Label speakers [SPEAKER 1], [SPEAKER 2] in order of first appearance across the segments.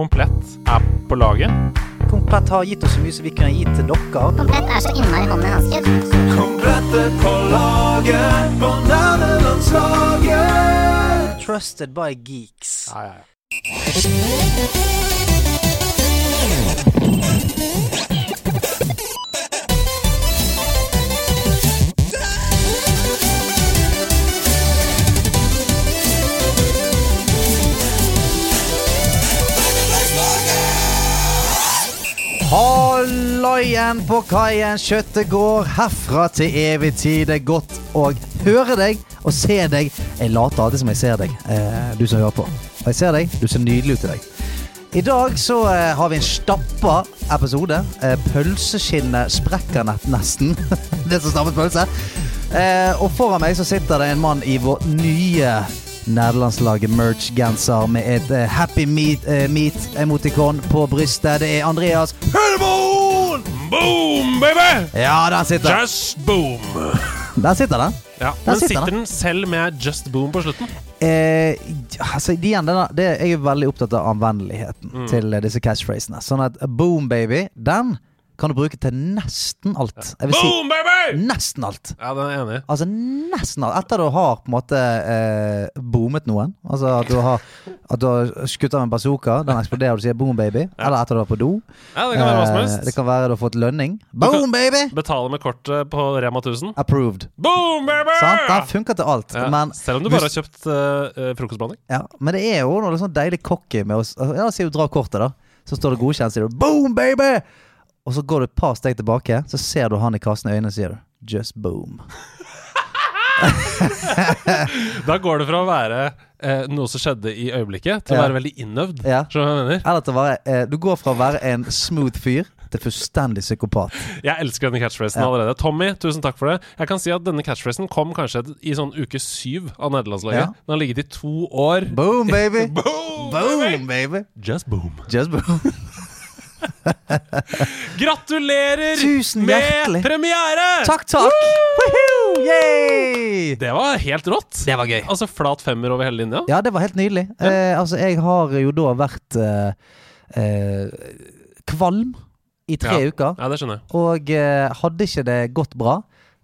[SPEAKER 1] Komplett er på laget.
[SPEAKER 2] Komplett har gitt oss så mye som vi kunne gi til dere.
[SPEAKER 3] Komplett er så innmari hånd i hanske.
[SPEAKER 4] Komplettet på laget, bananlandslaget.
[SPEAKER 2] Trusted by geeks.
[SPEAKER 1] Ja, ja, ja.
[SPEAKER 2] Halloien på kaien, kjøttet går herfra til evig tid. Det er godt å høre deg og se deg. Jeg later alltid som jeg ser deg, eh, du som hører på. Og jeg ser deg, du ser nydelig ut i dag. I dag så eh, har vi en stappa episode. Eh, pølseskinnet sprekker nett nesten. det som stappet pølse. Eh, og foran meg så sitter det en mann i vår nye nederlandslaget merch-genser med et eh, Happy Meat-emotikon på brystet. Det er Andreas
[SPEAKER 1] Boom! Boom, baby!
[SPEAKER 2] Ja, der sitter den.
[SPEAKER 1] Just boom.
[SPEAKER 2] Der sitter den.
[SPEAKER 1] Ja,
[SPEAKER 2] Der
[SPEAKER 1] Men
[SPEAKER 2] sitter
[SPEAKER 1] sitter
[SPEAKER 2] den.
[SPEAKER 1] den selv med just boom på slutten?
[SPEAKER 2] Eh, altså, igjen, denne, det, jeg er veldig opptatt av anvendeligheten
[SPEAKER 1] Mm.
[SPEAKER 2] til eh, disse catchphrasene. Sånn at boom, baby, den kan du bruke til nesten alt. Jeg vil si Mm.
[SPEAKER 1] Boom, baby!
[SPEAKER 2] nesten alt.
[SPEAKER 1] Ja, den er jeg enig. i.
[SPEAKER 2] Altså nesten alt. Etter du har på en måte eh, boomet noen, altså at du har, at du har skutt av en bazooka, den eksploderer og du sier boom, baby, eller etter du var på do.
[SPEAKER 1] Ja, det kan være hva som
[SPEAKER 2] Eh, det
[SPEAKER 1] helst.
[SPEAKER 2] kan være du har fått lønning. Boom, baby!
[SPEAKER 1] Betale med kortet på Rema 1000.
[SPEAKER 2] Approved.
[SPEAKER 1] Boom, baby!
[SPEAKER 2] Sant? Den funker til alt.
[SPEAKER 1] Ja,
[SPEAKER 2] Men
[SPEAKER 1] Selv om du
[SPEAKER 2] hvis-
[SPEAKER 1] bare har kjøpt uh, frokostblanding.
[SPEAKER 2] Ja, men det er jo noe sånn deilig cocky med oss. Ja, si du drar kortet, da. Så står det godkjent, sier du 'boom, baby'! Og så går du et par steg tilbake, så ser du han i kassen i øynene, sier du 'just boom'.
[SPEAKER 1] Da går det fra å være eh, noe som skjedde i øyeblikket, til å
[SPEAKER 2] Ja.
[SPEAKER 1] være veldig innøvd.
[SPEAKER 2] Ja.
[SPEAKER 1] Skjønner du hva jeg mener?
[SPEAKER 2] Eller til å være eh, Du går fra å være en smooth fyr til fullstendig psykopat.
[SPEAKER 1] Jeg elsker denne catchphrasen
[SPEAKER 2] Ja.
[SPEAKER 1] allerede. Tommy, tusen takk for det. Jeg kan si at denne catchphrasen kom kanskje i sånn uke syv av nederlandslaget.
[SPEAKER 2] Ja.
[SPEAKER 1] Den har ligget i to år.
[SPEAKER 2] Boom, baby!
[SPEAKER 1] Boom!
[SPEAKER 2] Boom, baby!
[SPEAKER 1] Just boom.
[SPEAKER 2] Just boom.
[SPEAKER 1] Gratulerer
[SPEAKER 2] Tusen hjertelig.
[SPEAKER 1] med premiere!
[SPEAKER 2] Takk, takk! Woohoo! Yay!
[SPEAKER 1] Det var helt rått.
[SPEAKER 2] Det var gøy.
[SPEAKER 1] Altså flat femmer over hele linja.
[SPEAKER 2] Ja, det var helt nydelig. Eh, altså, jeg har jo da vært eh, eh, kvalm i tre
[SPEAKER 1] Ja.
[SPEAKER 2] uker.
[SPEAKER 1] Ja, det skjønner jeg.
[SPEAKER 2] Og eh, hadde ikke det gått bra,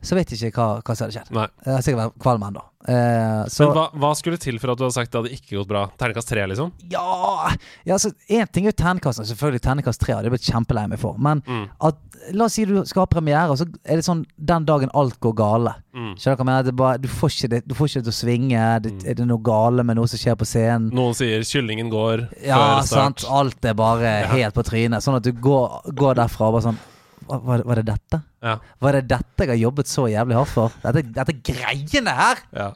[SPEAKER 2] så vet jeg ikke hva, hva som hadde skjedd.
[SPEAKER 1] Nei.
[SPEAKER 2] Jeg har sikkert vært kvalm ennå. Eh, så
[SPEAKER 1] Men hva, hva skulle til for at du hadde sagt det hadde ikke gått bra? Terningkast tre, liksom?
[SPEAKER 2] ja Ja, altså Én ting er jo terningkastene. Selvfølgelig terningkast tre hadde jeg blitt kjempelei meg for. Men
[SPEAKER 1] Mm.
[SPEAKER 2] at, la oss si du skal ha premiere, og så er det sånn den dagen alt går gale.
[SPEAKER 1] Mm.
[SPEAKER 2] Skjønner du hva jeg mener? Det er bare, du, får ikke det, du får ikke det til å svinge. Det, Er det noe gale med noe som skjer på scenen?
[SPEAKER 1] Noen sier 'kyllingen går'
[SPEAKER 2] Ja,
[SPEAKER 1] Mm. før start.
[SPEAKER 2] sant. Alt er bare helt på trynet. Sånn at du går, går derfra og bare sånn "Hva- Var, var det dette?
[SPEAKER 1] Ja,
[SPEAKER 2] Var det dette jeg har jobbet så jævlig hardt for? Dette, dette greiene her!
[SPEAKER 1] ja.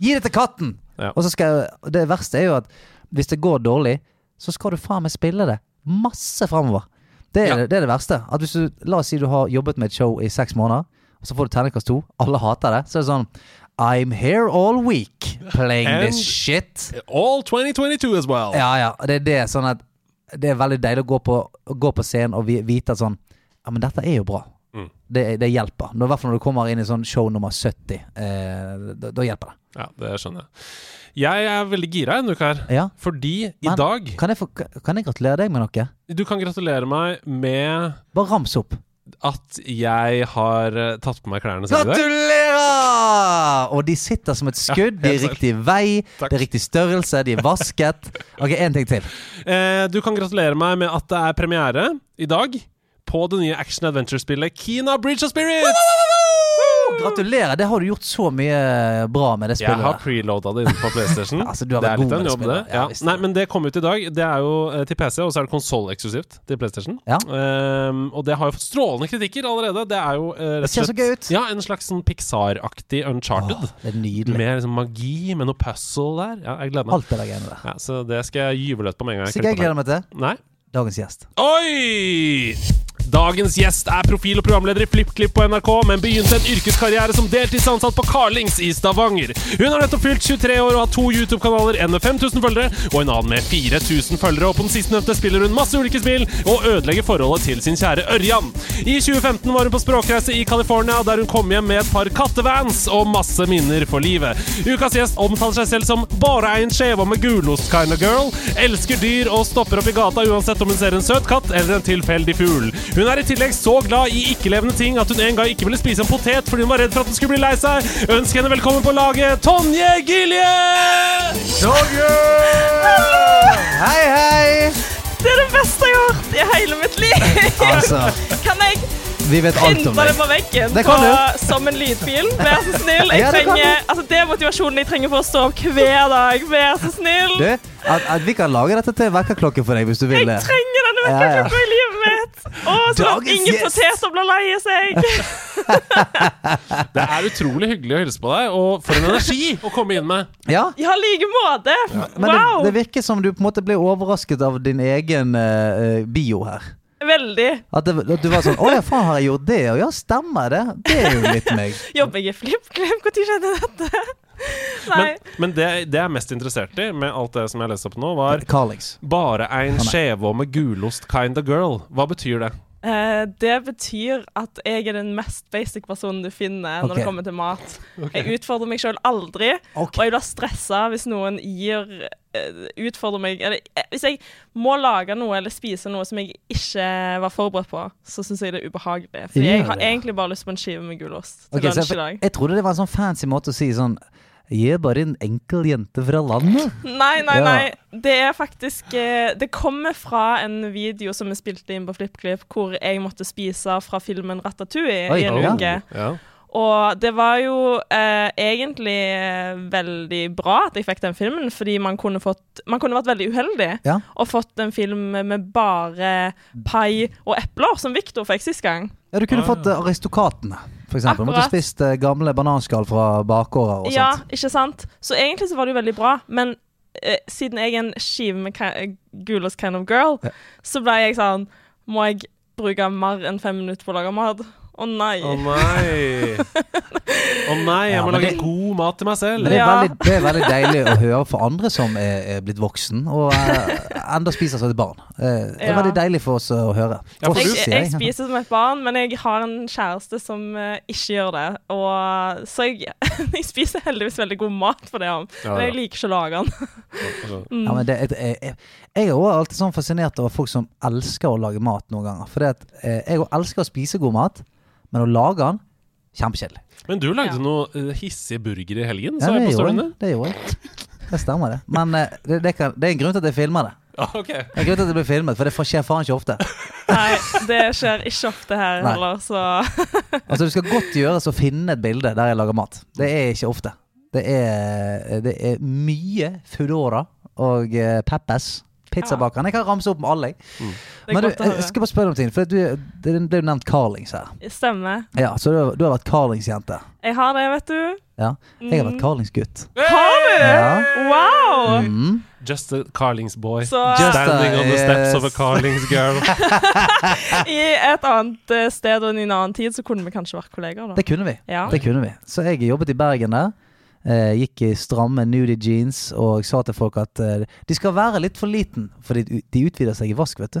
[SPEAKER 2] Gi det til katten!
[SPEAKER 1] Ja.
[SPEAKER 2] Og så skal jeg, Det verste er jo at hvis det går dårlig, så skal du faen meg spille det masse framover. Det, er
[SPEAKER 1] Ja.
[SPEAKER 2] det- det er det verste. At hvis du, la oss si du har jobbet med et show i seks måneder, og så får du terningkast to. Alle hater det. Så er det sånn I'm here all week playing this
[SPEAKER 1] And-
[SPEAKER 2] shit.
[SPEAKER 1] All 2022 as well.
[SPEAKER 2] Ja, ja. Det er det sånn at Det er veldig deilig å gå på, å gå på scenen og vi- vite at sånn Ja, men dette er jo bra.
[SPEAKER 1] Mm.
[SPEAKER 2] Det, det hjelper. Nå, I hvert fall når du kommer inn i sånn show nummer 70. Eh, da, da hjelper det.
[SPEAKER 1] Ja, det skjønner jeg. Jeg er veldig gira en uke her,
[SPEAKER 2] Ja.
[SPEAKER 1] fordi i
[SPEAKER 2] Men-
[SPEAKER 1] dag
[SPEAKER 2] Kan jeg, få, kan jeg gratulere deg med noe?
[SPEAKER 1] Du kan gratulere meg med
[SPEAKER 2] Bare rams opp.
[SPEAKER 1] at jeg har eh, tatt på meg klærne selv i dag.
[SPEAKER 2] Gratulerer! Og de sitter som et skudd. De er
[SPEAKER 1] helt
[SPEAKER 2] riktig vei,
[SPEAKER 1] Takk.
[SPEAKER 2] det er riktig størrelse, de er vasket. Ok, én ting til.
[SPEAKER 1] Eh, du kan gratulere meg med at det er premiere i dag på det nye action adventure-spillet Kina Bridge of Spirits!
[SPEAKER 2] Gratulerer! Det har du gjort så mye bra med det
[SPEAKER 1] Jeg
[SPEAKER 2] spillet.
[SPEAKER 1] har
[SPEAKER 2] der.
[SPEAKER 1] preloada det inne på PlayStation.
[SPEAKER 2] Altså, du har
[SPEAKER 1] det
[SPEAKER 2] vært
[SPEAKER 1] er litt av
[SPEAKER 2] god
[SPEAKER 1] en
[SPEAKER 2] med det
[SPEAKER 1] jobb, det.
[SPEAKER 2] spillet. Ja,
[SPEAKER 1] Ja.
[SPEAKER 2] visst.
[SPEAKER 1] Nei, men det kom ut i dag. Det er jo eh, til PC, og så er det konsolleksklusivt til PlayStation.
[SPEAKER 2] Ja.
[SPEAKER 1] Ehm, og det har jo fått strålende kritikker allerede. Det er jo eh, rett og
[SPEAKER 2] Det ser så
[SPEAKER 1] slett-
[SPEAKER 2] gøy ut.
[SPEAKER 1] Ja, en slags sånn Pixar-aktig Uncharted.
[SPEAKER 2] Åh, det er nydelig.
[SPEAKER 1] med liksom magi, med noe puzzle der. Ja, jeg gleder meg.
[SPEAKER 2] Alt det der greiene der.
[SPEAKER 1] Ja, så det skal jeg gyve løs på med en gang.
[SPEAKER 2] Så jeg
[SPEAKER 1] klipper
[SPEAKER 2] gleder meg til
[SPEAKER 1] meg. Nei.
[SPEAKER 2] dagens gjest.
[SPEAKER 1] Oi! Dagens gjest er profil og programleder i FlippKlipp på NRK, men begynte en yrkeskarriere som deltidsansatt på Carlings i Stavanger. Hun har nettopp fylt 23 år og har to YouTube-kanaler, en med 5000 følgere og en annen med 4000 følgere. Og på den sistnevnte spiller hun masse ulike spill og ødelegger forholdet til sin kjære Ørjan. I 2015 var hun på språkreise i California, der hun kom hjem med et par kattevans og masse minner for livet. Ukas gjest omtaler seg selv som bare en skjeva med gulost kind of girl, elsker dyr og stopper opp i gata uansett om hun ser en søt katt eller en tilfeldig fugl. Hun er i tillegg så glad i ikke-levende ting at hun en gang ikke ville spise en potet fordi hun var redd for at den skulle bli lei seg. Ønsk henne velkommen på laget, Tonje Gilje!
[SPEAKER 2] Hei, hei!
[SPEAKER 5] Det er det beste jeg har hørt i hele mitt liv!
[SPEAKER 2] Altså,
[SPEAKER 5] Kan jeg
[SPEAKER 2] vi vet alt om
[SPEAKER 5] pynte det
[SPEAKER 2] deg.
[SPEAKER 5] på veggen
[SPEAKER 2] Det kan
[SPEAKER 5] på,
[SPEAKER 2] du.
[SPEAKER 5] som en lydfil? Vær så snill. Jeg
[SPEAKER 2] Ja, det kan
[SPEAKER 5] trenger, altså, det er motivasjonen jeg trenger for å stå opp hver dag. Vær så snill.
[SPEAKER 2] Du, at, at vi kan lage dette til vekkerklokke for deg hvis du vil
[SPEAKER 5] Jeg
[SPEAKER 2] det.
[SPEAKER 5] trenger denne
[SPEAKER 2] Ja, ja.
[SPEAKER 5] vekkerklokka i livet mitt! Å, sånn at
[SPEAKER 2] Dagens
[SPEAKER 5] ingen
[SPEAKER 2] gjest.
[SPEAKER 5] poteter blir lei seg.
[SPEAKER 1] Det er utrolig hyggelig å hilse på deg, og for en energi å komme inn med.
[SPEAKER 2] Ja,
[SPEAKER 5] Ja, like måte.
[SPEAKER 2] men det,
[SPEAKER 5] Wow.
[SPEAKER 2] det virker som du på en måte ble overrasket av din egen eh, eh, bio her.
[SPEAKER 5] Veldig.
[SPEAKER 2] At, det, at du var sånn Å ja, faen, har jeg gjort det? Og ja, stemmer det. Det er jo litt meg.
[SPEAKER 5] Jobber jeg i FlippKlipp? Når skjedde dette? Nei.
[SPEAKER 1] Men, men det, det jeg er mest interessert i med alt det som jeg har lest opp nå, var
[SPEAKER 2] Carlings.
[SPEAKER 1] Bare ein skjeve med gulost kind of girl. Hva betyr det?
[SPEAKER 5] Eh, det betyr at jeg er den mest basic personen du finner når
[SPEAKER 2] Ok.
[SPEAKER 5] det kommer til mat. Jeg utfordrer meg sjøl aldri,
[SPEAKER 2] Ok.
[SPEAKER 5] og jeg blir stressa hvis noen gir eh, Utfordrer meg eller, eh, Hvis jeg må lage noe eller spise noe som jeg ikke var forberedt på, så syns jeg det er ubehagelig. For
[SPEAKER 2] Ja,
[SPEAKER 5] jeg har
[SPEAKER 2] ja.
[SPEAKER 5] egentlig bare lyst på en skive med gulost til
[SPEAKER 2] Ok, så
[SPEAKER 5] lunsj i
[SPEAKER 2] jeg,
[SPEAKER 5] dag.
[SPEAKER 2] jeg trodde det var en sånn fancy måte å si sånn Jeg er bare en enkel jente fra landet.
[SPEAKER 5] Nei, nei,
[SPEAKER 2] Ja.
[SPEAKER 5] nei. Det er faktisk eh, Det kommer fra en video som vi spilte inn på FlippKlipp, hvor jeg måtte spise fra filmen Ratatouille
[SPEAKER 2] Oi,
[SPEAKER 5] i en
[SPEAKER 2] ja.
[SPEAKER 5] uke. Og det var jo eh, egentlig eh, veldig bra at jeg fikk den filmen, fordi man kunne, fått, man kunne vært veldig uheldig
[SPEAKER 2] Ja.
[SPEAKER 5] og fått en film med bare pai og epler, som Victor fikk sist gang.
[SPEAKER 2] Ja, du kunne
[SPEAKER 1] Ah,
[SPEAKER 2] fått eh, Aristokatene, for eksempel. Du Måtte
[SPEAKER 5] Akkurat.
[SPEAKER 2] spist eh, gamle bananskall fra bakgårder og
[SPEAKER 5] Ja,
[SPEAKER 2] sånt.
[SPEAKER 5] ikke sant? Så egentlig så var det jo veldig bra, men eh, siden jeg er en skive med ki- gulost kind of girl,
[SPEAKER 2] Ja.
[SPEAKER 5] så ble jeg sånn Må jeg bruke mer enn fem minutter på å lage mat? Å nei.
[SPEAKER 1] Å nei. Å nei, jeg
[SPEAKER 2] Ja,
[SPEAKER 1] må
[SPEAKER 2] men
[SPEAKER 1] lage
[SPEAKER 2] det-
[SPEAKER 1] god mat til meg
[SPEAKER 2] Men
[SPEAKER 1] selv.
[SPEAKER 2] det er,
[SPEAKER 5] Ja.
[SPEAKER 2] veldig, det er veldig deilig å høre fra andre som er, er blitt voksen, og eh, enda spiser som et barn. Eh, det er
[SPEAKER 5] Ja.
[SPEAKER 2] veldig deilig for oss å høre.
[SPEAKER 1] Ja, for
[SPEAKER 2] Oss,
[SPEAKER 1] du-
[SPEAKER 5] Jeg,
[SPEAKER 2] sier
[SPEAKER 5] jeg spiser som et barn, men jeg har en kjæreste som eh, ikke gjør det. Og, så jeg, jeg spiser heldigvis veldig god mat for det, om,
[SPEAKER 1] Ja,
[SPEAKER 5] men
[SPEAKER 1] ja.
[SPEAKER 5] jeg liker ikke å lage den.
[SPEAKER 2] Ja, men det, jeg, jeg, jeg er også alltid sånn fascinert over folk som elsker å lage mat noen ganger. For at, eh, jeg også elsker å spise god mat, men å lage den kjempekjedelig.
[SPEAKER 1] Men du lagde
[SPEAKER 5] Ja.
[SPEAKER 1] noe eh, hissig burger i helgen,
[SPEAKER 2] Ja,
[SPEAKER 1] sa jeg
[SPEAKER 2] det
[SPEAKER 1] på
[SPEAKER 2] gjorde
[SPEAKER 1] storyen
[SPEAKER 2] jeg.
[SPEAKER 1] din.
[SPEAKER 2] Det gjorde jeg. Det stemmer, det. Men eh, det, det, kan, det er en grunn til at jeg filmer det.
[SPEAKER 1] Ja, ok.
[SPEAKER 2] Det er en grunn til at det blir filmet, for det får- skjer faen ikke ofte.
[SPEAKER 5] Nei, det skjer ikke ofte her
[SPEAKER 2] Nei.
[SPEAKER 5] heller, så
[SPEAKER 2] Altså, det skal godt gjøres å finne et bilde der jeg lager mat. Det er ikke ofte. Det er, det er mye Foodora og eh, Peppes. Pizzabakeren. Jeg kan ramse opp med alle, jeg.
[SPEAKER 5] det er
[SPEAKER 2] Men du,
[SPEAKER 5] godt å
[SPEAKER 2] jeg
[SPEAKER 5] høre.
[SPEAKER 2] skal bare spørre om ting. For du, det det er jo nevnt Carlings her.
[SPEAKER 5] Stemmer.
[SPEAKER 2] Ja, Så du, har- du har vært Carlings-jente.
[SPEAKER 5] Jeg har det, vet du.
[SPEAKER 2] Ja. Jeg
[SPEAKER 5] Mm.
[SPEAKER 2] har vært Carlings-gutt.
[SPEAKER 5] Har du?
[SPEAKER 2] Ja.
[SPEAKER 5] Wow!
[SPEAKER 2] Mm.
[SPEAKER 1] Just a Carlings boy.
[SPEAKER 5] Så eh,
[SPEAKER 2] Just-
[SPEAKER 1] Standing on the steps of a
[SPEAKER 2] Yes.
[SPEAKER 1] Carlings girl.
[SPEAKER 5] i et annet eh, sted og i en annen tid så kunne vi kanskje vært kollegaer, da.
[SPEAKER 2] Det kunne vi.
[SPEAKER 5] Ja.
[SPEAKER 2] Det kunne vi. Så jeg jobbet i Bergen der. eh, gikk i stramme nudie jeans og sa til folk at eh, de skal være litt for liten, for de, de utvider seg i vask, vet du.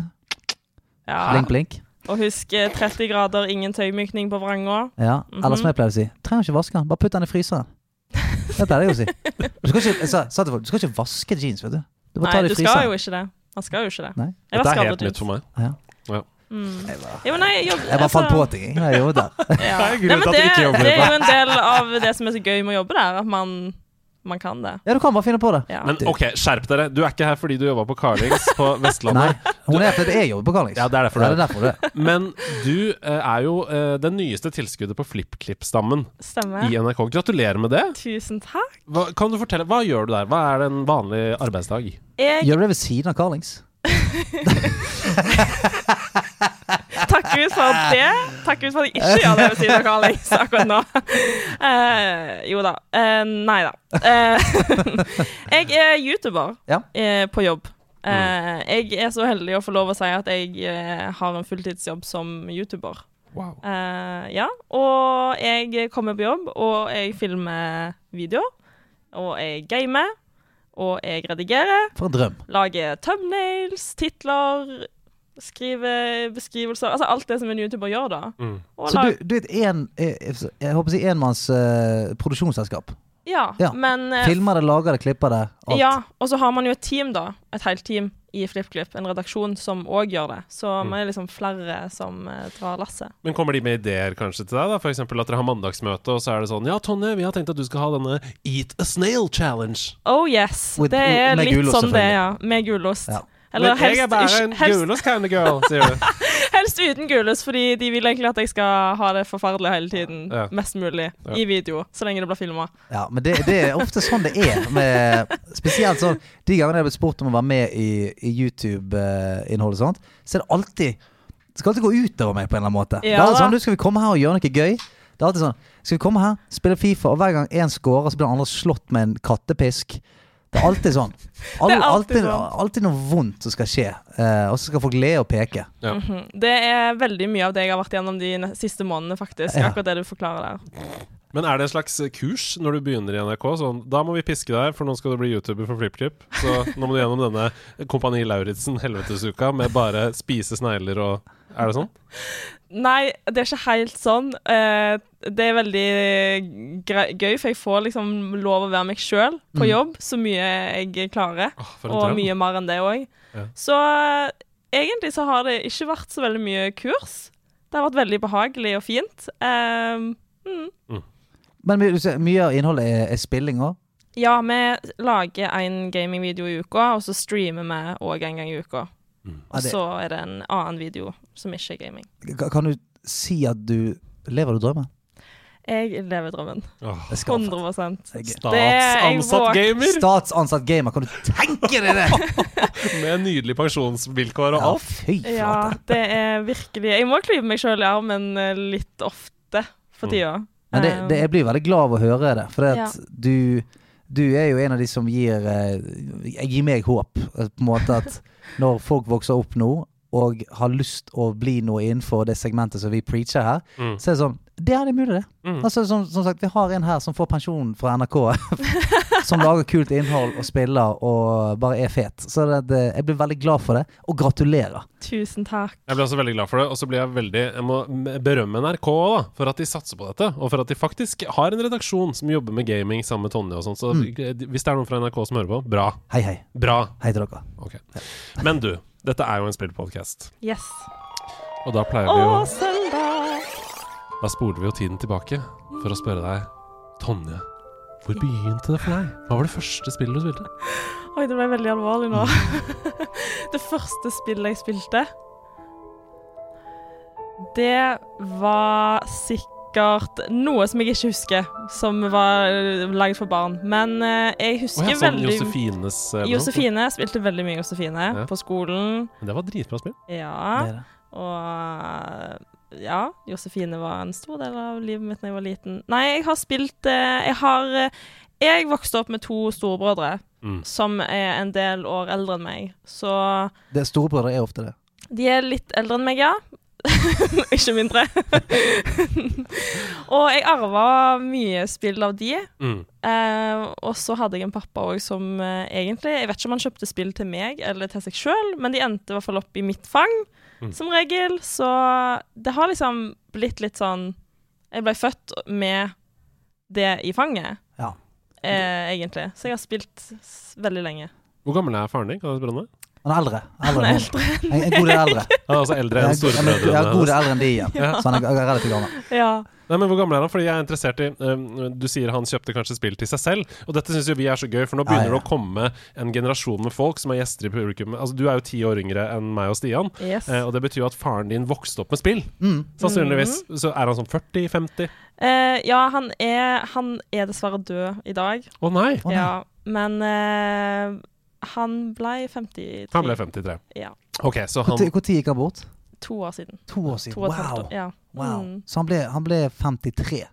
[SPEAKER 5] ja.
[SPEAKER 2] Blink, blink.
[SPEAKER 5] Og husk eh, 30 grader, ingen tøymykning på vranga.
[SPEAKER 2] Ja,
[SPEAKER 5] Mhm.
[SPEAKER 2] Eller som jeg pleier å si, trenger ikke vaske den, bare putt den i fryseren. Det pleier jeg å si. Du skal ikke, jeg sa, sa til folk, du skal ikke vaske jeans, vet du. Du må
[SPEAKER 5] Nei,
[SPEAKER 2] ta det
[SPEAKER 5] du
[SPEAKER 2] i
[SPEAKER 5] skal
[SPEAKER 2] fryseren.
[SPEAKER 5] jo ikke det. Man skal jo ikke det.
[SPEAKER 2] Nei.
[SPEAKER 5] Jeg
[SPEAKER 1] Dette
[SPEAKER 5] var
[SPEAKER 1] er
[SPEAKER 5] skadet
[SPEAKER 1] helt nytt for meg.
[SPEAKER 2] Jeg bare,
[SPEAKER 5] Jo, Mm. nei, jeg, jobb,
[SPEAKER 2] jeg bare fant på ting, jeg. når jeg jobbet der.
[SPEAKER 5] Ja.
[SPEAKER 1] Det er grunnen
[SPEAKER 5] Nei, men
[SPEAKER 1] til at
[SPEAKER 5] det,
[SPEAKER 1] du ikke jobber
[SPEAKER 5] det er
[SPEAKER 1] der.
[SPEAKER 5] jo en del av det som er så gøy med å jobbe der, at man, man kan det.
[SPEAKER 2] Ja, du kan bare finne på det.
[SPEAKER 5] Ja.
[SPEAKER 1] Men ok, skjerp dere. Du er ikke her fordi du jobba på Carlings på
[SPEAKER 2] Nei,
[SPEAKER 1] Vestlandet.
[SPEAKER 2] hun er fordi jeg jobber på Carlings.
[SPEAKER 1] Ja, det er derfor du
[SPEAKER 2] ja,
[SPEAKER 1] er
[SPEAKER 2] det er derfor du er.
[SPEAKER 1] Men du eh, er jo eh, det nyeste tilskuddet på FlippKlipp-stammen i
[SPEAKER 5] Stemmer.
[SPEAKER 1] NRK. Gratulerer med det.
[SPEAKER 5] Tusen takk.
[SPEAKER 1] Hva, kan du fortelle, hva gjør du der? Hva er en vanlig arbeidsdag?
[SPEAKER 5] Jeg
[SPEAKER 2] Gjør du det ved siden av Carlings?
[SPEAKER 5] takker ut for det. Takker ut for at jeg ikke gjør det ved siden av Carl Lengs akkurat nå. Eh, jo da. Eh, nei da. Eh, jeg er YouTuber
[SPEAKER 2] Ja.
[SPEAKER 5] eh, på jobb.
[SPEAKER 1] Mm.
[SPEAKER 5] Eh, jeg er så heldig å få lov å si at jeg eh, har en fulltidsjobb som YouTuber.
[SPEAKER 1] Wow.
[SPEAKER 5] Eh, ja, og jeg kommer på jobb, og jeg filmer videoer. Og jeg gamer. Og jeg redigerer.
[SPEAKER 2] For en drøm.
[SPEAKER 5] Lager thumbnails, titler, skriver beskrivelser. Altså alt det som en YouTuber gjør, da.
[SPEAKER 1] Mm.
[SPEAKER 5] Og
[SPEAKER 2] Så
[SPEAKER 5] lag-
[SPEAKER 2] du, du er et en, jeg, jeg håper å si enmanns eh, produksjonsselskap.
[SPEAKER 5] ja,
[SPEAKER 2] ja,
[SPEAKER 5] men eh,
[SPEAKER 2] Filmer det, lager det, klipper det. Alt.
[SPEAKER 5] Ja, og så har man jo et team, da. Et helt team i FlippKlipp. En redaksjon som òg gjør det. Så
[SPEAKER 1] Mm.
[SPEAKER 5] man er liksom flere som eh, drar lasset.
[SPEAKER 1] Men kommer de med ideer kanskje til deg? da? For eksempel at dere har mandagsmøte, og så er det sånn Ja, Tonje, vi har tenkt at du skal ha denne Eat a snail challenge.
[SPEAKER 5] Oh yes!
[SPEAKER 2] With-
[SPEAKER 5] det er
[SPEAKER 2] med
[SPEAKER 5] litt
[SPEAKER 2] gulost,
[SPEAKER 5] sånn det er, ja. Med gulost.
[SPEAKER 2] Ja.
[SPEAKER 5] Eller
[SPEAKER 1] Men
[SPEAKER 5] helst,
[SPEAKER 1] jeg er bare en
[SPEAKER 5] ikke- helst,
[SPEAKER 1] gulost kind of girl, sier du.
[SPEAKER 5] helst uten gulost, fordi de vil egentlig at jeg skal ha det forferdelig hele tiden.
[SPEAKER 1] Ja.
[SPEAKER 5] Mest mulig.
[SPEAKER 1] Ja.
[SPEAKER 5] I video. Så lenge det blir filma.
[SPEAKER 2] Ja, men det, det er ofte sånn det er. Med, spesielt sånn de gangene jeg har blitt spurt om å være med i, i YouTube-innholdet, sånt, så er det alltid Det skal alltid gå utover meg på en eller annen måte. det er
[SPEAKER 5] Ja
[SPEAKER 2] alltid
[SPEAKER 5] da.
[SPEAKER 2] sånn, du Skal vi komme her og gjøre noe gøy? Det er alltid sånn Skal vi komme her, spille Fifa, og hver gang én scorer, så blir den andre slått med en kattepisk. Det er alltid sånn. Al-
[SPEAKER 5] Det er alltid
[SPEAKER 2] alltid,
[SPEAKER 5] sånn.
[SPEAKER 2] alltid noe vondt som skal skje. eh, og så skal folk le og peke.
[SPEAKER 5] Hm. Det er veldig mye av det jeg har vært gjennom de ne- siste månedene, faktisk.
[SPEAKER 2] Ja.
[SPEAKER 5] Akkurat det du forklarer der.
[SPEAKER 1] Men er det en slags kurs når du begynner i NRK? Sånn, da må vi piske deg, for nå skal du bli YouTuber for FlippKlipp. Så nå må du gjennom denne Kompani Lauritzen-helvetesuka med bare spise snegler og Er det sånn?
[SPEAKER 5] Nei, det er ikke helt sånn. Eh, det er veldig gre- gøy, for jeg får liksom lov å være meg sjøl
[SPEAKER 1] Mm.
[SPEAKER 5] på jobb så mye jeg klarer.
[SPEAKER 1] Åh, for en
[SPEAKER 5] Og
[SPEAKER 1] drøm.
[SPEAKER 5] mye mer enn det òg.
[SPEAKER 1] Ja.
[SPEAKER 5] Så eh, egentlig så har det ikke vært så veldig mye kurs. Det har vært veldig behagelig og fint. Ehm, mm.
[SPEAKER 2] Men mye, du ser- mye av innholdet er, er spilling òg.
[SPEAKER 5] Ja, vi lager en gamingvideo i uka, og så streamer vi òg en gang i uka. Og så er det en annen video som ikke er gaming.
[SPEAKER 2] Kan du si at du Lever du drømmen?
[SPEAKER 5] Jeg lever drømmen.
[SPEAKER 1] Åh,
[SPEAKER 2] Det skal
[SPEAKER 5] 100
[SPEAKER 2] jeg-
[SPEAKER 1] Statsansatt
[SPEAKER 5] Det
[SPEAKER 1] gamer
[SPEAKER 2] Statsansatt gamer, kan du tenke deg det?!
[SPEAKER 1] med nydelige pensjonsvilkår og
[SPEAKER 2] Ja,
[SPEAKER 1] alt.
[SPEAKER 2] fy
[SPEAKER 5] Ja,
[SPEAKER 2] flate.
[SPEAKER 5] det er virkelig Jeg må klype meg sjøl i armen eh, litt ofte for tida.
[SPEAKER 2] Men Mm. det, det, jeg blir veldig glad av å høre det. For
[SPEAKER 5] Ja.
[SPEAKER 2] at du, du er jo en av de som gir eh, Jeg gir meg håp. eh, På en måte at når folk vokser opp nå og har lyst å bli noe innenfor det segmentet som vi preacher her,
[SPEAKER 1] Mm.
[SPEAKER 2] så er det sånn Det er det mulig, det.
[SPEAKER 1] Mm.
[SPEAKER 2] Altså, som, som sagt, vi har en her som får pensjon fra NRK. som lager kult innhold og spiller og bare er fet. Så det, det, jeg blir veldig glad for det, og gratulerer.
[SPEAKER 5] Eh, Tusen takk.
[SPEAKER 1] Jeg ble også veldig glad for det, og så blir jeg veldig Jeg må berømme NRK også, da, for at de satser på dette, og for at de faktisk har en redaksjon som jobber med gaming sammen med Tonje og sånn. Så
[SPEAKER 2] Mm.
[SPEAKER 1] hvis det er noen fra NRK som hører på, bra.
[SPEAKER 2] Hei, hei.
[SPEAKER 1] Bra.
[SPEAKER 2] Hei til dere.
[SPEAKER 1] Ok. Men du, dette er jo en spillpodkast,
[SPEAKER 5] Yes.
[SPEAKER 1] og da pleier
[SPEAKER 5] Å,
[SPEAKER 1] vi jo
[SPEAKER 5] søndag!
[SPEAKER 1] Da spoler vi jo tiden tilbake for å spørre deg, Tonje, hvor begynte det for deg? Hva var det første spillet du spilte?
[SPEAKER 5] Oi, det ble veldig alvorlig nå. det første spillet jeg spilte, det var sikkert noe som jeg ikke husker, som var eh, lagd for barn. Men eh, jeg
[SPEAKER 1] Å
[SPEAKER 5] husker
[SPEAKER 1] ja, sånn
[SPEAKER 5] veldig
[SPEAKER 1] Josefines eh,
[SPEAKER 5] Josefine spilte veldig mye Josefine
[SPEAKER 1] Ja.
[SPEAKER 5] på skolen.
[SPEAKER 1] Men Det var dritbra spill.
[SPEAKER 5] Ja.
[SPEAKER 2] Det er det.
[SPEAKER 5] Og ja, Josefine var en stor del av livet mitt da jeg var liten. Nei, jeg har spilt eh, Jeg har eh, Jeg vokste opp med to storebrødre
[SPEAKER 1] Mm.
[SPEAKER 5] som er en del år eldre enn meg. Så
[SPEAKER 2] Det, storebrødre er ofte det.
[SPEAKER 5] de er litt eldre enn meg, ja. Ikke mindre. og jeg arva mye spill av de.
[SPEAKER 1] Mm.
[SPEAKER 5] Eh, og så hadde jeg en pappa òg som eh, egentlig Jeg vet ikke om han kjøpte spill til meg eller til seg sjøl, men de endte i hvert fall opp i mitt fang,
[SPEAKER 1] Mm.
[SPEAKER 5] som regel. Så det har liksom blitt litt sånn Jeg ble født med det i fanget,
[SPEAKER 2] Ja.
[SPEAKER 5] eh, egentlig. Så jeg har spilt s veldig lenge.
[SPEAKER 1] Hvor gammel er faren din? Kan jeg spørre om det?
[SPEAKER 2] Han er eldre. eldre
[SPEAKER 5] Han er
[SPEAKER 2] enn
[SPEAKER 5] eldre.
[SPEAKER 2] hun. En, en god del eldre.
[SPEAKER 1] Han er altså eldre
[SPEAKER 2] Jeg
[SPEAKER 1] enn
[SPEAKER 2] er go- jeg er- jeg er god
[SPEAKER 1] storebrødrene.
[SPEAKER 2] del eldre enn de igjen.
[SPEAKER 1] Ja.
[SPEAKER 2] Så han er, jeg er relativt gammel.
[SPEAKER 5] Ja.
[SPEAKER 1] Nei, men Hvor gammel er han? Fordi jeg er interessert i um, Du sier han kjøpte kanskje spill til seg selv, og dette syns jo vi er så gøy, for nå
[SPEAKER 2] Ja,
[SPEAKER 1] begynner
[SPEAKER 2] ja.
[SPEAKER 1] det å komme en generasjon med folk som er gjester i publikum. Altså, Du er jo ti år yngre enn meg og Stian,
[SPEAKER 5] Yes.
[SPEAKER 1] eh, og det betyr jo at faren din vokste opp med spill.
[SPEAKER 2] Mm.
[SPEAKER 1] Sannsynligvis så er han sånn 40-50.
[SPEAKER 5] Eh, ja, han er, han er dessverre død i dag.
[SPEAKER 1] Å nei!
[SPEAKER 2] Å, nei.
[SPEAKER 5] ja, men eh, han ble 53.
[SPEAKER 1] Han ble 53.
[SPEAKER 5] Ja.
[SPEAKER 1] Ok, så
[SPEAKER 2] Når
[SPEAKER 1] han
[SPEAKER 2] når gikk han bort?
[SPEAKER 5] To år siden.
[SPEAKER 2] To år siden.
[SPEAKER 5] To og et halvt
[SPEAKER 2] Wow.
[SPEAKER 5] år. Ja.
[SPEAKER 2] wow.
[SPEAKER 5] Mm.
[SPEAKER 2] Så han ble, han ble 53.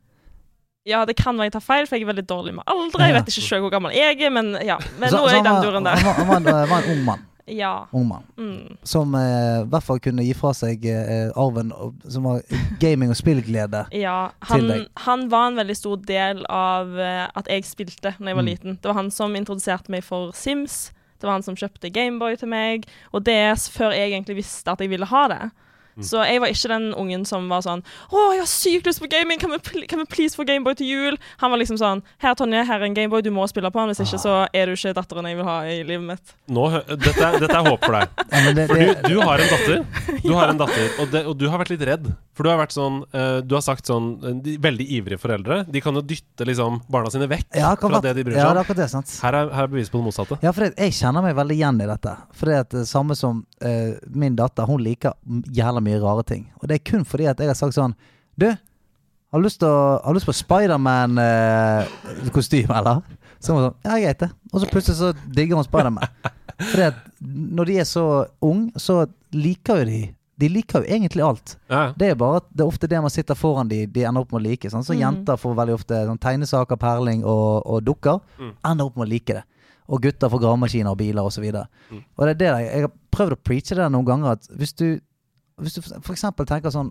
[SPEAKER 5] Ja, det kan være jeg tar feil, for jeg er veldig dårlig med alder. Jeg vet ikke selv hvor gammel jeg er, men ja. Men
[SPEAKER 2] Så-
[SPEAKER 5] nå
[SPEAKER 2] så
[SPEAKER 5] er jeg
[SPEAKER 2] han
[SPEAKER 5] den
[SPEAKER 2] var-
[SPEAKER 5] duren der.
[SPEAKER 2] Han var, han var, han var en ung mann.
[SPEAKER 5] Ja.
[SPEAKER 2] ung mann.
[SPEAKER 5] Mm.
[SPEAKER 2] Som eh, i hvert fall kunne gi fra seg eh, arven og- som var gaming og spillglede.
[SPEAKER 5] ja.
[SPEAKER 2] Til
[SPEAKER 5] Han,
[SPEAKER 2] deg.
[SPEAKER 5] han var en veldig stor del av eh, at jeg spilte da jeg var liten. Det var han som introduserte meg for Sims. Det var han som kjøpte Gameboy til meg, og DS før jeg egentlig visste at jeg ville ha det. Så jeg var ikke den ungen som var sånn 'Å, jeg har sykt lyst på gaming! Kan vi, pl kan vi please få Gameboy til jul?' Han var liksom sånn 'Her, Tonje, her er en Gameboy. Du må spille på den. Hvis ikke så er du ikke datteren jeg vil ha i livet mitt.'
[SPEAKER 1] Nå, hø- dette, er, dette er håp for deg.
[SPEAKER 2] Ja, men det,
[SPEAKER 1] For du,
[SPEAKER 2] det,
[SPEAKER 1] du har en datter, du har en datter og, det, og du har vært litt redd. For du har vært sånn eh, Du har sagt sånn eh, de, Veldig ivrige foreldre. De kan jo dytte liksom barna sine vekk
[SPEAKER 2] ja, akkurat,
[SPEAKER 1] fra det de bryr
[SPEAKER 2] ja,
[SPEAKER 1] seg
[SPEAKER 2] det er
[SPEAKER 1] om.
[SPEAKER 2] akkurat det. sant
[SPEAKER 1] Her er, her er bevis på det motsatte.
[SPEAKER 2] Ja, for det, jeg kjenner meg veldig igjen i dette. For det at det samme som eh, min datter, hun liker m- jævla mye rare ting. Og det er kun fordi at jeg har sagt sånn Du, har du lyst, til å- har du lyst på Spiderman-kostyme, eller? Så hun var sånn Ja, greit det. Og så plutselig så digger hun Spiderman. Fordi at når de er så unge, så liker jo de De liker jo egentlig alt.
[SPEAKER 1] Ja, ja.
[SPEAKER 2] Det er bare at det er ofte det man sitter foran de, de ender opp med å like. Sånn. Så jenter får veldig ofte sånn, tegnesaker, perling og, og dukker. Ender opp med å like det. Og gutter får gravemaskiner og biler osv. videre Og det er det der, jeg har prøvd å preache det der noen ganger. At hvis du, hvis du f.eks. tenker sånn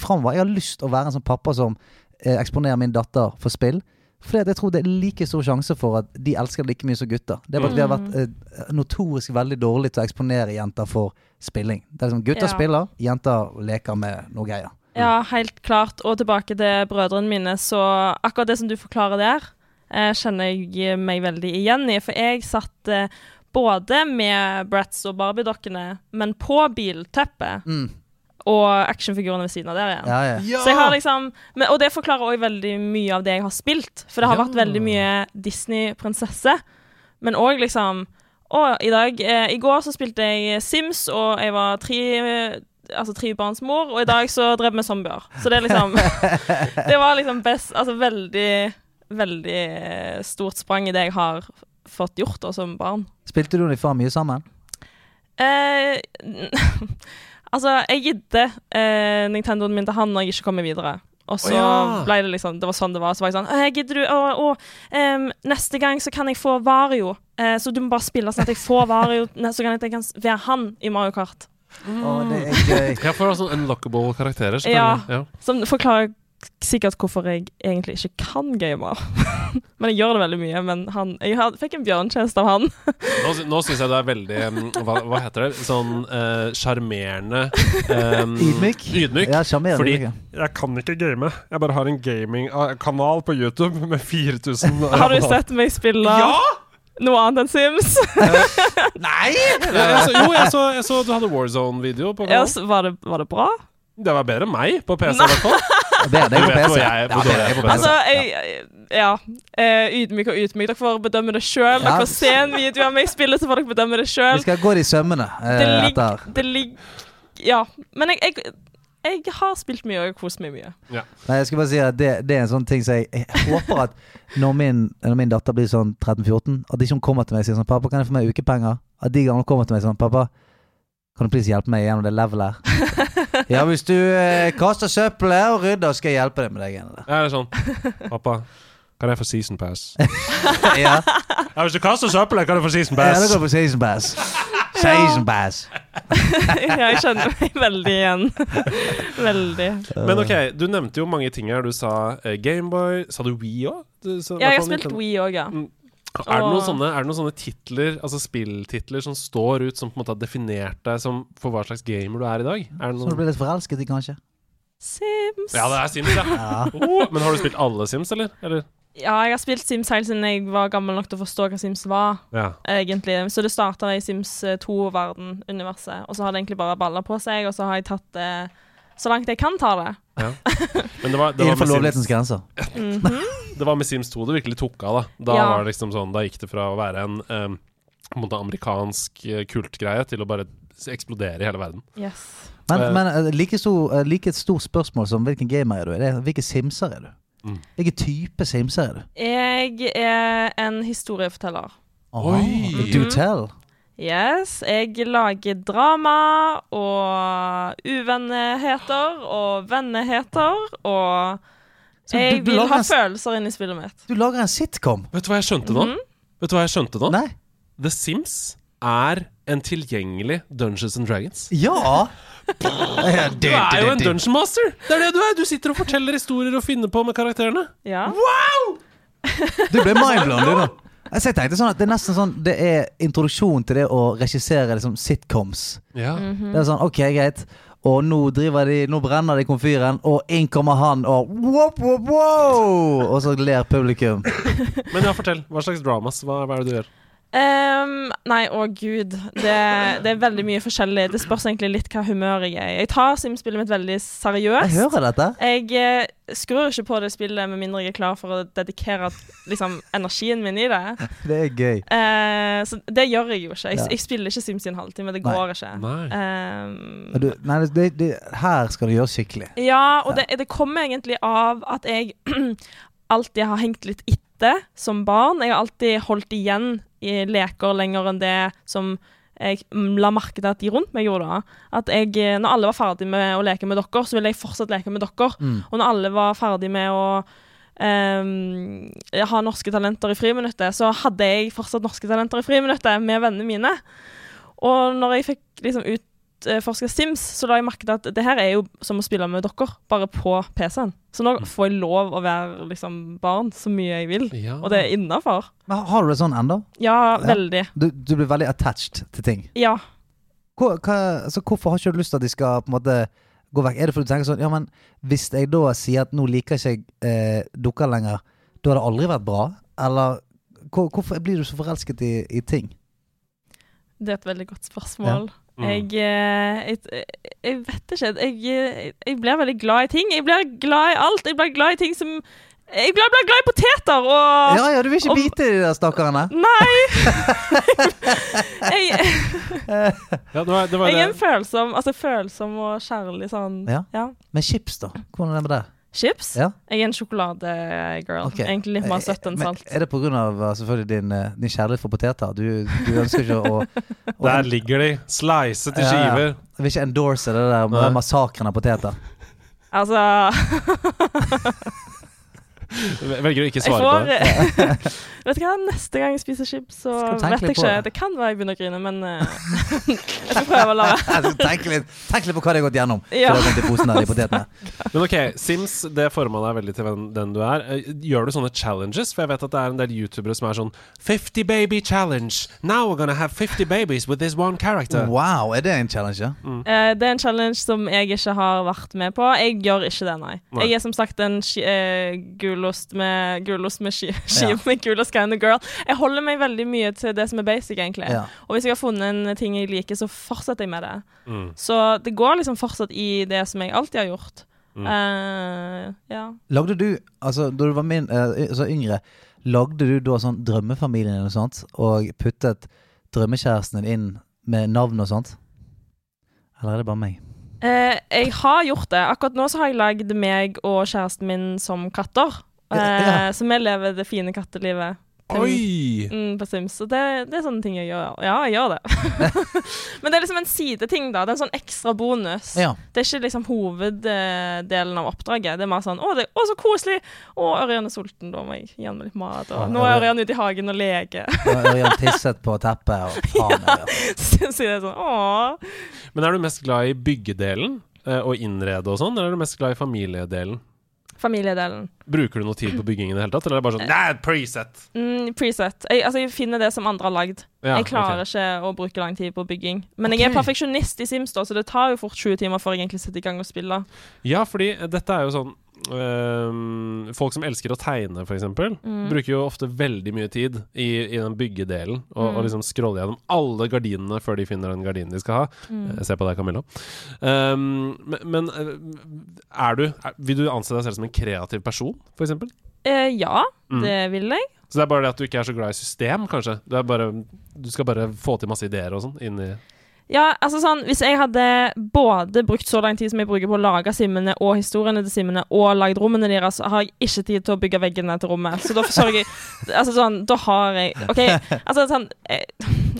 [SPEAKER 2] framover Jeg har lyst til å være en sånn pappa som eh, eksponerer min datter for spill. Fordi at jeg tror det er like stor sjanse for at de elsker det like mye som gutter. Det er bare at vi har vært eh, notorisk veldig dårlige til å eksponere jenter for spilling. Det er liksom Gutter
[SPEAKER 5] Ja.
[SPEAKER 2] spiller, jenter leker med noe greier.
[SPEAKER 5] Ja, helt klart. Og tilbake til brødrene mine, så akkurat det som du forklarer der, eh, kjenner jeg meg veldig igjen i. For jeg satt eh, både med Bratz og Barbie-dokkene, men på bilteppet.
[SPEAKER 2] Mm.
[SPEAKER 5] Og actionfigurene ved siden av der igjen.
[SPEAKER 2] Ja, ja.
[SPEAKER 5] Så jeg har liksom, men, og det forklarer òg veldig mye av det jeg har spilt. For det har
[SPEAKER 1] Ja.
[SPEAKER 5] vært veldig mye Disney-prinsesse. Men òg liksom Å, i dag eh, I går så spilte jeg Sims, og jeg var tre eh, Altså tre barns mor, og i dag så drev vi zombier. Så det er liksom Det var liksom best Altså veldig, veldig stort sprang i det jeg har fått gjort da som barn.
[SPEAKER 2] Spilte du og din far mye sammen?
[SPEAKER 5] Eh, altså, jeg gidde eh, Nintendoen min til han når jeg ikke kommer videre. Og så
[SPEAKER 1] Å ja.
[SPEAKER 5] ble det liksom Det var sånn det var. Så var jeg sånn «Å, jeg gidder du? Å, å, em, neste gang så kan jeg få Vario. Eh, så du må bare spille sånn at jeg får Vario, ne- så kan jeg, jeg kan s- være han i Mario Kart. Mm.
[SPEAKER 2] Å, det er gøy.
[SPEAKER 1] Jeg får sånn unlockable karakterer.
[SPEAKER 5] Ja.
[SPEAKER 1] selvfølgelig. Ja.
[SPEAKER 5] Som forklarer k- sikkert hvorfor jeg egentlig ikke kan game. men jeg gjør det veldig mye. Men han, jeg har, fikk en bjørnetjeneste av han.
[SPEAKER 1] Nå, sy- nå syns jeg du er veldig mm, hva, hva heter det? Sånn eh, sjarmerende em,
[SPEAKER 2] Ydmyk?
[SPEAKER 1] Ydmyk.
[SPEAKER 2] Ja, sjarmerende.
[SPEAKER 1] Fordi-
[SPEAKER 2] ikke?
[SPEAKER 1] Jeg kan ikke game. Jeg bare har en gamingkanal på YouTube med eh, 4000
[SPEAKER 5] Har du sett meg spille noe annet enn Sims?
[SPEAKER 1] Nei! jeg så, jo, jeg så, jeg så du hadde Warzone-video på
[SPEAKER 5] Ja,
[SPEAKER 1] kanalen.
[SPEAKER 5] så var, det, var det bra?
[SPEAKER 1] Det var bedre enn meg på PC. i hvert fall.
[SPEAKER 2] Det,
[SPEAKER 1] Du
[SPEAKER 2] det er på
[SPEAKER 1] vet hvor
[SPEAKER 2] PC.
[SPEAKER 1] jeg er, hvor dårlig jeg er på PC.
[SPEAKER 5] Altså, jeg, ja. Eh, Ydmyk og ydmyk. Dere får bedømme det sjøl.
[SPEAKER 2] Ja.
[SPEAKER 5] Dere får se en video av meg spille, så får dere bedømme det
[SPEAKER 2] Vi
[SPEAKER 5] sjøl.
[SPEAKER 2] skal gå de sømmene
[SPEAKER 5] Det
[SPEAKER 2] eh, etter.
[SPEAKER 5] ligger Det ligger Ja. Men jeg, jeg, jeg har spilt mye og jeg har kost meg mye.
[SPEAKER 2] Nei, jeg skal bare si at det, det er en sånn ting som jeg, jeg håper at når min, når min datter blir sånn 13-14, at ikke hun kommer til meg og sier sånn 'Pappa, kan jeg få mer ukepenger?' At de gangene hun kommer til meg sånn 'Pappa, kan du please hjelpe meg gjennom det levelet her?' ja, hvis du eh, kaster søppelet og rydder, skal jeg hjelpe deg med det greiene der.
[SPEAKER 1] Jeg er sånn Pappa, kan jeg få season pass?
[SPEAKER 2] Ja,
[SPEAKER 1] Ja, hvis du kaster søppelet, kan du få season
[SPEAKER 2] ja, da
[SPEAKER 1] pass.
[SPEAKER 2] går det på season pass. Season pass.
[SPEAKER 5] Jeg kjenner meg veldig igjen. Veldig.
[SPEAKER 1] Men ok, du nevnte jo mange ting her. Du sa eh, Gameboy. Sa du Wii òg?
[SPEAKER 5] Ja, jeg har spilt Wii òg, ja.
[SPEAKER 1] Er det, noen
[SPEAKER 5] Og-
[SPEAKER 1] sånne, er det noen sånne titler, altså spilltitler, som står ut, som på en måte har definert deg som for hva slags gamer du er i dag? Er det
[SPEAKER 2] Så du
[SPEAKER 1] noen...
[SPEAKER 2] blir litt forelsket i, kanskje?
[SPEAKER 5] Sims.
[SPEAKER 1] Ja, det er Sims, ja. Oh, men har du spilt alle Sims, eller? eller?
[SPEAKER 5] Ja, jeg har spilt Sims helt siden jeg var gammel nok til å forstå hva Sims var.
[SPEAKER 1] Ja.
[SPEAKER 5] egentlig. Så det starta i Sims 2-verden-universet, og så har det egentlig bare balla på seg, og så har jeg tatt det så langt jeg kan ta det.
[SPEAKER 1] Men det var, det,
[SPEAKER 2] Innenfor
[SPEAKER 1] var med
[SPEAKER 2] lovlighetens
[SPEAKER 1] Sims,
[SPEAKER 2] grenser.
[SPEAKER 1] det var med Sims 2 det virkelig tok av, da. Da,
[SPEAKER 5] Ja.
[SPEAKER 1] var det liksom sånn, da gikk det fra å være en em, på en måte amerikansk eh, kultgreie til å bare eksplodere i hele verden.
[SPEAKER 5] Yes.
[SPEAKER 1] Eh.
[SPEAKER 2] Men, men eh, like, stor, eh, like et stort spørsmål som hvilken gamer er du, det er hvilke simser er du?
[SPEAKER 1] Mm.
[SPEAKER 2] Hvilken type simser er du?
[SPEAKER 5] Jeg er en historieforteller.
[SPEAKER 2] Aha,
[SPEAKER 1] Oi.
[SPEAKER 2] Do tell.
[SPEAKER 5] Yes. Jeg lager drama og uvennheter og vennheter og
[SPEAKER 2] Så du-
[SPEAKER 5] Jeg
[SPEAKER 2] du
[SPEAKER 5] vil
[SPEAKER 2] lager
[SPEAKER 5] ha
[SPEAKER 2] en s-
[SPEAKER 5] følelser inni spillet mitt.
[SPEAKER 2] Du lager en sitcom?
[SPEAKER 5] Mhm.
[SPEAKER 1] Vet du hva jeg skjønte nå? Vet du hva jeg skjønte nå?
[SPEAKER 2] Nei?
[SPEAKER 1] The Sims er en tilgjengelig Dungeons and Dragons.
[SPEAKER 2] Ja!
[SPEAKER 1] Du er jo en dungeon master! Det er det du er! Du sitter og forteller historier og finner på med karakterene.
[SPEAKER 5] Ja.
[SPEAKER 2] Du ble mindblown, du, da. Altså, jeg tenkte sånn at Det er nesten sånn Det er introduksjon til det å regissere liksom, sitcoms.
[SPEAKER 1] Ja.
[SPEAKER 2] Det er sånn, ok, greit Og nå driver de Nå brenner de komfyren Og inn kommer han Og wop, wop, wow Og så ler publikum
[SPEAKER 1] Men ja, fortell. Hva slags dramas? Hva, hva er det du gjør?
[SPEAKER 5] Ehm, nei, å gud. Det, det er veldig mye forskjellig. Det spørs egentlig litt hva humør jeg er i. Jeg tar Sims-spillet mitt veldig
[SPEAKER 2] Jeg
[SPEAKER 5] seriøst.
[SPEAKER 2] hører dette
[SPEAKER 5] Jeg eh, skrur ikke på det spillet med mindre jeg er klar for å dedikere liksom, energien min i det.
[SPEAKER 2] Det er gøy
[SPEAKER 5] Eh, så det gjør jeg jo ikke. Jeg,
[SPEAKER 2] Ja.
[SPEAKER 5] jeg spiller ikke Sims i en halvtime. Det
[SPEAKER 2] Nei.
[SPEAKER 5] går ikke.
[SPEAKER 1] Nei.
[SPEAKER 5] Ehm,
[SPEAKER 2] Men du, Nei, det, det, her skal du gjøre skikkelig
[SPEAKER 5] ja, og det, det kommer egentlig av at jeg alltid har hengt litt etter som barn. Jeg har alltid holdt igjen i leker lenger enn det som jeg mm, la merke til at de rundt meg gjorde. da. At jeg, eh, når alle var ferdig med å leke med dere, så ville jeg fortsatt leke med dere. Og når alle var ferdig med å ehm, ha norske talenter i friminuttet, så hadde jeg fortsatt norske talenter i friminuttet med vennene mine. Og når jeg fikk liksom utforska Sims, så la jeg merke til at det her er jo som å spille med dere, bare på PC-en. Så nå får jeg lov å være liksom barn så mye jeg vil,
[SPEAKER 1] Ja.
[SPEAKER 5] Eh, og det er innafor.
[SPEAKER 2] Men har du det sånn enda?
[SPEAKER 5] Ja, veldig.
[SPEAKER 2] Du, du blir veldig attached til ting
[SPEAKER 5] Ja.
[SPEAKER 2] Hvor, hva, Så hvorfor har ikke du lyst til at de skal på en måte Gå vekk Er det fordi du tenker sånn Ja, men hvis jeg da sier at Nå liker ikke jeg eh, dukker lenger Da har det aldri vært bra Eller hvor, Hvorfor blir du så forelsket i, i ting?
[SPEAKER 5] Det er et veldig godt spørsmål.
[SPEAKER 1] Mm.
[SPEAKER 5] Jeg, eh, jeg, jeg vet ikke. Jeg, jeg, jeg blir veldig glad i ting. Jeg blir glad i alt. Jeg blir glad i ting som Jeg blir, blir glad i poteter og
[SPEAKER 2] Ja, ja, du vil ikke
[SPEAKER 5] Ah, om-
[SPEAKER 2] bite i de der stakkarene
[SPEAKER 5] Nei! jeg, jeg,
[SPEAKER 1] Ja, det var, det var
[SPEAKER 5] jeg er en
[SPEAKER 1] det.
[SPEAKER 5] følsom, altså følsom og kjærlig sånn
[SPEAKER 2] Ja.
[SPEAKER 5] ja.
[SPEAKER 2] Men chips, da? Hvordan er det med det?
[SPEAKER 5] Chips?
[SPEAKER 2] Ja.
[SPEAKER 5] Jeg er en sjokoladegirl.
[SPEAKER 2] Ok. Eh,
[SPEAKER 5] Egentlig litt mer søtt enn
[SPEAKER 2] Men
[SPEAKER 5] salt.
[SPEAKER 2] Er det pga. selvfølgelig din, eh, din kjærlighet for poteter? Du, du ønsker ikke å, å
[SPEAKER 1] Der ligger de, slicet i
[SPEAKER 2] Ja, ja.
[SPEAKER 1] skiver.
[SPEAKER 2] Jeg vil ikke endorse det der med
[SPEAKER 1] Nei.
[SPEAKER 2] massakren av poteter.
[SPEAKER 5] Altså
[SPEAKER 1] Velger å ikke
[SPEAKER 5] Jeg
[SPEAKER 1] svare på
[SPEAKER 5] får
[SPEAKER 1] det.
[SPEAKER 5] Vet du hva, neste gang jeg spiser chips, så
[SPEAKER 2] Skal du tenke
[SPEAKER 5] vet jeg
[SPEAKER 2] litt på
[SPEAKER 5] ikke.
[SPEAKER 2] det?
[SPEAKER 5] Det kan være jeg begynner å grine, men eh, jeg skal prøve å la være.
[SPEAKER 2] Altså, tenk, litt, tenk litt på hva de har gått gjennom før
[SPEAKER 5] Ja.
[SPEAKER 2] de kom til posen der, de potetene.
[SPEAKER 1] Men ok, Sims det forma deg veldig til hvem, den du er. Eh, Gjør du sånne challenges? For jeg vet at det er en del youtubere som er sånn 50 baby challenge. Now we're gonna have 50 babies with this one character.
[SPEAKER 2] Wow, er det en challenge? ja?
[SPEAKER 5] Eh, det er en challenge som jeg ikke har vært med på. Jeg gjør ikke det, nei.
[SPEAKER 1] Nei.
[SPEAKER 5] Jeg er som sagt en ski, eh, gulost med Gulost med ski, ski
[SPEAKER 2] Ja.
[SPEAKER 5] med gulost kind of girl. Jeg holder meg veldig mye til det som er basic, egentlig.
[SPEAKER 2] Ja.
[SPEAKER 5] Og hvis jeg har funnet en ting jeg liker, så fortsetter jeg med det.
[SPEAKER 1] Mm.
[SPEAKER 5] Så det går liksom fortsatt i det som jeg alltid har gjort.
[SPEAKER 2] Mm.
[SPEAKER 5] Eh, ja.
[SPEAKER 2] Lagde du, altså da du var min, eh, y- så yngre, lagde du da sånn drømmefamilien eller noe sånt, og puttet drømmekjæresten din inn med navn og sånt? Eller er det bare meg?
[SPEAKER 5] Eh, jeg har gjort det. Akkurat nå så har jeg lagd meg og kjæresten min som katter. Eh,
[SPEAKER 2] Ja, ja.
[SPEAKER 5] Så vi lever det fine kattelivet. til-
[SPEAKER 1] Oi!
[SPEAKER 5] Mm, på Sims. Så det, det er sånne ting jeg gjør. Ja, jeg gjør det. Men det er liksom en sideting, da. Det er en sånn ekstra bonus.
[SPEAKER 2] Ja.
[SPEAKER 5] Det er ikke liksom hoveddelen av oppdraget. Det er mer sånn 'Å, det, å så koselig!' 'Å, Ørjan er sulten, da må jeg gi han litt mat.' Og 'Nå er Ørjan ute i hagen og leker.'
[SPEAKER 2] Og Ørjan tisset på teppet, og faen Ørjan.
[SPEAKER 5] så så det er sånn 'Å'.
[SPEAKER 1] Men er du mest glad i byggedelen eh, og innrede og sånn, eller er du mest glad i familiedelen?
[SPEAKER 5] Familiedelen.
[SPEAKER 1] Bruker du noe tid på byggingen i det hele tatt, eller er det bare sånn Nei, preset!
[SPEAKER 5] Mm, preset. Jeg, altså, jeg finner det som andre har lagd.
[SPEAKER 1] Ja,
[SPEAKER 5] jeg
[SPEAKER 1] ok.
[SPEAKER 5] klarer ikke å bruke lang tid på bygging. Men jeg er perfeksjonist i Sims, da, så det tar jo fort 20 timer før jeg egentlig setter i gang og spiller.
[SPEAKER 1] Ja, fordi dette er jo sånn øhm, Folk som elsker å tegne, for eksempel, bruker jo ofte veldig mye tid i, i den byggedelen og, og liksom scroller gjennom alle gardinene før de finner den gardinen de skal ha. Eh, Se på deg, Camilla. Ehm, men men eh, er du er, Vil du anse deg selv som en kreativ person, for eksempel?
[SPEAKER 5] Eh, ja,
[SPEAKER 1] Mm.
[SPEAKER 5] det vil jeg.
[SPEAKER 1] Så det er bare det at du ikke er så glad i system, kanskje? Du, er bare, du skal bare få til masse ideer og sånn inni
[SPEAKER 5] Ja, altså sånn, Hvis jeg hadde både brukt så lang tid som jeg bruker på å lage simmene og historiene til simmene, og lagd rommene deres, så har jeg ikke tid til å bygge veggene til rommet. Så da forsørger jeg Altså sånn, da har jeg OK, altså sånn eh,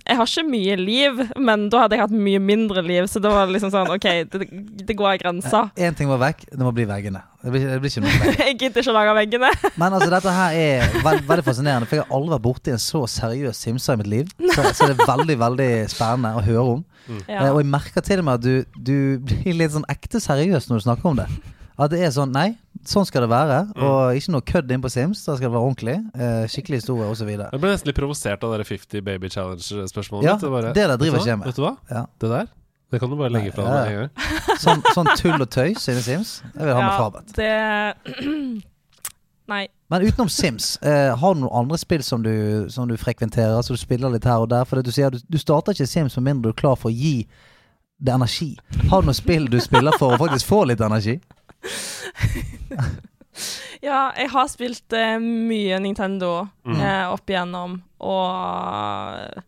[SPEAKER 5] Jeg har ikke mye liv, men da hadde jeg hatt mye mindre liv, så da var det liksom sånn OK, det, det går av grensa.
[SPEAKER 2] Én ting må vekk, det må bli veggene. Det blir, det blir ikke noe vegg.
[SPEAKER 5] Jeg gidder ikke å lage veggene.
[SPEAKER 2] Men altså, dette her er veld, veldig fascinerende, for jeg har aldri vært borti en så seriøs simsa i mitt liv. Så, så det er veldig, veldig spennende å høre om.
[SPEAKER 5] Ja.
[SPEAKER 2] Eh, Og jeg merker til og med at du, du blir litt sånn ekte seriøs når du snakker om det. At det er sånn Nei, sånn skal det være.
[SPEAKER 1] Mm.
[SPEAKER 2] Og ikke noe kødd inn på Sims. Da skal det være ordentlig. eh, Skikkelig historie osv.
[SPEAKER 1] Jeg ble nesten litt provosert av det der 50 Baby Challenge-spørsmålet.
[SPEAKER 2] Ja,
[SPEAKER 1] mitt. var
[SPEAKER 2] det der driver
[SPEAKER 1] vet du hva?
[SPEAKER 2] ikke jeg med.
[SPEAKER 1] Vet du hva?
[SPEAKER 2] Ja.
[SPEAKER 1] Det der? Det kan du bare legge fra deg
[SPEAKER 2] Ja,
[SPEAKER 1] med en
[SPEAKER 2] ja.
[SPEAKER 1] gang.
[SPEAKER 2] Sånn, sånn tull og tøys inni Sims. Jeg vil ha med Fabet.
[SPEAKER 5] det Nei.
[SPEAKER 2] Men utenom Sims, eh, har du noen andre spill som du, som du frekventerer? Så du spiller litt her og der? For det du sier, du, du starter ikke Sims med mindre du er klar for å gi det energi. Har du noen spill du spiller for å faktisk få litt energi?
[SPEAKER 5] Ja, jeg har spilt eh, mye Nintendo
[SPEAKER 2] Mm.
[SPEAKER 5] eh, opp igjennom, og eh,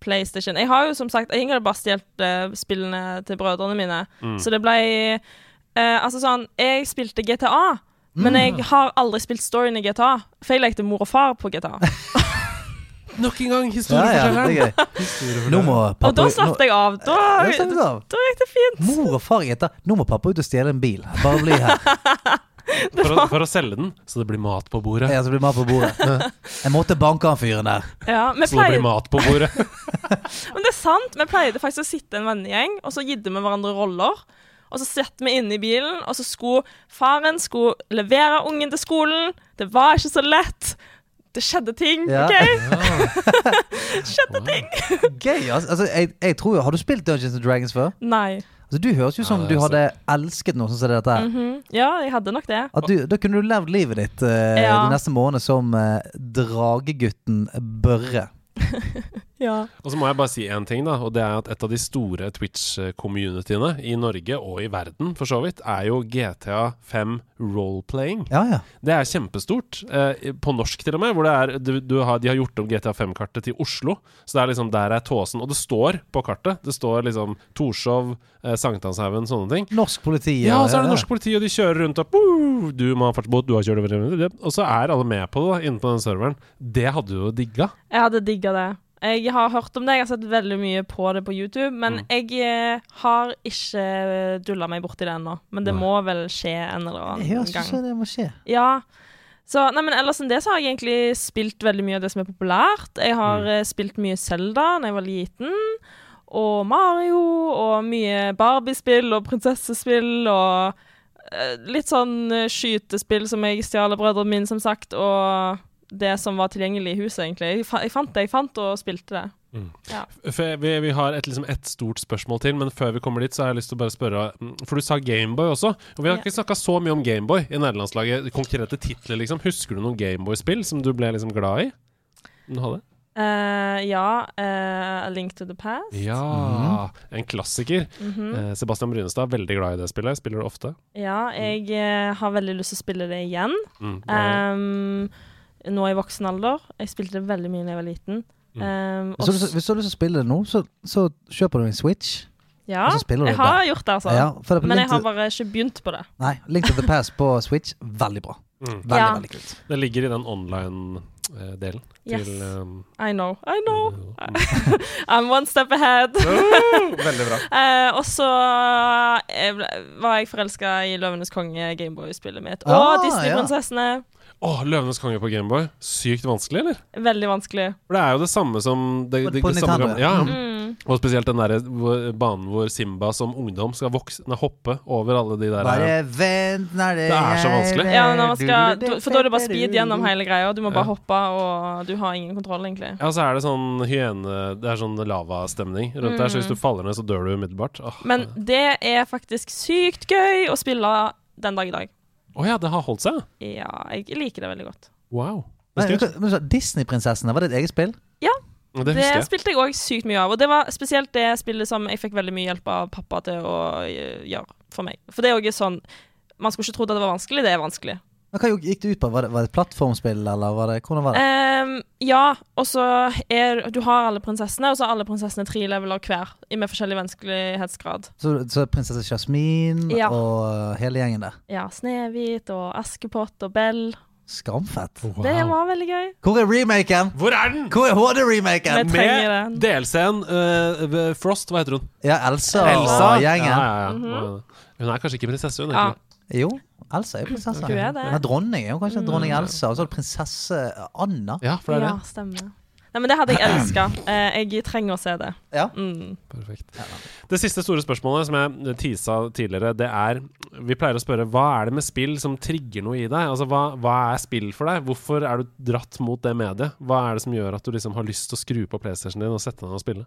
[SPEAKER 5] PlayStation. Jeg har jo som sagt Jeg har bare stjålet eh, spillene til brødrene mine,
[SPEAKER 2] Mm.
[SPEAKER 5] så det ble eh, Altså sånn Jeg spilte GTA. Men
[SPEAKER 2] Mm.
[SPEAKER 5] jeg har aldri spilt storyen i GTA, for jeg lekte mor og far på GTA.
[SPEAKER 1] Nok en gang
[SPEAKER 2] Ja, ja, det er gøy. Nå må pappa
[SPEAKER 5] Og da
[SPEAKER 2] nå-
[SPEAKER 5] slapp jeg av. Da,
[SPEAKER 2] Ja, slapp du av.
[SPEAKER 5] da gikk det fint.
[SPEAKER 2] Mor og far heter Nå må pappa ut og stjele en bil. Bare bli her.
[SPEAKER 1] For å, for å selge den, så det blir mat på bordet.
[SPEAKER 2] Jeg, så blir mat på bordet. Jeg måtte banke han fyren der.
[SPEAKER 5] Ja, vi
[SPEAKER 1] Så det blir
[SPEAKER 5] pleide,
[SPEAKER 1] mat på bordet.
[SPEAKER 5] men det er sant. Vi pleide faktisk å sitte en vennegjeng, og så gidde vi hverandre roller. Og så satt vi inne i bilen, og så skulle faren skulle levere ungen til skolen. Det var ikke så lett. Det skjedde ting,
[SPEAKER 2] Ja.
[SPEAKER 5] OK?
[SPEAKER 2] Gøy, altså. altså jeg, jeg tror jo, Har du spilt Dungeons and Dragons før?
[SPEAKER 5] Nei.
[SPEAKER 2] Altså, du høres jo ut som
[SPEAKER 1] det er
[SPEAKER 2] du hadde elsket noe sånn som dette. her
[SPEAKER 5] Ja, jeg hadde nok det.
[SPEAKER 2] At du, da kunne du levd livet ditt eh,
[SPEAKER 5] Ja.
[SPEAKER 2] de neste månedene som eh, dragegutten Børre.
[SPEAKER 5] Ja.
[SPEAKER 1] Og så må jeg bare si én ting, da. Og det er at et av de store Twitch-communityene i Norge, og i verden for så vidt, er jo GTA 5 roleplaying.
[SPEAKER 2] Ja, ja.
[SPEAKER 1] Det er kjempestort. Eh, på norsk til og med. Hvor det er, du, du har, de har gjort om GTA 5-kartet til Oslo. Så det er liksom der er Tåsen. Og det står på kartet. Det står liksom Torshov, eh, Sankthanshaugen, sånne ting.
[SPEAKER 2] Norsk politi.
[SPEAKER 1] Ja, og så er det norsk politi, og de kjører rundt og «Boo! Du må ha fartsbåt, du har kjørt over Og så er alle med på det da, inne på den serveren. Det hadde du jo digga.
[SPEAKER 5] Jeg hadde digga det. Jeg har hørt om det, jeg har sett veldig mye på det på YouTube, men
[SPEAKER 2] Mm.
[SPEAKER 5] jeg eh, har ikke dulla meg borti det ennå. Men det
[SPEAKER 1] Nei.
[SPEAKER 5] må vel skje en eller annen
[SPEAKER 2] Jeg høres ut
[SPEAKER 5] gang.
[SPEAKER 2] som det må skje.
[SPEAKER 5] Ja. Så, nei, men ellers enn det så har jeg egentlig spilt veldig mye av det som er populært. Jeg har eh, spilt mye Zelda da jeg var liten, og Mario, og mye Barbie-spill og prinsessespill, og eh, litt sånn eh, skytespill som jeg stjal av brødrene mine, som sagt, og det som var tilgjengelig i huset, egentlig. Jeg, fa jeg fant det jeg fant, og spilte det.
[SPEAKER 1] F- Vi, vi har et, liksom et stort spørsmål til, men før vi kommer dit, så har jeg lyst til å bare spørre mm, For du sa Gameboy også, og vi har
[SPEAKER 5] Ja.
[SPEAKER 1] ikke snakka så mye om Gameboy i nederlandslaget. Konkrete titler, liksom. Husker du noen Gameboy-spill som du ble liksom glad i? Du hadde?
[SPEAKER 5] Eh, ja, eh, A Link to the Past.
[SPEAKER 1] Ja! Mhm. En klassiker.
[SPEAKER 5] Mhm.
[SPEAKER 1] Eh, Sebastian Brynestad, veldig glad i det spillet. Spiller du ofte?
[SPEAKER 5] Ja, jeg eh, har veldig lyst til å spille det igjen.
[SPEAKER 1] Mm. Eh,
[SPEAKER 5] Um, nå i voksen alder. Jeg spilte det veldig mye da jeg var liten.
[SPEAKER 1] Mm.
[SPEAKER 5] Um,
[SPEAKER 2] Hvis du,
[SPEAKER 5] og s-
[SPEAKER 2] hvis du har lyst til å spille det nå, så, så kjøper du en Switch.
[SPEAKER 5] ja,
[SPEAKER 2] og så spiller du
[SPEAKER 5] jeg
[SPEAKER 2] det
[SPEAKER 5] har gjort det, altså.
[SPEAKER 2] Ja, for det er på
[SPEAKER 5] Men jeg
[SPEAKER 2] Link to-
[SPEAKER 5] har bare ikke begynt på det.
[SPEAKER 2] Nei, Link to the Past på Switch, veldig bra.
[SPEAKER 1] Mm.
[SPEAKER 2] Veldig,
[SPEAKER 5] Ja.
[SPEAKER 2] veldig kult.
[SPEAKER 1] Det ligger i den online-delen
[SPEAKER 5] Yes.
[SPEAKER 1] til um,
[SPEAKER 5] I know, I know. I'm one step ahead.
[SPEAKER 1] Veldig bra.
[SPEAKER 5] Eh, og så eh, ble- var jeg forelska i Løvenes konge, Gameboy-spillet mitt. Og
[SPEAKER 2] Ah,
[SPEAKER 5] Disney-prinsessene.
[SPEAKER 1] Åh, Løvenes konge på Gameboy. Sykt vanskelig, eller?
[SPEAKER 5] Veldig vanskelig.
[SPEAKER 1] For det er jo det samme som det,
[SPEAKER 2] På-
[SPEAKER 1] det,
[SPEAKER 2] på
[SPEAKER 1] det samme,
[SPEAKER 2] Nintendo,
[SPEAKER 1] gamle-
[SPEAKER 5] Mm.
[SPEAKER 1] ja. Og spesielt den der hvor- banen hvor Simba som ungdom skal vokse, nei, hoppe over alle de der
[SPEAKER 2] Bare vent når det
[SPEAKER 1] Det er så vanskelig.
[SPEAKER 5] Ja, når man skal, for da er det bare speed gjennom hele greia. Du må bare hoppe, og du har ingen kontroll, egentlig.
[SPEAKER 1] Ja, så er det sånn hyene Det er sånn lavastemning rundt der, så hvis du faller ned, så dør du umiddelbart. Åh.
[SPEAKER 5] Mm. Men det er faktisk sykt gøy å spille den dag i dag.
[SPEAKER 1] Å ja, det har holdt seg?
[SPEAKER 5] Ja, jeg liker det veldig godt.
[SPEAKER 1] Wow. Det,
[SPEAKER 2] Men,
[SPEAKER 1] skal,
[SPEAKER 2] men, så, Disney-prinsessene, var det et eget spill?
[SPEAKER 1] jeg-
[SPEAKER 5] Det,
[SPEAKER 1] det husker jeg.
[SPEAKER 5] spilte jeg òg sykt mye av, og det var spesielt det spillet som jeg fikk veldig mye hjelp av pappa til å eh, gjøre for meg. For det er jo ikke sånn Man skulle ikke trodd at det var vanskelig, det er vanskelig.
[SPEAKER 2] Men Hva gikk det ut på? Var det, var det et plattformspill, eller var det, hvordan var det?
[SPEAKER 5] Ehm, ja, og så er Du har alle prinsessene, og så har alle prinsessene tre leveler hver, i- med forskjellig vanskelighetsgrad.
[SPEAKER 2] Så, så prinsesse Jasmin
[SPEAKER 5] Ja.
[SPEAKER 2] og hele gjengen der.
[SPEAKER 5] Ja, Snehvit og Askepott og Bell
[SPEAKER 2] Skamfett.
[SPEAKER 1] Oh.
[SPEAKER 5] Det var veldig gøy.
[SPEAKER 2] Hvor er remaken?
[SPEAKER 1] Hvor er den?
[SPEAKER 2] Hvor er HD-remaken?
[SPEAKER 5] Med- trenger
[SPEAKER 1] Med
[SPEAKER 5] den.
[SPEAKER 1] delscenen eh, ved Frost, hva heter hun?
[SPEAKER 2] Ja, Elsa,
[SPEAKER 1] Elsa.
[SPEAKER 2] og gjengen.
[SPEAKER 1] Ja, ja, ja. Hun er kanskje ikke prinsesse, hun.
[SPEAKER 5] Mhm. Ja.
[SPEAKER 1] egentlig.
[SPEAKER 2] Jo, Elsa er prinsesse.
[SPEAKER 5] Hun er Mm. det.
[SPEAKER 2] Hun er dronning. Hun er kanskje dronning Elsa, og så er det prinsesse Anna.
[SPEAKER 1] Ja, for det er
[SPEAKER 5] Ja,
[SPEAKER 1] det.
[SPEAKER 5] stemmer. Nei, men det hadde jeg elska. Eh, jeg trenger å se det.
[SPEAKER 2] Ja.
[SPEAKER 5] Mm.
[SPEAKER 1] Perfekt. Det siste store spørsmålet som jeg tisa tidligere, det er Vi pleier å spørre hva er det med spill som trigger noe i deg? Altså, hva, hva er spill for deg? Hvorfor er du dratt mot det mediet? Hva er det som gjør at du liksom har lyst til å skru på PlayStation din og sette deg ned og spille?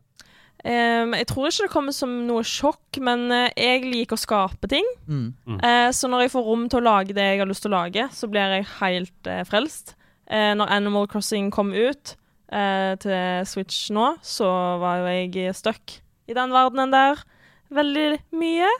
[SPEAKER 5] Em, Ehm, jeg tror ikke det kommer som noe sjokk, men eh, jeg liker å skape ting.
[SPEAKER 2] Mm.
[SPEAKER 5] Eh, så når jeg får rom til å lage det jeg har lyst til å lage, så blir jeg helt eh, frelst. Eh, når Animal Crossing kom ut eh, til Switch nå, så var jo jeg stuck i den verdenen der veldig mye.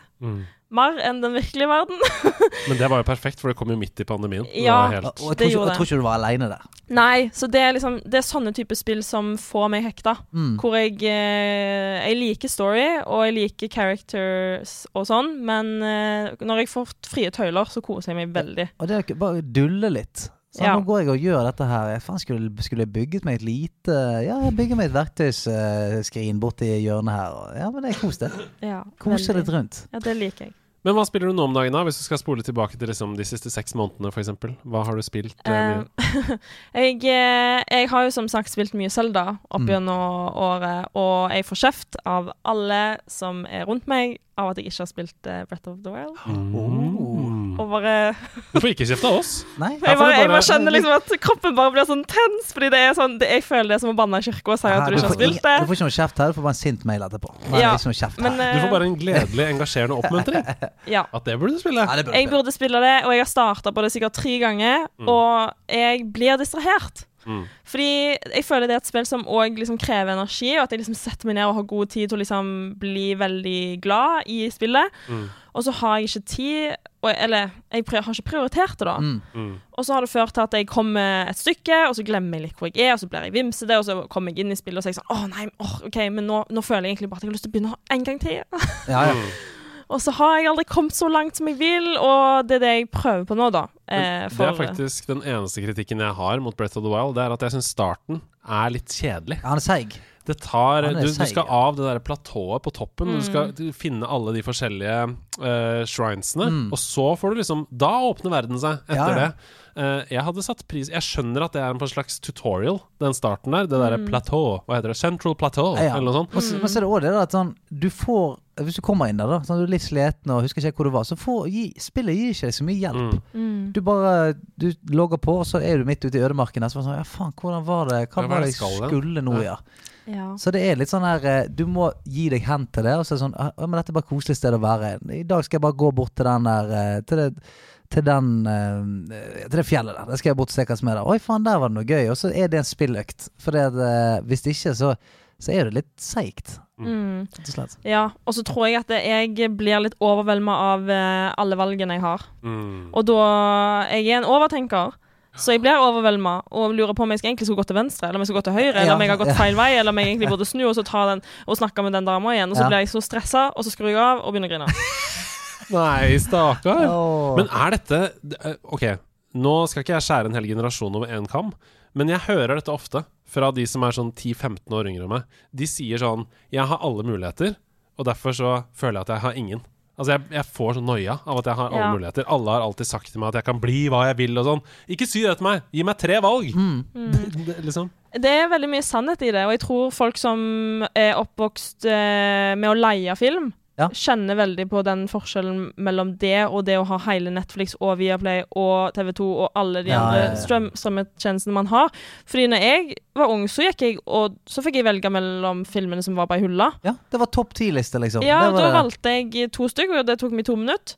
[SPEAKER 5] Mer enn den virkelige verden.
[SPEAKER 1] Men det var jo perfekt, for det kom jo midt i pandemien. Det
[SPEAKER 5] Ja.
[SPEAKER 1] var
[SPEAKER 2] Og jeg
[SPEAKER 1] helt
[SPEAKER 2] tror,
[SPEAKER 5] Det
[SPEAKER 2] ikke,
[SPEAKER 5] gjorde
[SPEAKER 2] jeg tror ikke du var aleine der.
[SPEAKER 5] Nei, så det er liksom Det er sånne typer spill som får meg hekta.
[SPEAKER 2] Mm.
[SPEAKER 5] Hvor jeg eh, Jeg liker story, og jeg liker characters og sånn, men eh, når jeg får frie tøyler, så koser jeg meg veldig.
[SPEAKER 2] Og det er ikke- bare dulle litt. Så
[SPEAKER 5] Ja.
[SPEAKER 2] Nå går jeg og gjør dette her. Jeg faen skulle, skulle jeg bygget meg et lite Ja, jeg bygger meg et verktøyskrin borti hjørnet her. og- Ja, men det er kos det.
[SPEAKER 5] Ja,
[SPEAKER 2] Kose
[SPEAKER 5] veldig.
[SPEAKER 2] litt rundt.
[SPEAKER 5] Ja, det liker jeg.
[SPEAKER 1] Men hva spiller du nå om dagen, da? Hvis du skal spole tilbake til liksom de siste seks månedene, f.eks. Hva har du spilt? eh,
[SPEAKER 5] Eh,
[SPEAKER 1] mye?
[SPEAKER 5] jeg, eh, jeg har jo som sagt spilt mye Selda opp
[SPEAKER 2] Mm.
[SPEAKER 5] gjennom året, og jeg får kjeft av alle som er rundt meg, av at jeg ikke har spilt eh, Breath of the Wild.
[SPEAKER 1] Mm.
[SPEAKER 5] Og bare
[SPEAKER 1] Du får ikke kjeft av oss!
[SPEAKER 2] Nei?
[SPEAKER 1] Ja,
[SPEAKER 5] Jeg
[SPEAKER 1] for
[SPEAKER 5] bare,
[SPEAKER 1] det
[SPEAKER 5] jeg
[SPEAKER 1] bare-
[SPEAKER 5] bare kjenner liksom at kroppen bare blir sånn tens, fordi det er sånn det, Jeg føler det er som å banne i kirka og si at
[SPEAKER 2] Her,
[SPEAKER 5] du ikke har
[SPEAKER 2] får ingen-
[SPEAKER 5] spilt det.
[SPEAKER 2] du får ikke noe kjeft her, du får bare en sint mail etterpå. Nei, liksom
[SPEAKER 5] Ja,
[SPEAKER 2] ikke noe kjeft
[SPEAKER 5] Men
[SPEAKER 2] her.
[SPEAKER 1] Du får
[SPEAKER 5] eh,
[SPEAKER 1] bare en gledelig, engasjerende oppmuntring.
[SPEAKER 5] ja.
[SPEAKER 1] At det burde du spille.
[SPEAKER 2] Nei, det burde
[SPEAKER 5] Jeg
[SPEAKER 2] du ikke.
[SPEAKER 5] burde spille det, og jeg har starta på det sikkert tre ganger, og jeg blir distrahert.
[SPEAKER 1] Mm.
[SPEAKER 5] Fordi jeg føler det er et spill som òg liksom krever energi, og at jeg liksom setter meg ned og har god tid til å liksom bli veldig glad i spillet.
[SPEAKER 1] Mm.
[SPEAKER 5] Og så har jeg ikke tid, og, eller jeg pri- har ikke prioritert det, da.
[SPEAKER 2] Mm.
[SPEAKER 1] Mm.
[SPEAKER 5] Og så har det ført til at jeg kommer et stykke, og så glemmer jeg litt hvor jeg er, og så blir jeg vimsete, og så kommer jeg inn i spillet og så er jeg sånn Å, nei, åh, OK, men nå, nå føler jeg egentlig bare at jeg har lyst til å begynne en gang til.
[SPEAKER 2] Ja, ja.
[SPEAKER 5] og så har jeg aldri kommet så langt som jeg vil, og det er det jeg prøver på nå, da. Eh,
[SPEAKER 1] Det
[SPEAKER 5] for,
[SPEAKER 1] er faktisk den eneste kritikken jeg har mot Breath of the Wild. Det er at jeg syns starten er litt kjedelig.
[SPEAKER 2] Han er seig.
[SPEAKER 1] Det tar,
[SPEAKER 2] Han er Mm.
[SPEAKER 1] du, du
[SPEAKER 2] seig,
[SPEAKER 1] skal
[SPEAKER 2] ja.
[SPEAKER 1] av det der platået på toppen. Du skal t- finne alle de forskjellige eh, shrinesene. Og så får du liksom Da åpner verden seg etter
[SPEAKER 2] Mm. Ja, ja.
[SPEAKER 1] det. Eh, jeg hadde satt pris Jeg skjønner at det er en slags tutorial, den starten der. Det derre platå Hva heter det? Central Plateau,
[SPEAKER 2] Mm. Ja, ja.
[SPEAKER 1] eller sånn. noe sånt.
[SPEAKER 2] Og så, men så er det også det da, at sånn, du får Hvis du kommer inn der, da, sånn, du er litt sliten og husker ikke hvor du var, så får, gi, spillet gir ikke deg så mye hjelp.
[SPEAKER 1] Mm.
[SPEAKER 2] Du bare du logger på, og så er du midt ute i ødemarken. Og så er det sånn, ja faen, hvordan var det? Hva
[SPEAKER 1] Ja, hva
[SPEAKER 2] var
[SPEAKER 1] er
[SPEAKER 2] det
[SPEAKER 1] det
[SPEAKER 2] jeg
[SPEAKER 1] skal, ja?
[SPEAKER 2] skulle nå, ja?
[SPEAKER 5] Ja.
[SPEAKER 2] Så det er litt sånn her eh, Du må gi deg hen til det, og så er det sånn «Ah, men dette er bare et koselig sted å være. I dag skal jeg bare gå bort til den der eh, Til det til, den, eh, til det fjellet der. Der skal jeg bort og se hva som er der. Oi, faen, der var det noe gøy. Og så er det en spilløkt. For det, at, eh, hvis ikke, så, så er det litt seigt,
[SPEAKER 5] Mm.
[SPEAKER 2] rett og slett.
[SPEAKER 5] Ja, og så tror jeg at jeg blir litt overvelda av eh, alle valgene jeg har.
[SPEAKER 1] Mm.
[SPEAKER 5] Og da Jeg er en overtenker, så jeg blir overvelda og lurer på om jeg skal egentlig skulle gå til venstre, eller om jeg skal gå til høyre, eller om jeg har gått feil vei, eller om jeg egentlig burde snu og så ta den og snakke med den dama igjen. Og så
[SPEAKER 2] Ja.
[SPEAKER 5] blir jeg så stressa, og så skrur jeg av og begynner å grine.
[SPEAKER 1] Nei, stakkar.
[SPEAKER 2] Åh.
[SPEAKER 1] Men er dette det er- Ok, nå skal ikke jeg skjære en hel generasjon over én kam, men jeg hører dette ofte fra de som er sånn 10-15 år yngre enn meg. De sier sånn Jeg har alle muligheter, og derfor så føler jeg at jeg har ingen. Altså Jeg, jeg får sånn noia av at jeg har alle
[SPEAKER 5] Ja.
[SPEAKER 1] muligheter. Alle har alltid sagt til meg at jeg kan bli hva jeg vil og sånn. Ikke si det til meg! Gi meg tre valg! Det- liksom.
[SPEAKER 5] Det er veldig mye sannhet i det, og jeg tror folk som er oppvokst eh, med å leie film,
[SPEAKER 2] Ja.
[SPEAKER 5] kjenner veldig på den forskjellen mellom det og det å ha hele Netflix og Viaplay og TV2 og alle de
[SPEAKER 2] Ja,
[SPEAKER 5] andre
[SPEAKER 2] ja, ja.
[SPEAKER 5] Strøm, strømmetjenestene man har. Fordi når jeg var ung, så gikk jeg og så fikk jeg velge mellom filmene som var på ei hylle.
[SPEAKER 2] Ja, det var topp ti-liste, liksom.
[SPEAKER 5] Ja,
[SPEAKER 2] det var
[SPEAKER 5] da
[SPEAKER 2] det.
[SPEAKER 5] valgte jeg to stykker, og det tok meg to minutter.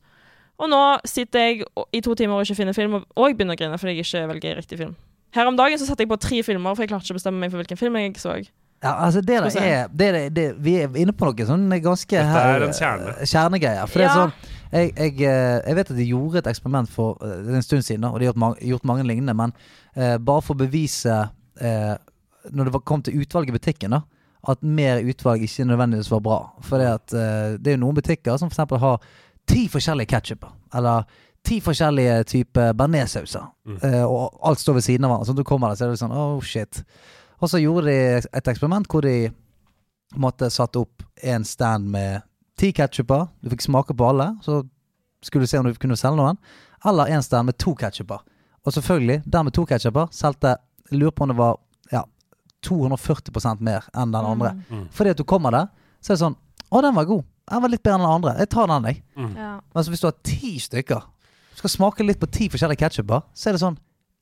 [SPEAKER 5] Og nå sitter jeg og- i to timer og ikke finner film, og- og jeg begynner å grine fordi jeg ikke velger riktig film. Her om dagen så satte jeg på tre filmer, for jeg klarte ikke å bestemme meg for hvilken film jeg så.
[SPEAKER 2] Ja, altså det der
[SPEAKER 5] Skal vi se.
[SPEAKER 2] er, det der, det, Vi er inne på noe sånn ganske
[SPEAKER 1] Dette er
[SPEAKER 2] her-
[SPEAKER 1] en kjerne.
[SPEAKER 2] Kjernegreier. For det er
[SPEAKER 5] Ja.
[SPEAKER 2] sånn jeg, jeg, eh, jeg vet at de gjorde et eksperiment for eh, det er en stund siden, da, og de har gjort, mange, gjort mange lignende, men eh, bare for å bevise eh, Når det var, kom til utvalg i butikken, da, at mer utvalg ikke nødvendigvis var bra. For det, at, eh, det er jo noen butikker som f.eks. har ti forskjellige ketsjuper, eller ti forskjellige typer bearnéssauser, eh, og alt står ved siden av hverandre. Så når du kommer der, så er det sånn oh shit. Og så gjorde de et eksperiment hvor de på en måte satte opp en stand med ti ketsjuper. Du fikk smake på alle, så skulle du se om du kunne selge noen. Eller en stand med to ketsjuper. Og selvfølgelig, der med to ketsjuper solgte Lurer på om det var ja, 240 mer enn den andre.
[SPEAKER 5] Mm.
[SPEAKER 2] Fordi at du kommer der, så er det sånn Å, den var god. Den var litt bedre enn den andre. Jeg tar den, jeg.
[SPEAKER 5] Ja.
[SPEAKER 2] Men altså, hvis du har ti stykker, skal smake litt på ti forskjellige ketchuper, så er det sånn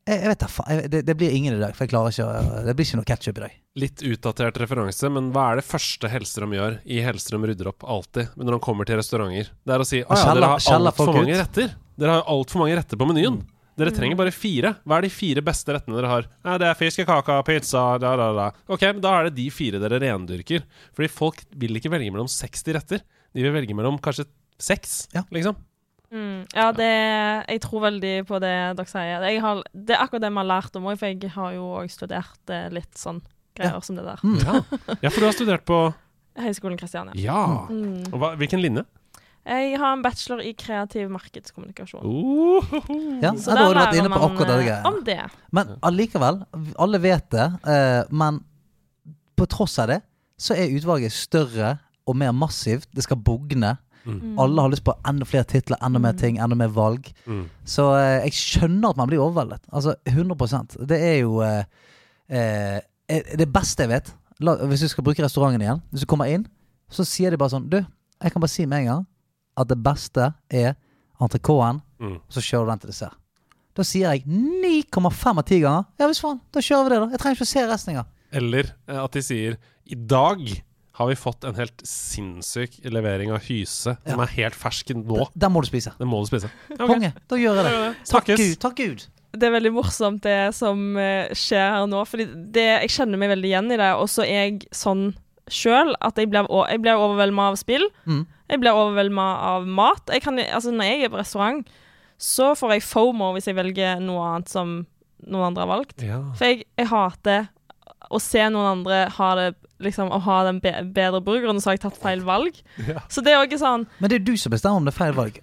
[SPEAKER 2] jeg, jeg vet da faen. jeg- Det, det blir ingen i dag, for jeg klarer ikke å Det blir ikke noe ketsjup i dag.
[SPEAKER 1] Litt utdatert referanse, men hva er det første Hellstrøm gjør i Hellstrøm rydder opp alltid men når han kommer til restauranter? Det er å si at ja,
[SPEAKER 2] skjeller-
[SPEAKER 1] dere har
[SPEAKER 2] skjeller
[SPEAKER 1] altfor
[SPEAKER 2] folk
[SPEAKER 1] mange
[SPEAKER 2] ut. Mm.
[SPEAKER 1] retter. Dere har altfor mange retter på menyen. Dere trenger bare fire. Hva er de fire beste rettene dere har? Ja, det er fiskekaka, pizza, da, da, da. Ok, men da er det de fire dere rendyrker. Fordi folk vil ikke velge mellom 60 retter. De vil velge mellom kanskje seks,
[SPEAKER 2] Ja.
[SPEAKER 1] liksom.
[SPEAKER 5] Mm, ja, det, jeg tror veldig på det dere sier. Jeg har, det er akkurat det vi har lært om òg, for jeg har jo òg studert eh, litt sånn greier som det der.
[SPEAKER 2] Mm.
[SPEAKER 1] Ja. ja, for du har studert på
[SPEAKER 5] Høgskolen Kristiania. Mm.
[SPEAKER 1] Ja!
[SPEAKER 2] Mm.
[SPEAKER 1] Og hva, hvilken linje?
[SPEAKER 5] Jeg har en bachelor i kreativ markedskommunikasjon.
[SPEAKER 1] Ohoho.
[SPEAKER 2] Ja,
[SPEAKER 5] Mm.
[SPEAKER 2] ja,
[SPEAKER 5] Så
[SPEAKER 2] da
[SPEAKER 5] der
[SPEAKER 2] har du vært
[SPEAKER 5] lærer
[SPEAKER 2] inne på
[SPEAKER 5] man,
[SPEAKER 2] akkurat det
[SPEAKER 5] eh, Om
[SPEAKER 2] greiene.
[SPEAKER 5] det.
[SPEAKER 2] Men allikevel, alle vet det. eh, men på tross av det, så er utvalget større og mer massivt. Det skal bugne. Alle har lyst på enda flere titler, enda mer ting, enda mer valg.
[SPEAKER 1] Mm.
[SPEAKER 2] Så eh, jeg skjønner at man blir overveldet. Altså 100 Det er jo eh, eh, det beste jeg vet. La, hvis du skal bruke restauranten igjen, hvis du kommer inn, så sier de bare sånn Du, jeg kan bare si med en gang at det beste er entrecôten,
[SPEAKER 1] Mm.
[SPEAKER 2] så kjører du den til dessert. Da sier jeg 9,5 av 10 ganger. Ja visst faen, da kjører vi det, da. Jeg trenger ikke å se resten engang.
[SPEAKER 1] Eller eh, at de sier I dag har vi fått en helt sinnssyk levering av hyse som er helt fersk nå.
[SPEAKER 2] Den må du spise.
[SPEAKER 1] Den må du spise. Ja, ok.
[SPEAKER 2] Konge. Da gjør jeg det.
[SPEAKER 1] Ja, ja.
[SPEAKER 2] Takk
[SPEAKER 1] Snakkes.
[SPEAKER 2] Gud. Takk Gud.
[SPEAKER 5] Det er veldig morsomt det som eh, skjer her nå, fordi det, jeg kjenner meg veldig igjen i det. Og så er jeg sånn sjøl at jeg blir, o- jeg blir overvelda av spill.
[SPEAKER 2] Mm.
[SPEAKER 5] Jeg blir overvelda av mat. Jeg kan, altså, når jeg er på restaurant, så får jeg fomo hvis jeg velger noe annet som noen andre har valgt.
[SPEAKER 1] Ja.
[SPEAKER 5] For jeg, jeg hater å se noen andre ha det liksom, å ha den be bedre burgeren, så har jeg tatt feil valg.
[SPEAKER 1] Ja.
[SPEAKER 5] Så det er også sånn
[SPEAKER 2] Men det er du som bestemmer om det er feil valg.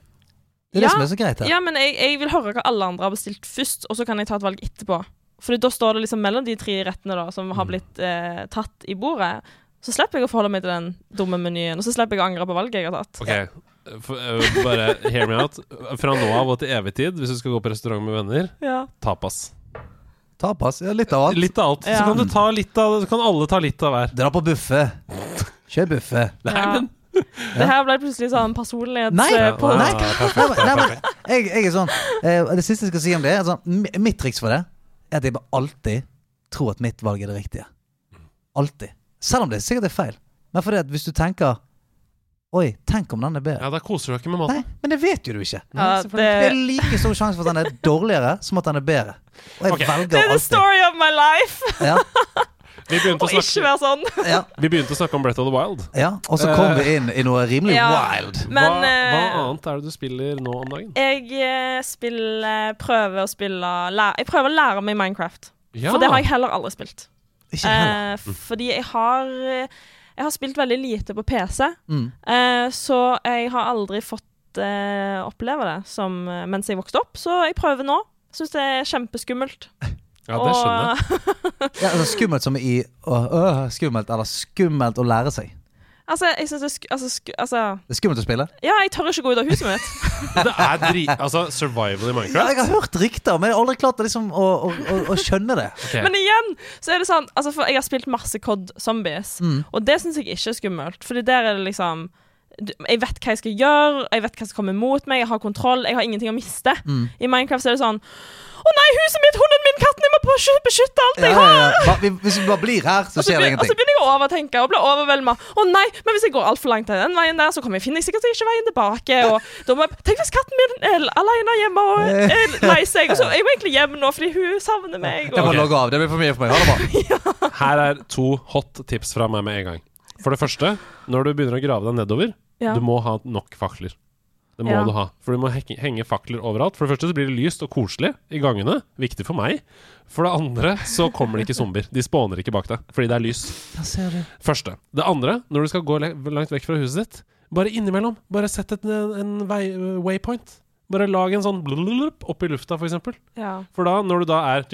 [SPEAKER 2] Det er
[SPEAKER 5] Ja.
[SPEAKER 2] det som er så greit her.
[SPEAKER 5] Ja, men jeg, jeg vil høre hva alle andre har bestilt først, og så kan jeg ta et valg etterpå. For da står det liksom mellom de tre rettene da, som har blitt eh, tatt i bordet. Så slipper jeg å forholde meg til den dumme menyen, og så slipper jeg å angre på valget jeg har tatt.
[SPEAKER 1] Ok, For, eh, bare hear me out. Fra nå av og til evig tid, hvis du skal gå på restaurant med venner,
[SPEAKER 5] Ja.
[SPEAKER 1] tapas.
[SPEAKER 2] Tapas. Ja, litt av alt.
[SPEAKER 1] Litt av alt. Så
[SPEAKER 5] Ja.
[SPEAKER 1] kan, du ta litt av, så kan alle ta litt av hver.
[SPEAKER 2] Dra på buffet. Kjør buffet.
[SPEAKER 1] Nei,
[SPEAKER 5] Ja.
[SPEAKER 1] men
[SPEAKER 5] Det her ble plutselig sånn
[SPEAKER 2] Nei!
[SPEAKER 5] personlighetspålegg.
[SPEAKER 2] Nei,
[SPEAKER 1] Ja, ah,
[SPEAKER 2] nei, men- nei, men jeg, jeg er sånn eh, Det siste jeg skal si om det, er sånn mi- Mitt triks for det er at jeg bare alltid tror at mitt valg er det riktige. Alltid. Selv om det sikkert er feil. Men fordi at hvis du tenker Oi, tenk om den er bedre.
[SPEAKER 1] Ja, da koser du deg ikke med
[SPEAKER 2] Nei,
[SPEAKER 1] maten.
[SPEAKER 2] men det vet jo du ikke.
[SPEAKER 5] Ja, det,
[SPEAKER 2] Det er like stor sjanse for at den er dårligere som at den er bedre. Og jeg
[SPEAKER 1] Ok.
[SPEAKER 5] det
[SPEAKER 2] velger
[SPEAKER 5] er the
[SPEAKER 2] alltid.
[SPEAKER 5] story of my life!
[SPEAKER 2] Ja,
[SPEAKER 1] Vi begynte
[SPEAKER 5] Og
[SPEAKER 1] å
[SPEAKER 5] ikke
[SPEAKER 1] snakke,
[SPEAKER 5] være sånn.
[SPEAKER 2] ja,
[SPEAKER 1] vi begynte å snakke om Breath of the Wild.
[SPEAKER 2] ja. Og så kom vi inn i noe rimelig
[SPEAKER 5] Ja.
[SPEAKER 2] wild.
[SPEAKER 5] Men
[SPEAKER 1] hva, hva
[SPEAKER 5] eh,
[SPEAKER 1] annet er det du spiller nå om dagen?
[SPEAKER 5] Jeg eh, spiller, prøver å spille læ- Jeg prøver å lære meg Minecraft.
[SPEAKER 1] Ja.
[SPEAKER 5] For det har jeg heller aldri spilt.
[SPEAKER 2] Ikke heller.
[SPEAKER 5] Eh, fordi jeg har eh, Jeg har spilt veldig lite på PC,
[SPEAKER 2] Mm.
[SPEAKER 5] eh, så jeg har aldri fått eh, oppleve det som, eh, mens jeg vokste opp. Så jeg prøver nå. Syns det er kjempeskummelt.
[SPEAKER 1] Ja, det skjønner jeg.
[SPEAKER 2] Ja, altså, skummelt som i å- øh, Skummelt, eller skummelt å lære seg.
[SPEAKER 5] Altså, jeg synes det er sku, altså, sku, altså
[SPEAKER 2] Det er skummelt å spille.
[SPEAKER 5] Ja, jeg tør ikke gå ut av huset mitt.
[SPEAKER 1] Det er dri... Altså, survival i
[SPEAKER 2] Ja, jeg
[SPEAKER 1] Minecraft?
[SPEAKER 2] har hørt rykter, men jeg har aldri klart å liksom, å, å, å, å skjønne det.
[SPEAKER 1] Ok.
[SPEAKER 5] Men igjen, så er det sånn altså For jeg har spilt masse COD Zombies,
[SPEAKER 1] Mm.
[SPEAKER 5] og det syns jeg ikke er skummelt. Fordi der er det liksom du- jeg vet hva jeg skal gjøre, jeg vet hva som kommer mot meg, jeg har kontroll, jeg har ingenting å miste.
[SPEAKER 1] Mm.
[SPEAKER 5] I Minecraft så er det sånn Å nei, huset mitt, hunden min, katten, jeg må besky- beskytte alt
[SPEAKER 2] Ja,
[SPEAKER 5] jeg
[SPEAKER 2] ja,
[SPEAKER 5] har!
[SPEAKER 2] ja. Ba- vi- Hvis vi bare blir her, så
[SPEAKER 5] Og så
[SPEAKER 2] skjer det
[SPEAKER 5] begynner, og så
[SPEAKER 2] ingenting.
[SPEAKER 5] begynner jeg å overtenke og bli overvelda. Å nei, men hvis jeg går altfor langt til den veien der, så kommer jeg, finner jeg sikkert ikke veien tilbake. Og da må jeg, tenk hvis katten min er alene hjemme og er lei seg, og så er jeg egentlig hjemme nå fordi hun savner meg. Og,
[SPEAKER 2] Jeg må
[SPEAKER 1] Ok.
[SPEAKER 2] logge av. Det blir for mye for meg. Ha det bra.
[SPEAKER 1] Her er to hot tips fra meg med en gang. For det første, når du begynner å grave deg nedover,
[SPEAKER 5] Ja.
[SPEAKER 1] du må ha nok fakler. Det må
[SPEAKER 5] Ja.
[SPEAKER 1] du ha. For du må hek- henge fakler overalt. For det første så blir det lyst og koselig i gangene. Viktig for meg. For det andre så kommer det ikke zombier. De spåner ikke bak deg fordi det er lys.
[SPEAKER 2] Der ser du.
[SPEAKER 1] Første. Det andre, når du skal gå le- langt vekk fra huset ditt, bare innimellom, bare sett et, en, en vei, waypoint. Bare lag en sånn blululup opp i lufta, for eksempel.
[SPEAKER 5] Ja.
[SPEAKER 1] For da, når du da er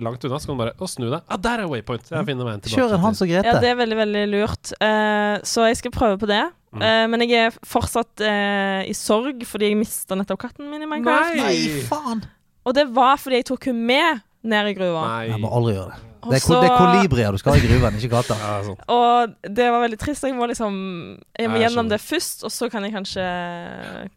[SPEAKER 1] langt unna, så kan du bare å, snu deg. Ah, der er waypoint! Jeg finner veien tilbake.
[SPEAKER 2] Kjør en Hans og Grete.
[SPEAKER 5] Ja, det er veldig, veldig lurt. Eh, så jeg skal prøve på det.
[SPEAKER 1] Mm.
[SPEAKER 5] Eh, men jeg er fortsatt eh, i sorg fordi jeg mista nettopp katten min i Minecraft.
[SPEAKER 1] Nei!
[SPEAKER 2] Nei, faen!
[SPEAKER 5] Og det var fordi jeg tok hun med ned i gruva.
[SPEAKER 1] Nei.
[SPEAKER 2] Jeg må aldri gjøre det.
[SPEAKER 5] Og
[SPEAKER 2] Det er, ko-
[SPEAKER 5] så-
[SPEAKER 2] det er kolibrier du skal ha i gruven, ikke gata.
[SPEAKER 1] Ja, sånn.
[SPEAKER 5] Og det var veldig trist. Jeg må liksom Jeg må
[SPEAKER 1] Jeg
[SPEAKER 5] gjennom
[SPEAKER 1] skjønner.
[SPEAKER 5] det først, og så kan jeg kanskje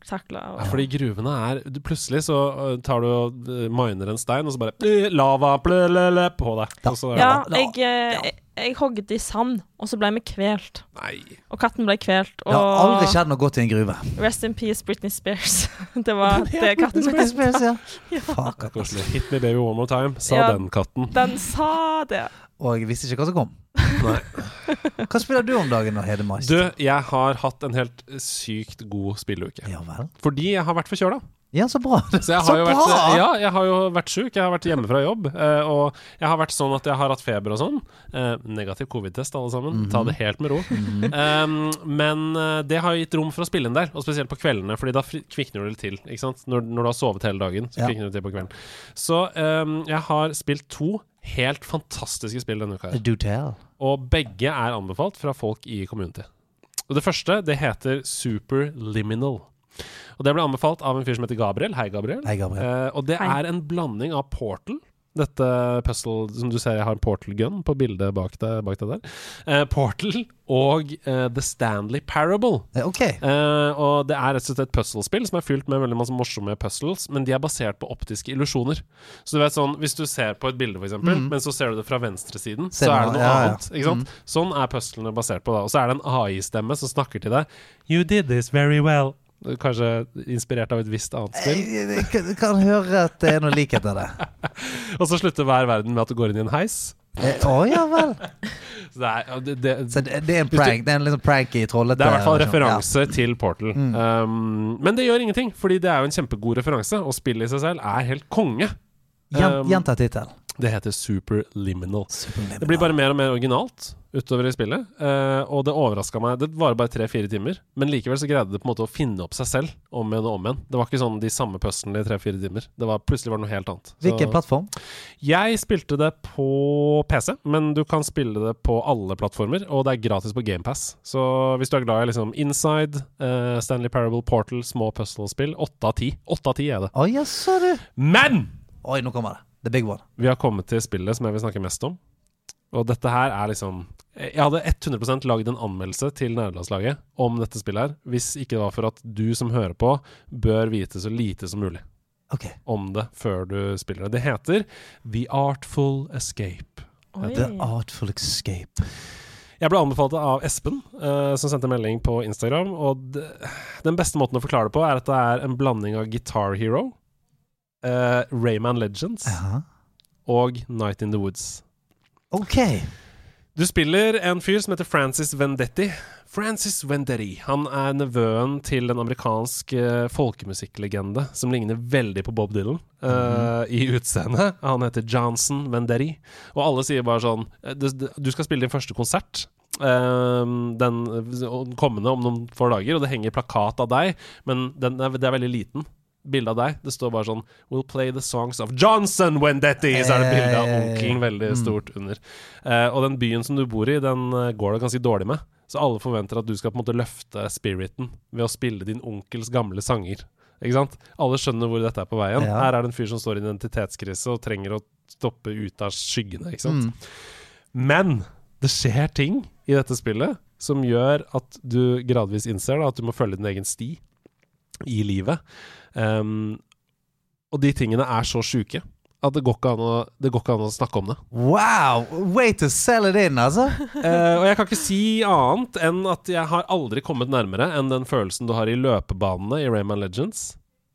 [SPEAKER 5] takle
[SPEAKER 1] Ja,
[SPEAKER 5] og
[SPEAKER 1] fordi gruvene er du, Plutselig så øh, tar du og øh, miner en stein, og så bare øh, Lava blølele, på deg. Og så,
[SPEAKER 5] Ja,
[SPEAKER 2] da-
[SPEAKER 5] jeg, eh, jeg, jeg hogget i sand, og så ble vi kvelt.
[SPEAKER 1] Nei.
[SPEAKER 5] Og katten ble kvelt.
[SPEAKER 2] Det har aldri
[SPEAKER 5] Og
[SPEAKER 2] skjedd noe godt i en gruve.
[SPEAKER 5] rest in peace Britney Spears. Det var det katten min
[SPEAKER 2] ja.
[SPEAKER 5] Ja.
[SPEAKER 2] Fuck, at-
[SPEAKER 1] Koselig. Hit me baby one more time, sa
[SPEAKER 5] Ja.
[SPEAKER 1] den katten.
[SPEAKER 5] Den sa det.
[SPEAKER 2] Og jeg visste ikke hva som kom.
[SPEAKER 1] Nei.
[SPEAKER 2] Hva spiller du om dagen nå, Hede Mais?
[SPEAKER 1] Du, jeg har hatt en helt sykt god spilleuke.
[SPEAKER 2] Ja vel.
[SPEAKER 1] Fordi jeg har vært forkjøla.
[SPEAKER 2] Ja, så bra.
[SPEAKER 1] Så jeg
[SPEAKER 2] Så
[SPEAKER 1] har jo vært,
[SPEAKER 2] bra!
[SPEAKER 1] ja, jeg har jo vært sjuk, jeg har vært hjemme fra jobb. eh, Og jeg har vært sånn at jeg har hatt feber og sånn. Eh, Negativ covid-test, alle sammen.
[SPEAKER 2] Mhm.
[SPEAKER 1] Ta det helt med ro. Um, men eh, det har jo gitt rom for å spille inn der, og spesielt på kveldene. Fordi da fri- kvikner du litt til. Ikke sant? Når, når du har sovet hele dagen, så
[SPEAKER 2] Ja.
[SPEAKER 1] kvikner du til på kvelden. Så um, jeg har spilt to helt fantastiske spill denne uka. her
[SPEAKER 2] Do tell.
[SPEAKER 1] og begge er anbefalt fra folk i community. Og det første det heter Superliminal. Og det ble anbefalt av en fyr som heter Gabriel. Hei, Gabriel.
[SPEAKER 2] Hei, Gabriel.
[SPEAKER 1] Eh, og det
[SPEAKER 5] Hei.
[SPEAKER 1] er en blanding av Portal dette puzzle Som du ser, jeg har en Portal Gun på bildet bak deg, bak deg der. Eh, Portal og eh, The Stanley Parable.
[SPEAKER 2] Eh, OK.
[SPEAKER 1] Eh, og det er rett og slett et puzzlespill som er fylt med veldig masse morsomme puzzles, men de er basert på optiske illusjoner. Så du vet sånn, hvis du ser på et bilde, for eksempel, men så ser du det fra venstresiden,
[SPEAKER 2] Ser
[SPEAKER 1] så er
[SPEAKER 2] man-
[SPEAKER 1] det noe
[SPEAKER 2] ja, ja.
[SPEAKER 1] annet. Ikke sant? Sånn er puzzlene basert på, da. Og så er det en AI-stemme som snakker til deg. You did this very well. Kanskje inspirert av et visst
[SPEAKER 2] Eh.
[SPEAKER 1] annet spill.
[SPEAKER 2] Jeg, jeg kan- kan høre at det er noe likhet der. det.
[SPEAKER 1] Og så slutter hver verden med at du går inn i en heis.
[SPEAKER 2] Eh, Å ja vel.
[SPEAKER 1] Så det er, og det, det,
[SPEAKER 2] Så sånn, det, det er en prank. Det er en litt sånn pranky, trollete
[SPEAKER 1] Det er i hvert fall
[SPEAKER 2] versjon.
[SPEAKER 1] referanse til Portal. Um, men det gjør ingenting, fordi det er jo en kjempegod referanse, og spillet i seg selv er helt konge.
[SPEAKER 2] Ja. Gjen-
[SPEAKER 1] Um,
[SPEAKER 2] Gjenta tittelen.
[SPEAKER 1] Det heter Superliminal. Det blir bare mer og mer originalt utover i spillet, eh, og det overraska meg. Det varer bare tre-fire timer, men likevel så greide det på en måte å finne opp seg selv om igjen og om igjen. Det var ikke sånn de samme puzzlene i tre-fire timer. Det var, plutselig var det noe helt annet. Så-
[SPEAKER 2] Hvilken plattform?
[SPEAKER 1] jeg spilte det på PC, men du kan spille det på alle plattformer, og det er gratis på GamePass. Så hvis du er glad i liksom Inside, eh, Stanley Parable, Portal, små puzzlespill, åtte av ti. Åtte av ti er det.
[SPEAKER 2] Å ja, så du.
[SPEAKER 1] Men!
[SPEAKER 2] Oi, nå kommer det. The big one.
[SPEAKER 1] Vi har kommet til spillet som jeg vil snakke mest om. Og dette her er liksom Jeg hadde 100 lagd en anmeldelse til nerdelandslaget om dette spillet her, hvis ikke det var for at du som hører på, bør vite så lite som mulig
[SPEAKER 2] OK.
[SPEAKER 1] om det før du spiller det. Det heter The Artful Escape.
[SPEAKER 5] Oi.
[SPEAKER 2] The Artful Escape.
[SPEAKER 1] Jeg ble anbefalt av Espen, eh, som sendte melding på Instagram. Og d den beste måten å forklare det på, er at det er en blanding av Guitar Hero, eh, Rayman Legends
[SPEAKER 2] Ja.
[SPEAKER 1] og Night in the Woods.
[SPEAKER 2] OK.
[SPEAKER 1] Du spiller en fyr som heter Francis Vendetti. Francis Vendetti. Han er nevøen til en amerikansk eh, folkemusikklegende som ligner veldig på Bob Dylan eh, i utseendet. Han heter Johnson Vendetti. Og alle sier bare sånn eh, Du du skal spille din første konsert. eh, den eh, kommende om noen få dager, og det henger plakat av deg, men den er, det er veldig liten. Bilde av deg. Det står bare sånn We'll play the songs of Johnson Wendetti! Så er det bilde av onkelen veldig stort under. Eh, og den byen som du bor i, den eh, går det ganske dårlig med. Så alle forventer at du skal på en måte løfte spiriten ved å spille din onkels gamle sanger. Ikke sant? Alle skjønner hvor dette er på veien.
[SPEAKER 2] Ja.
[SPEAKER 1] Her er det en fyr som står i identitetskrise og trenger å stoppe ut av skyggene. Ikke
[SPEAKER 2] Hmm.
[SPEAKER 1] sant? Men det skjer ting i dette spillet som gjør at du gradvis innser da, at du må følge din egen sti i livet. Um, og de tingene er så sjuke at det går ikke an å, det går ikke an å snakke om det.
[SPEAKER 2] Wow! Way to sell it in, altså.
[SPEAKER 1] Eh, og jeg kan ikke si annet enn at jeg har aldri kommet nærmere enn den følelsen du har i løpebanene i Rayman Legends,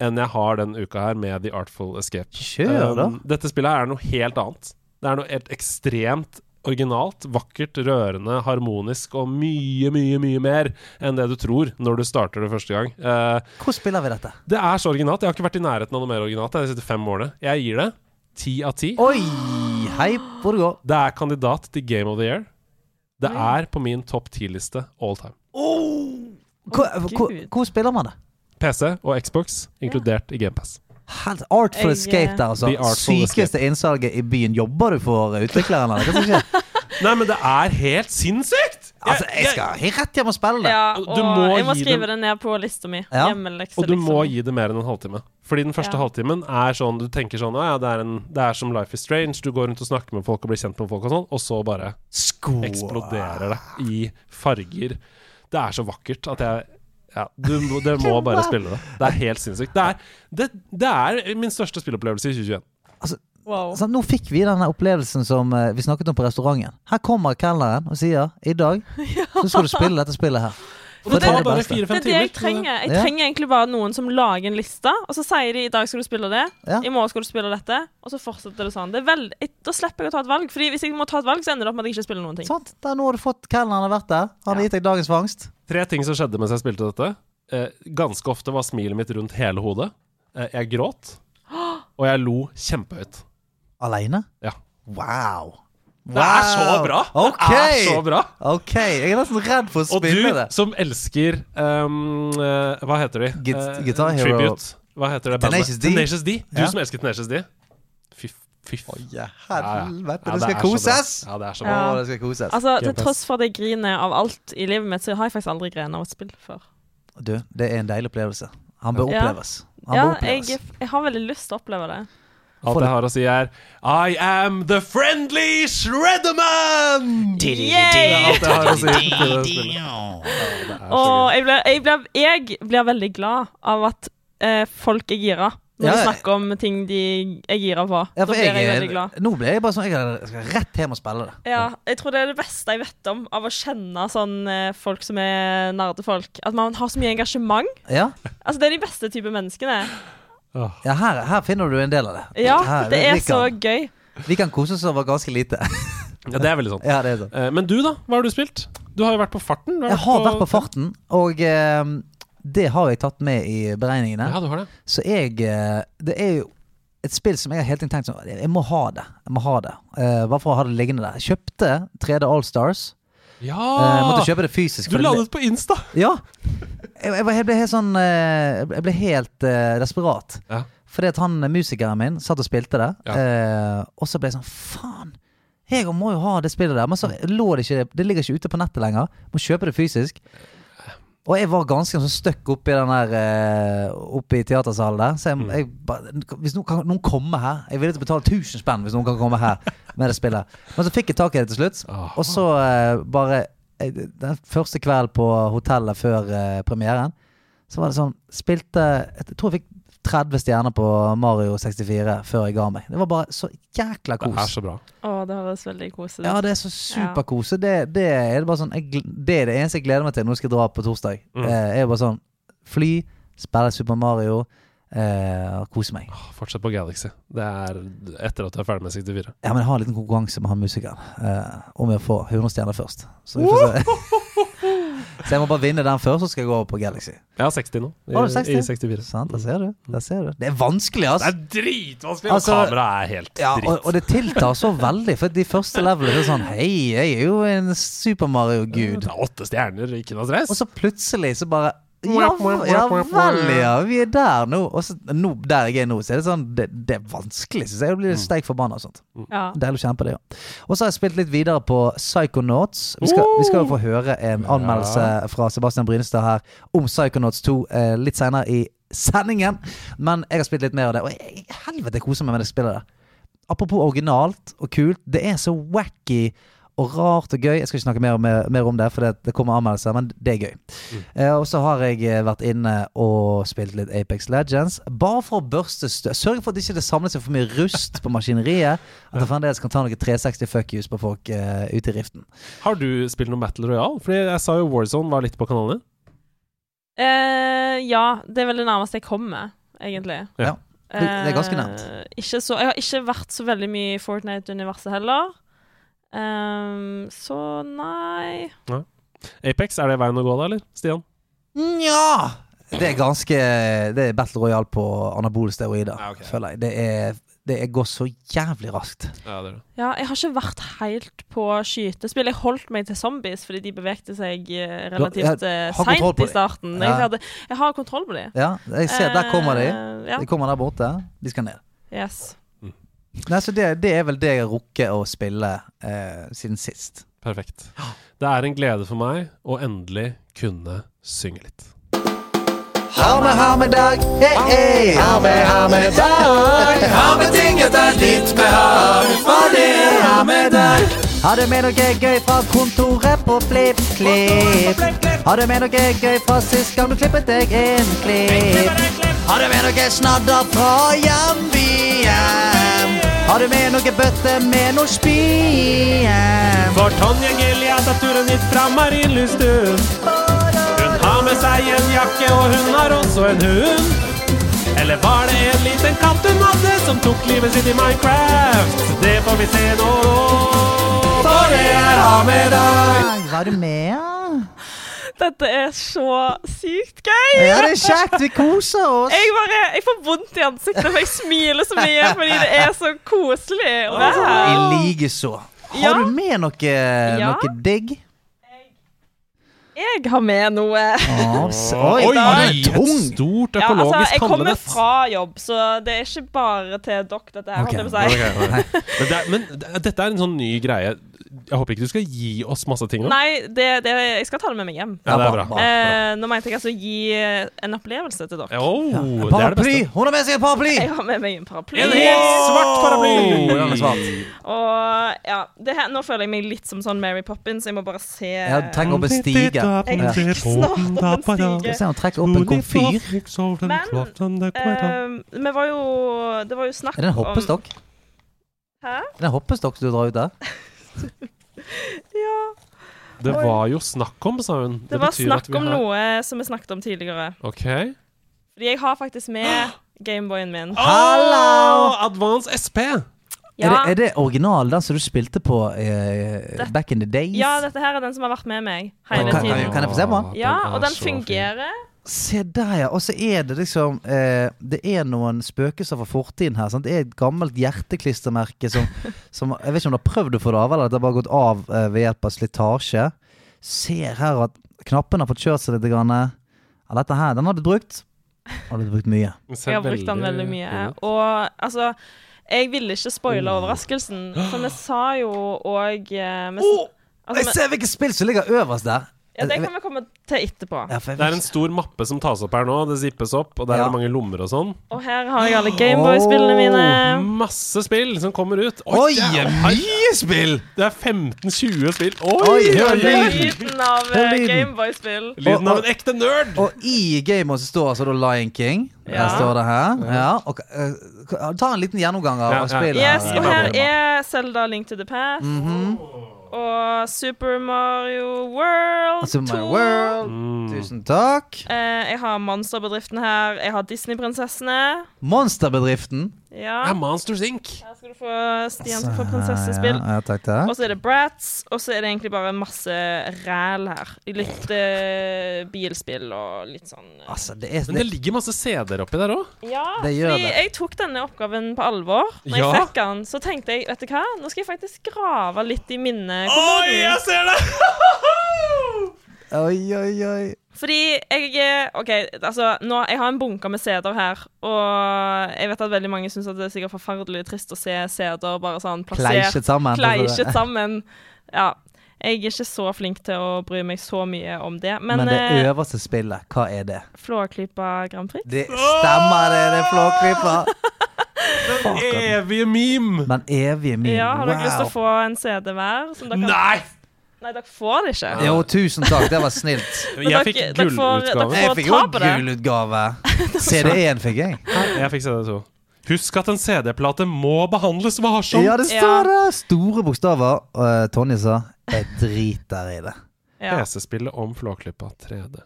[SPEAKER 1] enn jeg har den uka her med The Artful Escape.
[SPEAKER 2] Kjør, da.
[SPEAKER 1] Um, dette spillet her er noe helt annet. Det er noe helt ekstremt originalt, vakkert, rørende, harmonisk og mye, mye, mye mer enn det du tror når du starter det første gang. Eh,
[SPEAKER 2] Hvor spiller vi dette?
[SPEAKER 1] det er så originalt. Jeg har ikke vært i nærheten av noe mer originalt jeg, de siste fem årene. Jeg gir det ti av ti.
[SPEAKER 2] Oi! Hei, hvor det går.
[SPEAKER 1] Det er kandidat til Game of the Year. Det er på min topp ti-liste all time.
[SPEAKER 5] Oh!
[SPEAKER 2] Hvor, hvor, hvor spiller man det?
[SPEAKER 1] PC og Xbox, inkludert i GamePass.
[SPEAKER 2] Helt Artful
[SPEAKER 5] Jeg, eh,
[SPEAKER 2] Escape der, altså.
[SPEAKER 1] The Artful
[SPEAKER 2] Sykeste innsalget i byen. Jobber du for eh, utvikleren, eller? Hva som skjer?
[SPEAKER 1] Nei, men det er helt sinnssykt!
[SPEAKER 2] Altså, jeg skal helt rett hjem og spille det.
[SPEAKER 5] Ja,
[SPEAKER 1] Du
[SPEAKER 5] og
[SPEAKER 1] må
[SPEAKER 5] jeg må
[SPEAKER 1] gi
[SPEAKER 5] skrive
[SPEAKER 1] dem-
[SPEAKER 5] det ned på lista mi.
[SPEAKER 2] Ja.
[SPEAKER 5] Hjemmelekse,
[SPEAKER 1] Og du må
[SPEAKER 5] liksom.
[SPEAKER 1] gi det mer enn en halvtime. Fordi den første
[SPEAKER 5] Ja.
[SPEAKER 1] halvtimen er sånn Du tenker sånn Å ja, det er, en, det er som Life is Strange. Du går rundt og snakker med folk og blir kjent med folk og sånn, og så bare
[SPEAKER 2] Sko.
[SPEAKER 1] eksploderer det i farger. Det er så vakkert at jeg ja, du, må- Dere må bare spille det. Det er helt sinnssykt. Det er, det, det er min største spillopplevelse i 2021.
[SPEAKER 5] Wow.
[SPEAKER 2] Så nå fikk vi denne opplevelsen som eh, vi snakket om på restauranten. Her kommer kelneren og sier i dag så skal du spille dette spillet her.
[SPEAKER 1] Og det
[SPEAKER 2] det er
[SPEAKER 1] tar
[SPEAKER 2] det
[SPEAKER 1] bare
[SPEAKER 2] beste.
[SPEAKER 5] Det
[SPEAKER 1] fire-fem
[SPEAKER 5] er det jeg
[SPEAKER 1] timer.
[SPEAKER 5] trenger. Jeg
[SPEAKER 2] Ja.
[SPEAKER 5] trenger egentlig bare noen som lager en liste, og så sier de i dag skal du spille det,
[SPEAKER 2] Ja.
[SPEAKER 5] i morgen skal du spille dette, og så fortsetter det sånn. Det er veld... jeg- Da slipper jeg å ta et valg, Fordi hvis jeg må ta et valg, så ender det opp med at jeg ikke spiller noen ting.
[SPEAKER 2] Sant? Der, nå har du fått kelneren har vært der. Han har gitt deg dagens fangst.
[SPEAKER 1] Tre ting som skjedde mens jeg spilte dette. Eh, ganske ofte var smilet mitt rundt hele hodet. Eh, jeg gråt. Og jeg lo kjempehøyt.
[SPEAKER 2] Aleine?
[SPEAKER 1] Ja.
[SPEAKER 2] Wow.
[SPEAKER 1] Det er så bra!
[SPEAKER 2] Ok.
[SPEAKER 1] Det er så bra.
[SPEAKER 2] Ok, jeg er nesten redd for å
[SPEAKER 1] Og du
[SPEAKER 2] spille det.
[SPEAKER 1] som elsker um, eh, Hva heter de?
[SPEAKER 2] Git-
[SPEAKER 1] Eh,
[SPEAKER 2] Guitar Hero.
[SPEAKER 1] Tribute. Hva heter det bandet?
[SPEAKER 2] Tenacious D.
[SPEAKER 1] Tenacious D. Du
[SPEAKER 2] Ja.
[SPEAKER 1] som elsker Tenacious D. Fy, fy f- Ja,
[SPEAKER 2] Ja,
[SPEAKER 1] ja.
[SPEAKER 2] helvete,
[SPEAKER 1] Ja,
[SPEAKER 2] det skal
[SPEAKER 1] er så bra.
[SPEAKER 2] koses!
[SPEAKER 1] Ja, det er så
[SPEAKER 2] Å,
[SPEAKER 1] bra.
[SPEAKER 5] Ja.
[SPEAKER 2] det skal koses.
[SPEAKER 5] Altså,
[SPEAKER 1] Game
[SPEAKER 5] Til
[SPEAKER 1] Pass.
[SPEAKER 5] tross for at jeg griner av alt i livet mitt, så har jeg faktisk aldri grenet av et spill før.
[SPEAKER 2] Du, det er en deilig opplevelse. Han bør
[SPEAKER 5] Ja.
[SPEAKER 2] oppleves. Han
[SPEAKER 5] Ja,
[SPEAKER 2] bør oppleves.
[SPEAKER 5] jeg, jeg har veldig lyst til å oppleve det.
[SPEAKER 1] Alt jeg har å si, er I am the friendly Shredderman! Det er
[SPEAKER 5] Yay!
[SPEAKER 1] alt jeg har å si. til det spillet. Ja, det er så
[SPEAKER 5] Og
[SPEAKER 1] gøy.
[SPEAKER 5] jeg blir, jeg blir, jeg blir veldig glad av at eh, folk er gira. Når
[SPEAKER 2] Ja,
[SPEAKER 5] de
[SPEAKER 2] jeg-
[SPEAKER 5] snakker om ting de er gira på.
[SPEAKER 2] Ja,
[SPEAKER 5] da
[SPEAKER 2] for
[SPEAKER 5] blir jeg,
[SPEAKER 2] jeg,
[SPEAKER 5] veldig glad.
[SPEAKER 2] nå ble jeg bare sånn Jeg skal rett hjem og spille det.
[SPEAKER 5] Ja, jeg tror det er det beste jeg vet om av å kjenne sånn eh, folk som er nerdefolk. At man har så mye engasjement.
[SPEAKER 2] Ja,
[SPEAKER 5] Altså, det er de beste type menneskene.
[SPEAKER 2] ja her, her finner du en del av det.
[SPEAKER 5] Ja,
[SPEAKER 2] her,
[SPEAKER 5] det er
[SPEAKER 2] vi
[SPEAKER 5] så
[SPEAKER 2] kan,
[SPEAKER 5] gøy.
[SPEAKER 2] Vi kan kose oss over ganske lite.
[SPEAKER 1] Ja, det er veldig sånn.
[SPEAKER 2] ja, det er sånn.
[SPEAKER 1] Eh, Men du, da? Hva har du spilt? Du har jo vært på farten. Du
[SPEAKER 2] Jeg har vært på farten, og eh, det har jeg tatt med i beregningene.
[SPEAKER 1] Ja, du har det.
[SPEAKER 2] Så jeg eh, Det er jo et spill som jeg har hele tiden tenkt sånn Jeg må ha det. Jeg må ha det. Eh, bare for å ha det liggende der. Jeg kjøpte 3D Allstars.
[SPEAKER 1] Ja!
[SPEAKER 2] Uh, måtte kjøpe det fysisk.
[SPEAKER 1] Du
[SPEAKER 2] for det-
[SPEAKER 1] landet på Insta!
[SPEAKER 2] Ja. Jeg, jeg, var- jeg ble helt sånn eh, Jeg ble helt eh, desperat.
[SPEAKER 1] Ja.
[SPEAKER 2] Fordi at han eh, musikeren min satt og spilte det.
[SPEAKER 1] Ja.
[SPEAKER 2] eh, og så ble jeg sånn Faen! Jeg må jo ha det spillet der. Men så lå det ikke Det ligger ikke ute på nettet lenger. Må kjøpe det fysisk. Og jeg var ganske sånn støkk oppe i den der eh, Oppe i teatersalen der. Så jeg, jeg bare Hvis noen kan noen komme her Jeg er villig til å betale 1000 spenn hvis noen kan komme her med det spillet. Men så fikk jeg tak i det til slutt.
[SPEAKER 1] Ah.
[SPEAKER 2] Og så eh, bare eh, Den første kvelden på hotellet før eh, premieren, så var det sånn Spilte Jeg tror jeg fikk 30 stjerner på Mario 64 før jeg ga meg. Det var bare så jækla
[SPEAKER 1] Det er
[SPEAKER 2] kos.
[SPEAKER 1] så bra.
[SPEAKER 5] Å, det høres veldig koselig
[SPEAKER 2] Ja,
[SPEAKER 5] ut.
[SPEAKER 2] det er så superkose. Det, det er det bare sånn jeg, gl- Det er det eneste jeg gleder meg til når jeg skal dra på torsdag.
[SPEAKER 1] Mm.
[SPEAKER 2] Eh, er jo bare sånn Fly, spille Super Mario, eh, og kose meg.
[SPEAKER 1] Åh, Fortsett på Galaxy. Det er etter at du er ferdig med 64.
[SPEAKER 2] Ja, men jeg har en liten konkurranse med han musikeren eh, om å få 100 stjerner først. Så vi får se. så jeg må bare vinne den først, så skal jeg gå over på Galaxy.
[SPEAKER 1] Jeg har 60 nå. I,
[SPEAKER 2] Har du 60?
[SPEAKER 1] i 64.
[SPEAKER 2] Sant, der ser du. Der ser du. Det er vanskelig,
[SPEAKER 1] Det
[SPEAKER 2] altså.
[SPEAKER 1] er dritvanskelig!
[SPEAKER 2] Altså-
[SPEAKER 1] og kameraet er helt
[SPEAKER 2] Ja,
[SPEAKER 1] dritt.
[SPEAKER 2] og, og det tiltar så veldig, for de første levelene er sånn Hei, jeg er jo en Super Mario-gud.
[SPEAKER 1] Det er åtte stjerner, ikke noe stress.
[SPEAKER 2] Og så plutselig så bare ja, v- ja vel, ja. Vi er der nå. Og så nå, der jeg er nå, så er det sånn Det, det er vanskelig, syns jeg. Jeg blir steik forbanna og sånt.
[SPEAKER 5] Ja.
[SPEAKER 2] Deilig å kjenne på det, ja. Og så har jeg spilt litt videre på Psychonauts. Vi skal, vi skal jo få høre en anmeldelse fra Sebastian Brynestad her om Psychonauts 2 eh, litt senere i sendingen. Men jeg har spilt litt mer av det, og jeg, helvete jeg koser meg med det spillet der. Apropos originalt og kult, det er så wacky og rart og gøy. Jeg skal ikke snakke mer, om- mer, mer om det, for det, det kommer anmeldelser, men det er gøy. Eh, og så har jeg eh, vært inne og spilt litt Apex Legends. Bare for å børste støv. Sørge for at ikke det ikke samler seg for mye rust på maskineriet. At jeg fremdeles kan ta noen 360 fuck yous på folk eh, ute i riften.
[SPEAKER 1] Har du spilt noe Battle Royale? Fordi jeg sa jo Warzone var litt på kanalen din.
[SPEAKER 5] Eh, ja, det er vel det nærmeste jeg kommer, egentlig.
[SPEAKER 1] Ja.
[SPEAKER 2] Det- det er ganske
[SPEAKER 5] Eh,
[SPEAKER 2] nært.
[SPEAKER 5] ikke så, jeg har ikke vært så veldig mye i Fortnite-universet heller. Ehm, så nei
[SPEAKER 1] Apex, er det veien å gå da, eller? Stian?
[SPEAKER 2] Nja! Det er ganske Det er battle royal på anabole steroider, føler jeg. Det er det går så jævlig raskt.
[SPEAKER 1] Ja, det er det.
[SPEAKER 5] Ja, jeg har ikke vært helt på skytespill. Jeg holdt meg til zombies fordi de bevegte seg eh,
[SPEAKER 2] har-
[SPEAKER 5] relativt eh,
[SPEAKER 2] har kontroll
[SPEAKER 5] seint
[SPEAKER 2] på
[SPEAKER 5] i starten. Jeg,
[SPEAKER 2] Ja.
[SPEAKER 5] hadde, jeg har kontroll på de.
[SPEAKER 2] Ja, jeg ser, der kommer de.
[SPEAKER 5] Eh, ja.
[SPEAKER 2] De kommer der borte. De skal ned.
[SPEAKER 5] Yes.
[SPEAKER 2] Nei, så det, det er vel det jeg rukker å spille eh, siden sist.
[SPEAKER 1] Perfekt. Det er en glede for meg å endelig kunne synge litt.
[SPEAKER 2] Ha med, ha med dag, hei, hei! Ha med, ha med dag!
[SPEAKER 4] Ha med ting etter ditt behag. Hva det er med deg?
[SPEAKER 2] Ha det med noe gøy fra kontoret på Flipp Klipp. Ha det med noe gøy fra sist gang du klippet deg en klipp. Ha det med noe snadder fra hjembyen. Ha det med noe bøtte med noe spien.
[SPEAKER 1] For Tonje Gilje tar turen hit fra Marienlysten. Hun har med seg en jakke, og hun har også en hund. Eller var det en liten katt hun hadde, som tok livet sitt i Minecraft? Det får vi se nå. For det er ha med deg.
[SPEAKER 2] Hva er det med?
[SPEAKER 5] Dette er så sykt gøy!
[SPEAKER 2] Ja, det er kjekt. Vi koser oss.
[SPEAKER 5] Jeg, bare, jeg får vondt i ansiktet, for jeg smiler så mye fordi det er så koselig. å være
[SPEAKER 2] I
[SPEAKER 5] her.
[SPEAKER 2] likeså.
[SPEAKER 5] Ja.
[SPEAKER 2] Har du med noe, noe digg?
[SPEAKER 5] Jeg har med noe.
[SPEAKER 2] Å, s- Oi, var
[SPEAKER 1] et
[SPEAKER 2] du tung?
[SPEAKER 1] stort
[SPEAKER 5] Ja, altså, jeg
[SPEAKER 1] økologisk
[SPEAKER 5] kommer
[SPEAKER 1] handlenett.
[SPEAKER 5] fra jobb, så det er ikke bare til dere, dette her.
[SPEAKER 2] Ok.
[SPEAKER 5] holdt jeg på å si.
[SPEAKER 1] Men, det er, men det- dette er en sånn ny greie. Jeg håper ikke du skal gi oss masse ting nå.
[SPEAKER 5] Nei, det, det, jeg skal ta det med meg hjem.
[SPEAKER 1] Ja, det er bra.
[SPEAKER 2] Ja,
[SPEAKER 5] Eh, nå mente jeg altså gi eh, en opplevelse til dere.
[SPEAKER 1] Oh, det er det
[SPEAKER 2] Paraply!
[SPEAKER 1] beste.
[SPEAKER 2] Hun har med seg et paraply!
[SPEAKER 5] Jeg har med meg en paraply.
[SPEAKER 1] En helt svart
[SPEAKER 2] Åh, den er svart.
[SPEAKER 1] paraply!
[SPEAKER 5] Og ja, det her, Nå føler jeg meg litt som sånn Mary Poppins. Jeg må bare se
[SPEAKER 2] Jeg trenger opp en stige. Ja.
[SPEAKER 5] Jeg gikk snart opp
[SPEAKER 2] Skal
[SPEAKER 5] en
[SPEAKER 2] vi
[SPEAKER 5] stige.
[SPEAKER 2] se, hun trekker opp en komfyr.
[SPEAKER 5] Men, Eh, vi var jo Det var jo snakk
[SPEAKER 2] Er det en
[SPEAKER 5] om
[SPEAKER 2] hoppestokk?
[SPEAKER 5] Hæ?
[SPEAKER 2] Er det en hoppestokk du drar ut der?
[SPEAKER 5] Ja.
[SPEAKER 1] Det var jo snakk om, sa hun.
[SPEAKER 5] Det, var
[SPEAKER 1] betyr at
[SPEAKER 5] snakk
[SPEAKER 1] vi
[SPEAKER 5] om
[SPEAKER 1] har-
[SPEAKER 5] noe som vi snakket om tidligere.
[SPEAKER 1] Ok.
[SPEAKER 5] Fordi jeg har faktisk med
[SPEAKER 1] Ah!
[SPEAKER 5] Gameboyen min.
[SPEAKER 2] Hallo!
[SPEAKER 1] Åh, Advance SP!
[SPEAKER 2] Er,
[SPEAKER 5] Ja,
[SPEAKER 2] det, er det original, den som du spilte på eh,
[SPEAKER 5] Det-
[SPEAKER 2] back in the days?
[SPEAKER 5] ja, dette her er den som har vært med meg hele
[SPEAKER 2] Kan-
[SPEAKER 5] tiden.
[SPEAKER 2] kan jeg få se på den?
[SPEAKER 5] Ja, og
[SPEAKER 1] er
[SPEAKER 5] den
[SPEAKER 1] så fin.
[SPEAKER 5] fungerer.
[SPEAKER 2] Se der, ja. Og så er det liksom eh, Det er noen spøkelser fra fortiden her. Sant? Det er et gammelt hjerteklistremerke som, som Jeg vet ikke om du har prøvd å få det av, eller at det har bare gått av eh, ved hjelp av slitasje. Ser her at knappene har fått kjørt seg litt. Grann. Ja, dette her, den har du brukt. Har du brukt mye.
[SPEAKER 1] Den ser
[SPEAKER 5] Jeg har brukt den veldig mye.
[SPEAKER 1] fin ut.
[SPEAKER 5] Og altså Jeg ville ikke spoile
[SPEAKER 2] Oh.
[SPEAKER 5] overraskelsen, for vi sa jo òg
[SPEAKER 2] Åh,
[SPEAKER 5] altså,
[SPEAKER 2] Oh, jeg
[SPEAKER 5] vi-
[SPEAKER 2] ser hvilket spill som ligger øverst der!
[SPEAKER 5] Ja, det kan vi komme til etterpå.
[SPEAKER 2] Ja, for jeg
[SPEAKER 1] Det er
[SPEAKER 2] vet
[SPEAKER 1] en stor mappe som tas opp her nå. Det zippes opp, og der
[SPEAKER 2] Ja.
[SPEAKER 1] er det mange lommer og sånn.
[SPEAKER 5] Og her har jeg alle Gameboy-spillene
[SPEAKER 2] Oh.
[SPEAKER 5] mine.
[SPEAKER 1] Masse spill som kommer ut.
[SPEAKER 2] Oi,
[SPEAKER 1] det er-
[SPEAKER 2] mye spill!
[SPEAKER 1] Det er 15-20 spill. Oi,
[SPEAKER 2] Oi,
[SPEAKER 1] oi,
[SPEAKER 2] hør
[SPEAKER 1] oi.
[SPEAKER 2] lyden.
[SPEAKER 5] Lyden av
[SPEAKER 2] Det er
[SPEAKER 5] eh,
[SPEAKER 2] lyden.
[SPEAKER 5] Gameboy-spill.
[SPEAKER 1] Lyden av en ekte nerd!
[SPEAKER 2] Og i gamet så står altså da Lion King. Der
[SPEAKER 5] Ja.
[SPEAKER 2] står det her. Ja. Og, eh, ta en liten gjennomgang av
[SPEAKER 1] Ja,
[SPEAKER 2] av
[SPEAKER 1] ja.
[SPEAKER 2] spillet.
[SPEAKER 5] Yes, og her
[SPEAKER 2] Emma.
[SPEAKER 5] er Zelda Link to the Past.
[SPEAKER 2] Mhm.
[SPEAKER 5] Og Super Mario World
[SPEAKER 2] Altså,
[SPEAKER 5] 2.
[SPEAKER 2] my world.
[SPEAKER 1] Mm.
[SPEAKER 2] Tusen takk.
[SPEAKER 5] Eh, jeg har Monsterbedriften her. Jeg har Disney-prinsessene.
[SPEAKER 2] Monsterbedriften.
[SPEAKER 5] Ja.
[SPEAKER 1] Det er Monsters Inc.
[SPEAKER 5] Her skal du få Stian som får prinsessespill.
[SPEAKER 2] Ja, ja, takk, takk.
[SPEAKER 5] Og så er det Brats, og så er det egentlig bare masse ræl her. Litt eh, bilspill og litt sånn eh.
[SPEAKER 2] Altså, det er
[SPEAKER 1] Men det
[SPEAKER 2] det,
[SPEAKER 1] ligger masse CD-er oppi der òg.
[SPEAKER 5] Ja,
[SPEAKER 2] Det gjør
[SPEAKER 5] fordi
[SPEAKER 2] det.
[SPEAKER 5] jeg tok denne oppgaven på alvor. Når
[SPEAKER 1] Ja.
[SPEAKER 5] jeg fikk den, så tenkte jeg vet du hva, nå skal jeg faktisk grave litt i minnet. kommoden.
[SPEAKER 1] ser det!
[SPEAKER 2] Oi, oi, oi.
[SPEAKER 5] Fordi jeg er- OK, altså nå, Jeg har en bunke med CD-er her, og jeg vet at veldig mange syns det er sikkert forferdelig trist å se CD-er bare sånn plassert
[SPEAKER 2] Fleisjet sammen. altså.
[SPEAKER 5] Kleisjet sammen. Ja. Jeg er ikke så flink til å bry meg så mye om det, men,
[SPEAKER 2] Men det
[SPEAKER 5] eh,
[SPEAKER 2] øverste spillet, hva er det?
[SPEAKER 5] Flåklypa Grand Prix
[SPEAKER 2] Det stemmer, det. Det er Flåklypa.
[SPEAKER 1] Evige meme!
[SPEAKER 2] Den evige min.
[SPEAKER 5] Ja, Har dere lyst til å
[SPEAKER 2] Mm, Wow.
[SPEAKER 5] få en CD hver? Som dere kan...
[SPEAKER 1] Nei!
[SPEAKER 5] Nei, dere får det ikke.
[SPEAKER 2] Jo, tusen takk. Det var snilt.
[SPEAKER 5] Men
[SPEAKER 1] Jeg
[SPEAKER 5] dere-
[SPEAKER 1] fikk
[SPEAKER 5] dere får-
[SPEAKER 1] gullutgave.
[SPEAKER 5] dere
[SPEAKER 2] Jeg
[SPEAKER 5] å
[SPEAKER 2] fikk jo
[SPEAKER 5] ta
[SPEAKER 2] en
[SPEAKER 5] på det.
[SPEAKER 2] gul utgave. CD1 fikk jeg.
[SPEAKER 1] Jeg fikk CD2. Husk at en CD-plate må behandles
[SPEAKER 5] Sånn.
[SPEAKER 1] varsomt.
[SPEAKER 2] Ja, det står det! Store bokstaver. Og eh, Tonje sa 'jeg driter i det'.
[SPEAKER 5] Ja.
[SPEAKER 1] PC-spillet om Flåklypa 3D.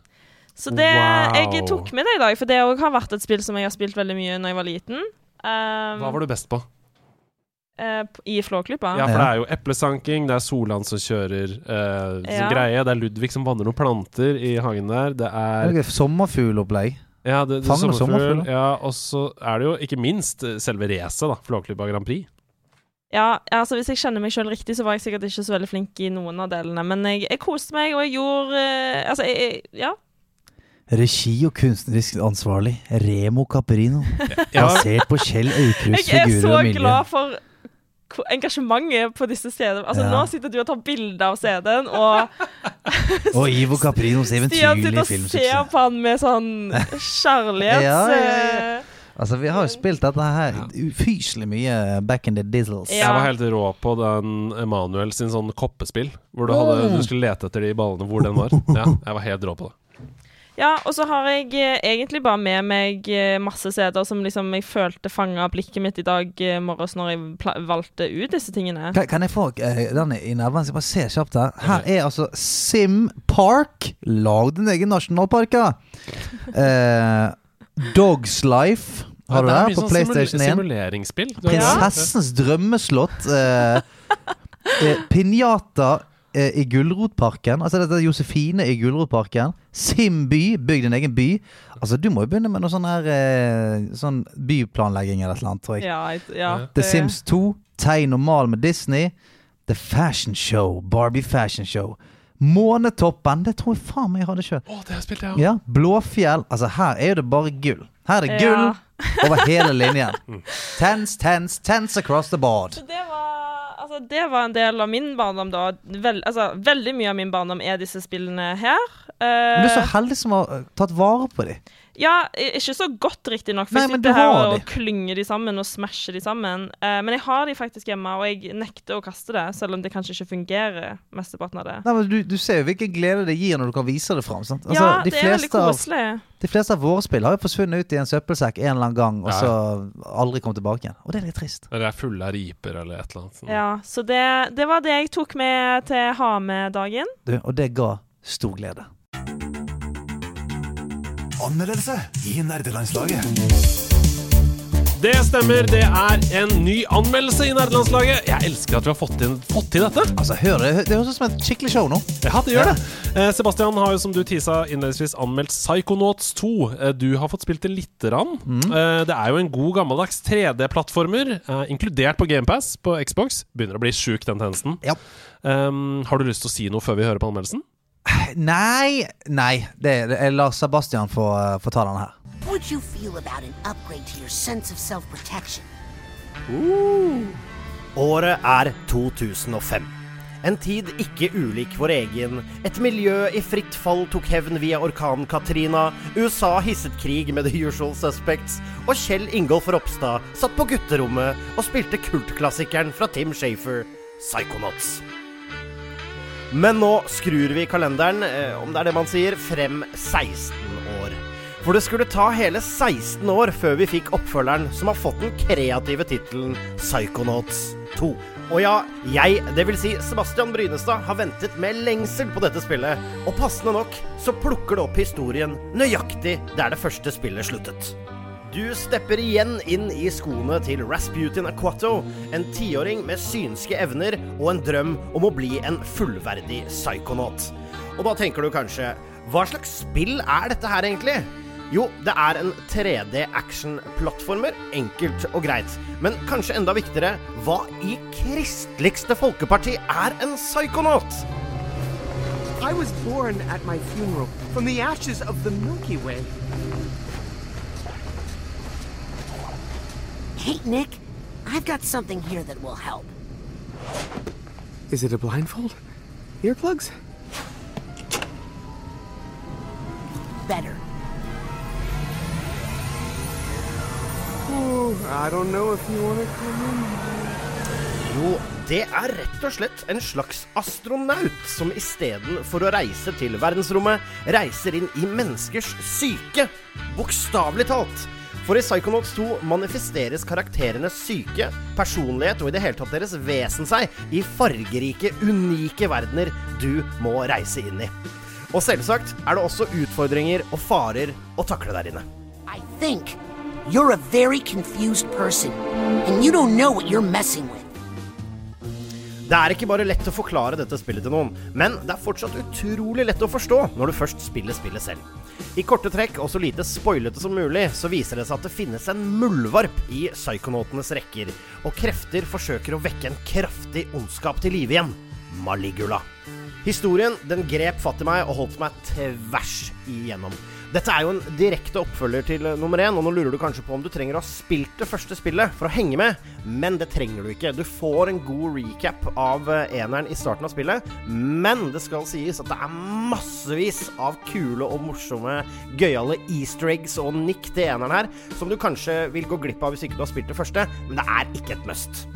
[SPEAKER 5] Så det jeg
[SPEAKER 1] Wow.
[SPEAKER 5] tok med det i dag, for det òg har vært et spill som jeg har spilt veldig mye når jeg var liten. Um, eh,
[SPEAKER 1] Hva var du best på?
[SPEAKER 5] I Flåklypa.
[SPEAKER 1] Ja, for det er jo eplesanking, det er Solan som kjører eh, sin
[SPEAKER 5] Ja.
[SPEAKER 1] greie, det er Ludvig som vanner noen planter i hagen der, det er
[SPEAKER 2] Noe sommerfuglopplegg.
[SPEAKER 1] Ja, det, det,
[SPEAKER 2] Fang og
[SPEAKER 1] sommerfugl.
[SPEAKER 2] sommerfugl, da.
[SPEAKER 1] Ja, og så er det jo ikke minst eh, selve racet, da. Flåklypa Grand Prix.
[SPEAKER 5] Ja, altså Hvis jeg kjenner meg sjøl riktig, så var jeg sikkert ikke så veldig flink i noen av delene. Men jeg, jeg koste meg, og jeg gjorde eh, Altså, jeg, jeg, ja.
[SPEAKER 2] Regi og kunstnerisk ansvarlig Remo Caprino.
[SPEAKER 1] Ja,
[SPEAKER 2] Basert på Kjell Aukrusts
[SPEAKER 5] Jeg er
[SPEAKER 2] figurer
[SPEAKER 5] så
[SPEAKER 2] og miljø.
[SPEAKER 5] glad for ko- engasjementet på disse stedene. Altså,
[SPEAKER 2] Ja.
[SPEAKER 5] Nå sitter du og tar bilde av CD-en, og
[SPEAKER 2] Og Ivo Caprinos
[SPEAKER 5] Stian sitter
[SPEAKER 2] eventyrlige
[SPEAKER 5] og ser
[SPEAKER 2] filmsuksess.
[SPEAKER 5] på han med sånn kjærlighet.
[SPEAKER 2] Ja, ja, ja.
[SPEAKER 5] eh,
[SPEAKER 2] Altså, vi har jo spilt dette her ufyselig mye back in the dizzles.
[SPEAKER 5] Ja.
[SPEAKER 1] Jeg var helt rå på den Emanuel sin sånn koppespill, hvor du, hadde, du skulle lete etter de ballene hvor den var. Ja, jeg var helt rå på det.
[SPEAKER 5] Ja, og så har jeg eh, egentlig bare med meg eh, masse CD-er som liksom jeg følte fanga blikket mitt i dag eh, morges når jeg pla valgte ut disse tingene.
[SPEAKER 2] Kan, kan jeg få eh, den i nerven? Så jeg bare se kjapt her. Her er altså Sim Park. Lag din egen nasjonalpark, da. Eh, Dogs Life har du
[SPEAKER 1] Det er
[SPEAKER 2] der
[SPEAKER 1] mye
[SPEAKER 2] på
[SPEAKER 1] sånn
[SPEAKER 2] PlayStation
[SPEAKER 1] simul-
[SPEAKER 2] 1.
[SPEAKER 1] Simuleringsspill. Du har-
[SPEAKER 2] Prinsessens drømmeslott. Eh, eh, Pinjata eh, i Gulrotparken. Altså dette er Josefine i Gulrotparken. Sim by. Bygg din egen by. Altså Du må jo begynne med noe sånn her eh, Sånn byplanlegging eller et eller annet, tror jeg.
[SPEAKER 5] Ja, jeg- ja,
[SPEAKER 2] The
[SPEAKER 5] det-
[SPEAKER 2] Sims 2, Tegn og mal med Disney, The Fashion Show, Barbie Fashion Show, Månetoppen, det tror jeg faen meg jeg hadde sjøl.
[SPEAKER 1] Å, det har jeg spilt, ja.
[SPEAKER 2] Ja, Blåfjell. Altså, her er det bare gull. Her er det gull
[SPEAKER 5] Ja. Mm.
[SPEAKER 2] over hele linjen. Tens, tens, tens across the board.
[SPEAKER 5] Så det var, altså, det var en del av min barndom, da. Vel, altså, veldig mye av min barndom er disse spillene her. Eh,
[SPEAKER 2] Men du er så heldig som har eh, tatt vare på dem.
[SPEAKER 5] Ja, i- ikke så godt, riktignok. For
[SPEAKER 2] Nei,
[SPEAKER 5] jeg
[SPEAKER 2] men du
[SPEAKER 5] sitter her
[SPEAKER 2] har
[SPEAKER 5] og
[SPEAKER 2] de.
[SPEAKER 5] klynger de sammen og smasher de sammen. Eh, men jeg har de faktisk hjemme, og jeg nekter å kaste det, selv om det kanskje ikke fungerer mesteparten av det.
[SPEAKER 2] Nei, men du, du ser jo hvilken glede det gir når du kan vise det fram. Sant? Altså,
[SPEAKER 5] ja,
[SPEAKER 2] de,
[SPEAKER 5] det er veldig
[SPEAKER 2] fleste av,
[SPEAKER 5] koselig.
[SPEAKER 2] de fleste av våre spill har jo forsvunnet ut i en søppelsekk en eller annen gang, og
[SPEAKER 1] Ja.
[SPEAKER 2] så aldri kommet tilbake igjen. Og det er litt trist.
[SPEAKER 1] Eller er fulle av riper eller et eller annet. sånt.
[SPEAKER 5] Ja, så det, det var det jeg tok med til ha med-dagen.
[SPEAKER 2] Du, og det ga stor glede.
[SPEAKER 4] Anmeldelse i nerdelandslaget.
[SPEAKER 1] Det stemmer, det er en ny anmeldelse i nerdelandslaget. Jeg elsker at vi har fått, inn, fått til dette.
[SPEAKER 2] Altså, hør det. Det høres ut som et skikkelig show nå.
[SPEAKER 1] Ja, det gjør det. Eh, Sebastian har jo, som du tisa innledningsvis, anmeldt Psychonauts 2. Eh, Du har fått spilt det lite grann. Eh, Det er jo en god gammeldags 3D-plattformer, eh, inkludert på GamePass på Xbox. Begynner å bli sjuk, den tjenesten.
[SPEAKER 2] Ja.
[SPEAKER 1] Um, har du lyst til å si noe før vi hører på anmeldelsen?
[SPEAKER 2] Nei, nei. Det, det, jeg lar Sebastian få, få ta den her.
[SPEAKER 6] would you feel about an upgrade to your sense of self protection?
[SPEAKER 7] Året er 2005. En tid ikke ulik vår egen. Et miljø i fritt fall tok hevn via orkanen Katrina. USA hisset krig med The Usual Suspects. Og Kjell Ingolf Ropstad satt på gutterommet og spilte kultklassikeren fra Tim Shafer, Psychonauts. Men nå skrur vi kalenderen, eh, om det er det man sier, frem 16 år. For det skulle ta hele 16 år før vi fikk oppfølgeren som har fått den kreative tittelen Psychonauts 2. Og ja, jeg, dvs. Si Sebastian Brynestad, har ventet med lengsel på dette spillet. Og passende nok så plukker det opp historien nøyaktig der det første spillet sluttet. Du stepper igjen inn i skoene til Rasputin Aquato, en tiåring med synske evner og en drøm om å bli en fullverdig psykonaut. Og da tenker du kanskje, hva slags spill er dette her egentlig? Jo, det er en 3D action-plattformer, enkelt og greit. Men kanskje enda viktigere, hva i kristeligste folkeparti er en psykonaut?
[SPEAKER 8] I was born at my funeral from the ashes of the Milky Way.
[SPEAKER 6] Hey, Nick, I've got something here that will help.
[SPEAKER 8] Is it a blindfold? Earplugs?
[SPEAKER 6] Better.
[SPEAKER 8] Oh, I don't know if you want to come in.
[SPEAKER 7] Jo, det er rett og slett en slags astronaut som istedenfor å reise til verdensrommet, reiser inn i menneskers syke. Bokstavelig talt. For i Psychonauts 2 manifesteres karakterenes syke, personlighet og i det hele tatt deres vesen seg i fargerike, unike verdener du må reise inn i. Og selvsagt er det også utfordringer og farer å takle der inne.
[SPEAKER 6] I think you're a very confused person, and you don't know what you're messing with.
[SPEAKER 7] Det er ikke bare lett å forklare dette spillet til noen, men det er fortsatt utrolig lett å forstå når du først spiller spillet selv. I korte trekk og så lite spoilete som mulig, så viser det seg at det finnes en muldvarp i psykonautenes rekker, og krefter forsøker å vekke en kraftig ondskap til live igjen Maligula. Historien den grep fatt i meg og holdt meg tvers igjennom. Dette er jo en direkte oppfølger til eh, nummer én, og nå lurer du kanskje på om du trenger å ha spilt det første spillet for å henge med, men det trenger du ikke. Du får en god recap av eh, eneren i starten av spillet, men det skal sies at det er massevis av kule og morsomme, gøyale easter eggs og nikk til eneren her, som du kanskje vil gå glipp av hvis ikke du har spilt det første, men det er ikke et must.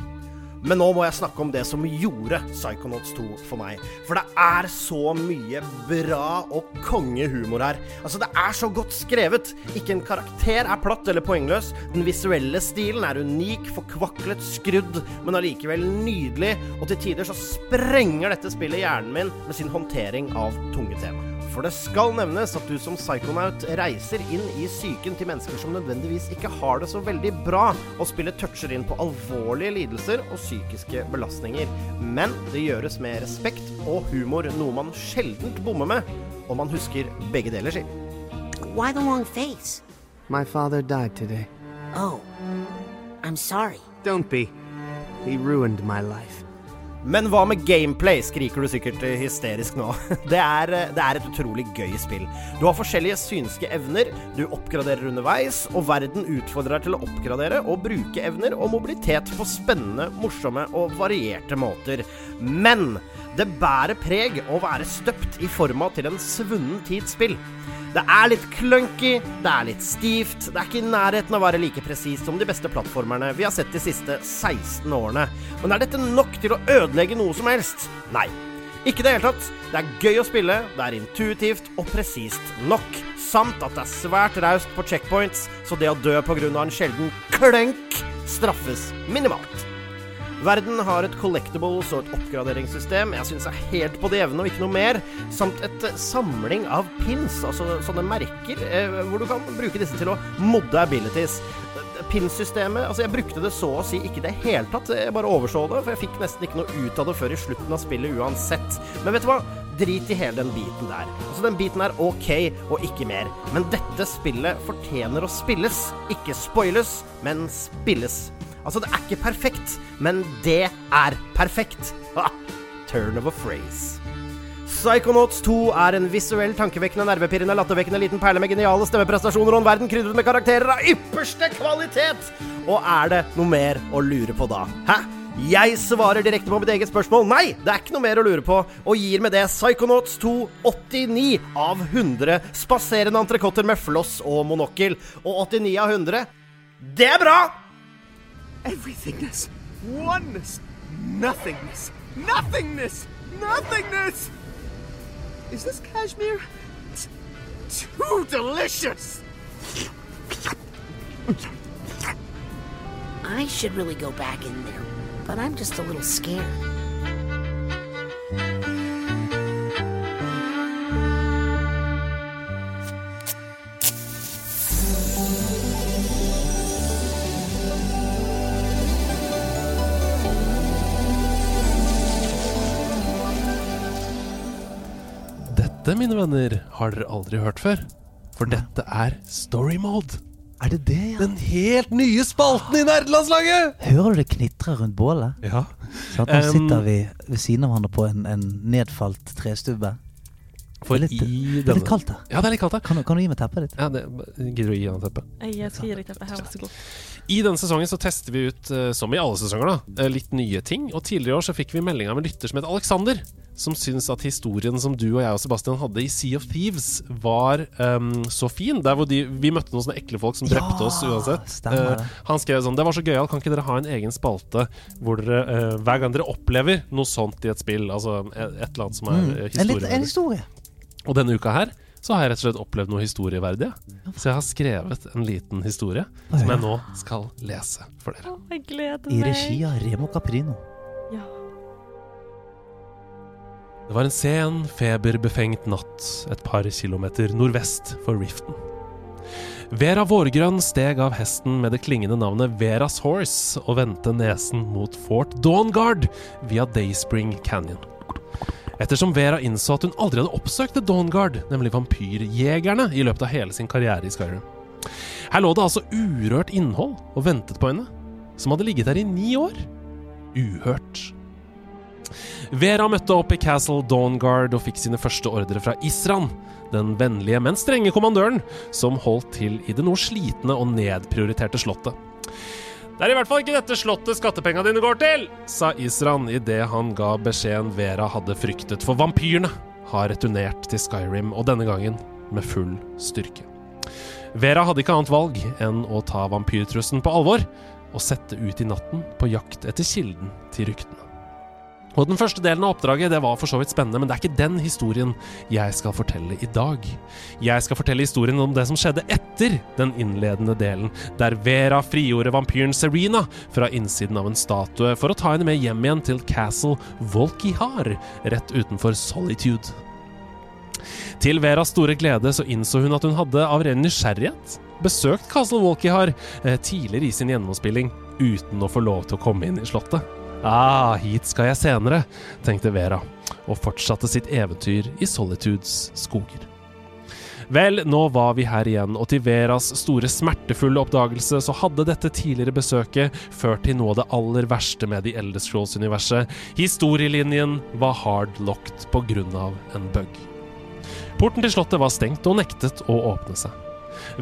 [SPEAKER 7] Men nå må jeg snakke om det som gjorde Psychonauts 2 for meg. For det er så mye bra og kongehumor her. Altså, det er så godt skrevet. Ikke en karakter er platt eller poengløs. Den visuelle stilen er unik, forkvaklet, skrudd, men allikevel nydelig. Og til tider så sprenger dette spillet hjernen min med sin håndtering av tunge tema. For det skal nevnes at du som psykonaut reiser inn i psyken til mennesker som nødvendigvis ikke har det så veldig bra, og spillet toucher inn på alvorlige lidelser og psykiske belastninger. Men det gjøres med respekt og humor, noe man sjeldent bommer med. Og man husker begge deler, si.
[SPEAKER 6] Why the long face?
[SPEAKER 8] My father died today.
[SPEAKER 6] Oh, I'm sorry.
[SPEAKER 8] Don't be. He ruined my life.
[SPEAKER 7] Men hva med gameplay, skriker du sikkert eh, hysterisk nå. Det er, eh, det er et utrolig gøy spill. Du har forskjellige synske evner, du oppgraderer underveis, og verden utfordrer deg til å oppgradere og bruke evner og mobilitet på spennende, morsomme og varierte måter. Men det bærer preg å være støpt i forma til en svunnen tids spill. Det er litt clunky, det er litt stivt, det er ikke i nærheten av å være like presis som de beste plattformerne vi har sett de siste 16 årene. Men er dette nok til å ødelegge noe som helst? Nei. Ikke i det hele tatt. Det er gøy å spille, det er intuitivt og presist nok. Samt at det er svært raust på checkpoints, så det å dø pga. en sjelden klønk straffes minimalt. Verden har et collectibles og et oppgraderingssystem jeg syns er helt på det jevne og ikke noe mer, samt et eh, samling av pins, altså sånne merker, eh, hvor du kan bruke disse til å modde abilities. Eh, Pinsystemet Altså, jeg brukte det så å si ikke i det hele tatt, jeg bare overså det, for jeg fikk nesten ikke noe ut av det før i slutten av spillet uansett. Men vet du hva? Drit i hele den biten der. Altså, den biten er OK og ikke mer. Men dette spillet fortjener å spilles. Ikke spoiles, men spilles. Altså, det er ikke perfekt, men det er perfekt. Ha! Turn of a phrase. Psychonauts 2 er en visuell, tankevekkende, nervepirrende, lattervekkende liten perle med geniale stemmeprestasjoner og en verden krydret med karakterer av ypperste kvalitet! Og er det noe mer å lure på da? Hæ? Jeg svarer direkte på mitt eget spørsmål. Nei, det er ikke noe mer å lure på, og gir med det Psychonauts 2 89 av 100 spaserende entrecôter med floss og monokkel. Og 89 av 100 Det er bra!
[SPEAKER 8] Everythingness. Oneness. Nothingness. Nothingness. Nothingness! Is this cashmere? It's too delicious!
[SPEAKER 6] I should really go back in there, but I'm just a little scared.
[SPEAKER 1] Dette, mine venner, har dere aldri hørt før. For dette er story mode.
[SPEAKER 2] Er det det, ja?
[SPEAKER 1] Den helt nye spalten i nerdelandslaget!
[SPEAKER 2] Hører du det knitrer rundt bålet?
[SPEAKER 1] Ja.
[SPEAKER 2] Sånn at nå
[SPEAKER 1] Um,
[SPEAKER 2] sitter vi ved siden av hverandre på en, en nedfalt trestubbe.
[SPEAKER 1] For
[SPEAKER 2] Det er litt-
[SPEAKER 1] i
[SPEAKER 2] Det er
[SPEAKER 1] denne
[SPEAKER 2] litt kaldt her.
[SPEAKER 1] Ja, det er litt kaldt, ja.
[SPEAKER 2] Kan, du- kan du gi meg teppet ditt?
[SPEAKER 1] Ja, det gidder du å gi han teppet.
[SPEAKER 5] Jeg skal gi deg teppet her, vær så god.
[SPEAKER 1] I denne sesongen så tester vi ut, eh, som i alle sesonger, da, eh, litt nye ting. Og tidligere i år så fikk vi melding av en lytter som het Alexander, som syns at historien som du og jeg og Sebastian hadde i Sea of Thieves, var ehm, så fin. Der hvor de, vi møtte noen sånne ekle folk som
[SPEAKER 2] Ja,
[SPEAKER 1] drepte oss uansett.
[SPEAKER 2] stemmer det.
[SPEAKER 1] Eh, han skrev sånn Det var så gøyalt, kan ikke dere ha en egen spalte hvor dere eh, hver gang dere opplever noe sånt i et spill, altså et, et eller annet som er mm.
[SPEAKER 2] En, litt, en historie.
[SPEAKER 1] Og denne uka her så har jeg rett og slett opplevd noe historieverdig. jeg. Så jeg har skrevet en liten historie som jeg nå skal lese for dere.
[SPEAKER 5] Å, jeg gleder
[SPEAKER 2] I
[SPEAKER 5] meg.
[SPEAKER 2] regi av Remo Caprino.
[SPEAKER 5] Ja.
[SPEAKER 1] Det var en sen, feberbefengt natt et par kilometer nordvest for Riften. Vera Vårgrønn steg av hesten med det klingende navnet Veras Horse og vendte nesen mot Fort Dawnguard via Dayspring Canyon. Ettersom Vera innså at hun aldri hadde oppsøkt The Dawnguard, nemlig vampyrjegerne, i løpet av hele sin karriere i Skyrim. Her lå det altså urørt innhold og ventet på henne, som hadde ligget der i ni år. Uhørt. Vera møtte opp i Castle Dawnguard og fikk sine første ordre fra Isran, den vennlige, men strenge kommandøren, som holdt til i det noe slitne og nedprioriterte slottet. Det er i hvert fall ikke dette slottet skattepenga dine går til, sa Isran idet han ga beskjeden Vera hadde fryktet, for vampyrene har returnert til Skyrim, og denne gangen med full styrke. Vera hadde ikke annet valg enn å ta vampyrtrusselen på alvor og sette ut i natten på jakt etter kilden til ryktene. Og Den første delen av oppdraget det var for så vidt spennende, men det er ikke den historien jeg skal fortelle i dag. Jeg skal fortelle historien om det som skjedde etter den innledende delen, der Vera frigjorde vampyren Serena fra innsiden av en statue for å ta henne med hjem igjen til Castle Volkihar, rett utenfor Solitude. Til Veras store glede så innså hun at hun hadde av ren nysgjerrighet besøkt Castle Walkihar eh, tidligere i sin gjennomspilling uten å få lov til å komme inn i slottet. Ah, hit skal jeg senere, tenkte Vera, og fortsatte sitt eventyr i Solitudes skoger. Vel, nå var vi her igjen, og til Veras store smertefulle oppdagelse så hadde dette tidligere besøket ført til noe av det aller verste med The Elder Scrolls-universet. Historielinjen var hardlocked på grunn av en bug. Porten til slottet var stengt og nektet å åpne seg.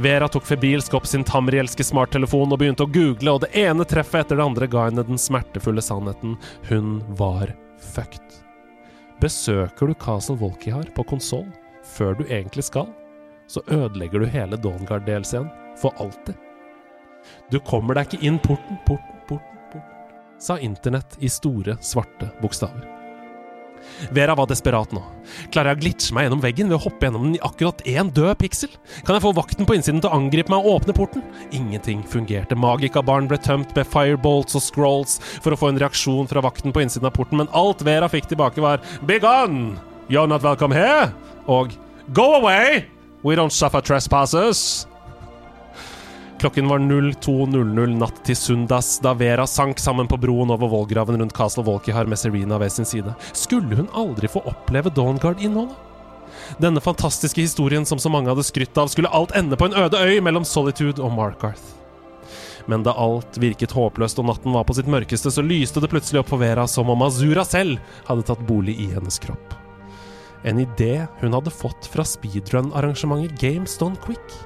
[SPEAKER 1] Vera tok febrilsk opp sin tamrielske smarttelefon og begynte å google, og det ene treffet etter det andre ga henne den smertefulle sannheten. Hun var fucked. Besøker du Castle Volkihar på konsoll før du egentlig skal, så ødelegger du hele Dawnguard-delscenen for alltid. Du kommer deg ikke inn porten, porten, porten, porten, sa internett i store, svarte bokstaver. Vera var desperat nå. Klarer jeg å glitche meg gjennom veggen ved å hoppe gjennom den i akkurat én død piksel? Kan jeg få vakten på innsiden til å angripe meg og åpne porten? Ingenting fungerte. Magikabaren ble tømt med firebolts og scrolls for å få en reaksjon fra vakten på innsiden av porten, men alt Vera fikk tilbake, var Be gone! You're not welcome here! Og Go away! We don't suffer trespasses! Klokken var 02.00 natt til Sundas da Vera sank sammen på broen over vollgraven rundt Castle Volkihar med Serena ved sin side. Skulle hun aldri få oppleve Dawnguard-innholdet? Denne fantastiske historien som så mange hadde skrytt av, skulle alt ende på en øde øy mellom Solitude og Markarth. Men da alt virket håpløst og natten var på sitt mørkeste, så lyste det plutselig opp for Vera som om Azura selv hadde tatt bolig i hennes kropp. En idé hun hadde fått fra speedrun-arrangementet Games Done Quick.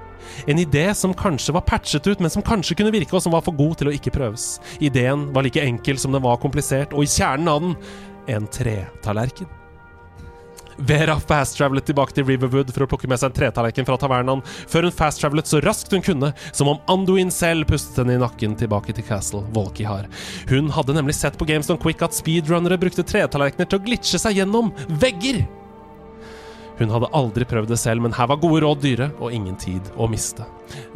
[SPEAKER 1] En idé som kanskje var patchet ut, men som kanskje kunne virke, og som var for god til å ikke prøves. Ideen var like enkel som den var komplisert, og i kjernen av den en tretallerken. Vera fast-travelet tilbake til Riverwood for å plukke med seg en tretallerken fra tavernaen, før hun fast-travelet så raskt hun kunne, som om Anduin selv pustet henne i nakken tilbake til Castle Volkihar. Hun hadde nemlig sett på GameStone Quick at speedrunnere brukte tretallerkener til å glitche seg gjennom vegger! Hun hadde aldri prøvd det selv, men her var gode råd dyre og ingen tid å miste.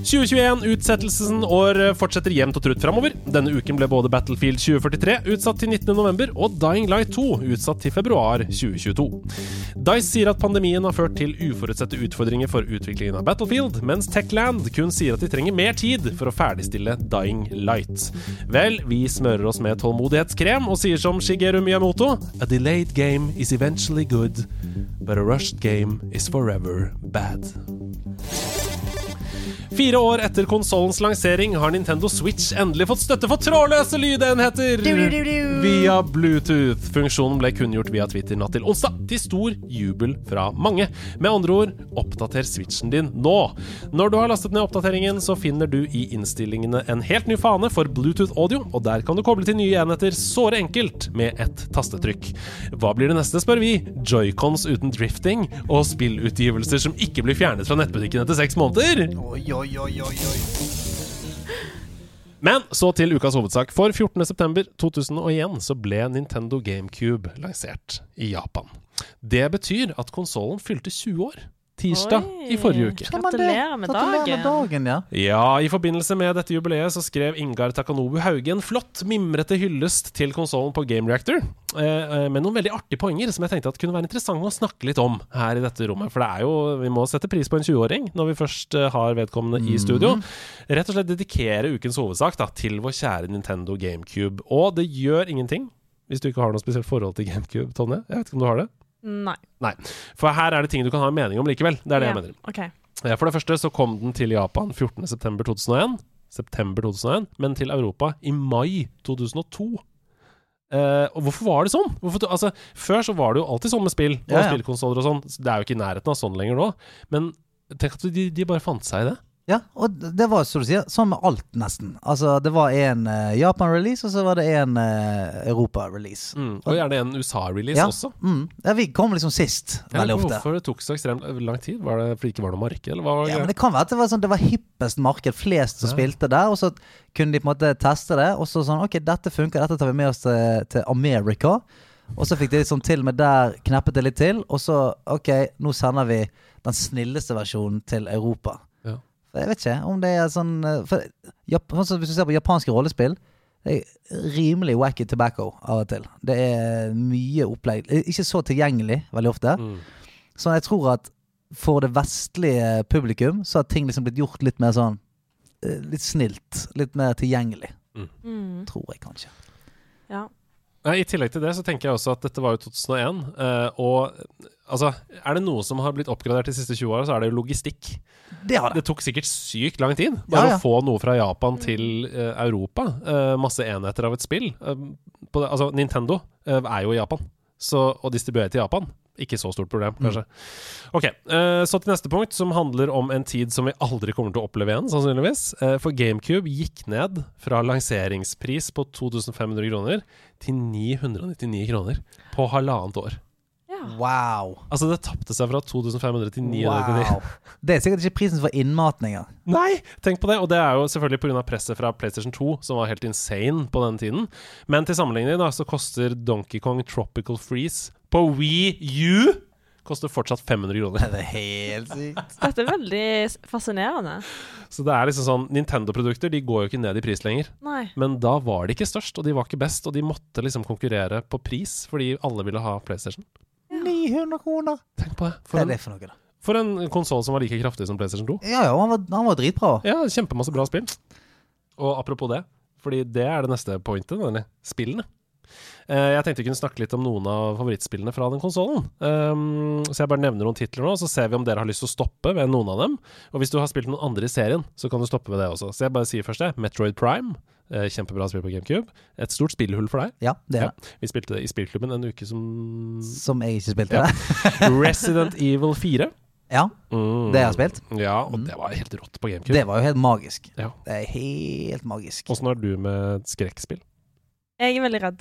[SPEAKER 1] 2021, utsettelsen år eh, fortsetter jevnt og trutt framover. Denne uken ble både Battlefield 2043 utsatt til 19. november og Dying Light 2 utsatt til februar 2022. Dice sier at pandemien har ført til uforutsette utfordringer for utviklingen av Battlefield, mens Techland kun sier at de trenger mer tid for å ferdigstille Dying Light. Vel, vi smører oss med tålmodighetskrem og sier som Shigeru Miyamoto A delayed game is eventually good, but a rushed game is forever bad. Fire år etter konsollens lansering har Nintendo Switch endelig fått støtte for trådløse lydenheter via Bluetooth. Funksjonen ble kunngjort via Twitter natt til onsdag, til stor jubel fra mange. Med andre ord, oppdater Switchen din nå. Når du har lastet ned oppdateringen, så finner du i innstillingene en helt ny fane for Bluetooth audio, og der kan du koble til nye enheter såre enkelt med ett tastetrykk. Hva blir det neste, spør vi. Joycons uten drifting og spillutgivelser som ikke blir fjernet fra nettbutikken etter seks måneder. Men så til ukas hovedsak. For 14.9.2001 så ble Nintendo GameCube lansert i Japan. Det betyr at konsollen fylte 20 år tirsdag
[SPEAKER 5] Oi.
[SPEAKER 1] i forrige uke.
[SPEAKER 2] Kan man det?
[SPEAKER 5] Gratulerer med
[SPEAKER 2] Gratulerer med
[SPEAKER 5] dagen.
[SPEAKER 2] dagen ja.
[SPEAKER 1] Ja, i forbindelse med dette jubileet så skrev Ingar Takanobu Hauge en flott, mimrete hyllest til konsollen på Game Reactor, eh, eh, med noen veldig artige poenger som jeg tenkte at kunne være interessante å snakke litt om her i dette rommet. For det er jo, vi må sette pris på en 20-åring når vi først eh, har vedkommende i studio.
[SPEAKER 2] Mm.
[SPEAKER 1] Rett og slett dedikere ukens hovedsak da, til vår kjære Nintendo GameCube. Og det gjør ingenting hvis du ikke har noe spesielt forhold til GameCube, Tonje. Jeg vet ikke om du har det?
[SPEAKER 5] Nei.
[SPEAKER 1] Nei. For her er det ting du kan ha en mening om likevel. Det er det
[SPEAKER 5] Ja,
[SPEAKER 1] jeg mener.
[SPEAKER 5] ok.
[SPEAKER 1] Eh, For det første så kom den til Japan 14.9.2001, september 2001, men til Europa i mai 2002. Eh, og hvorfor var det sånn? Hvorfor, altså, før så var det jo alltid sånn med spill og
[SPEAKER 2] Ja, ja.
[SPEAKER 1] spillkonsoller og sånn. Så Det er jo ikke i nærheten av sånn lenger nå. Men tenk at de, de bare fant seg i det.
[SPEAKER 2] Ja, og det var som du sier, sånn med alt, nesten. Altså, det var en eh, Japan-release, og så var det en eh, Europa-release.
[SPEAKER 1] Mm. Og gjerne en USA-release
[SPEAKER 2] Ja.
[SPEAKER 1] også.
[SPEAKER 2] Mm. ja, vi kom liksom sist,
[SPEAKER 1] Jeg
[SPEAKER 2] veldig
[SPEAKER 1] lurer på
[SPEAKER 2] ofte.
[SPEAKER 1] Hvorfor det tok så ekstremt lang tid? Var det fordi det ikke var noe marked? Eller hva var
[SPEAKER 2] Ja,
[SPEAKER 1] greia?
[SPEAKER 2] men det kan være at det var sånn Det var hippest marked, flest som spilte der, og så kunne de på en måte teste det, og så sånn OK, dette funker, dette tar vi med oss til, til America. Og så fikk de liksom til med der, kneppet det litt til, og så OK, nå sender vi den snilleste versjonen til Europa.
[SPEAKER 1] Ja.
[SPEAKER 2] For Jeg vet ikke om det er sånn eh, for, Jap- sånn som Hvis du ser på japanske rollespill, det er rimelig wacky tobacco av og til. Det er mye opplegg. Ikke så tilgjengelig veldig ofte.
[SPEAKER 1] Mm.
[SPEAKER 2] Så jeg tror at for det vestlige publikum så har ting liksom blitt gjort litt mer sånn eh, Litt snilt. Litt mer tilgjengelig.
[SPEAKER 5] Mm.
[SPEAKER 2] Tror jeg kanskje.
[SPEAKER 5] Ja.
[SPEAKER 1] Nei, I tillegg til det så tenker jeg også at dette var jo 2001. eh, og altså, er det noe som har blitt oppgradert de siste 20 åra, så er det jo logistikk.
[SPEAKER 2] Det har det.
[SPEAKER 1] Det tok sikkert sykt lang tid bare
[SPEAKER 2] Ja, ja.
[SPEAKER 1] å få noe fra Japan til eh, Europa. Eh, masse enheter av et spill. Eh, på det, altså, Nintendo eh, er jo i Japan, så å distribuere til Japan Ikke så stort problem, kanskje.
[SPEAKER 2] Mm.
[SPEAKER 1] Ok, eh, Så til neste punkt, som handler om en tid som vi aldri kommer til å oppleve igjen, sannsynligvis. Eh, For GameCube gikk ned fra lanseringspris på 2500 kroner til 999 kroner på halvannet år.
[SPEAKER 5] Ja.
[SPEAKER 2] Wow.
[SPEAKER 1] Altså, det tapte seg fra 2500 til 999.
[SPEAKER 2] wow. Det er sikkert ikke prisen for innmatninger.
[SPEAKER 1] Nei, tenk på det. Og det er jo selvfølgelig pga. presset fra PlayStation 2, som var helt insane på den tiden. Men til sammenligning da, så koster Donkey Kong Tropical Freeze på Wii U koster fortsatt 500 kroner.
[SPEAKER 2] Det er helt sykt.
[SPEAKER 5] Dette er veldig s- fascinerende.
[SPEAKER 1] Så det er liksom sånn Nintendo-produkter de går jo ikke ned i pris lenger.
[SPEAKER 5] Nei.
[SPEAKER 1] Men da var de ikke størst, og de var ikke best, og de måtte liksom konkurrere på pris fordi alle ville ha PlayStation.
[SPEAKER 2] 900 kroner.
[SPEAKER 1] Tenk på det.
[SPEAKER 2] Hva
[SPEAKER 1] For
[SPEAKER 2] er
[SPEAKER 1] en,
[SPEAKER 2] det for noe, da?
[SPEAKER 1] for en konsoll som var like kraftig som PlayStation 2.
[SPEAKER 2] Ja ja, han var, han var dritbra.
[SPEAKER 1] Ja, kjempemasse bra spill. Og apropos det, fordi det er det neste pointet, nemlig spillene. Eh, Jeg tenkte vi kunne snakke litt om noen av favorittspillene fra den konsollen. Um, så jeg bare nevner noen titler nå, så ser vi om dere har lyst til å stoppe ved noen av dem. Og hvis du har spilt noen andre i serien, så kan du stoppe ved det også. Så jeg bare sier først det. Metroid Prime. eh, Kjempebra spill på GameCube. Et stort spillhull for deg.
[SPEAKER 2] Ja, det er det.
[SPEAKER 1] Vi spilte det i spillklubben en uke som
[SPEAKER 2] Som jeg ikke spilte.
[SPEAKER 1] Ja.
[SPEAKER 2] det.
[SPEAKER 1] Resident Evil 4.
[SPEAKER 2] Ja,
[SPEAKER 1] Mm.
[SPEAKER 2] det jeg har spilt.
[SPEAKER 1] Ja, og Mm. det var helt rått på GameCube.
[SPEAKER 2] Det var jo helt magisk.
[SPEAKER 1] Mm. Ja.
[SPEAKER 2] Det er helt magisk.
[SPEAKER 1] Åssen er du med skrekkspill?
[SPEAKER 5] Jeg er veldig redd.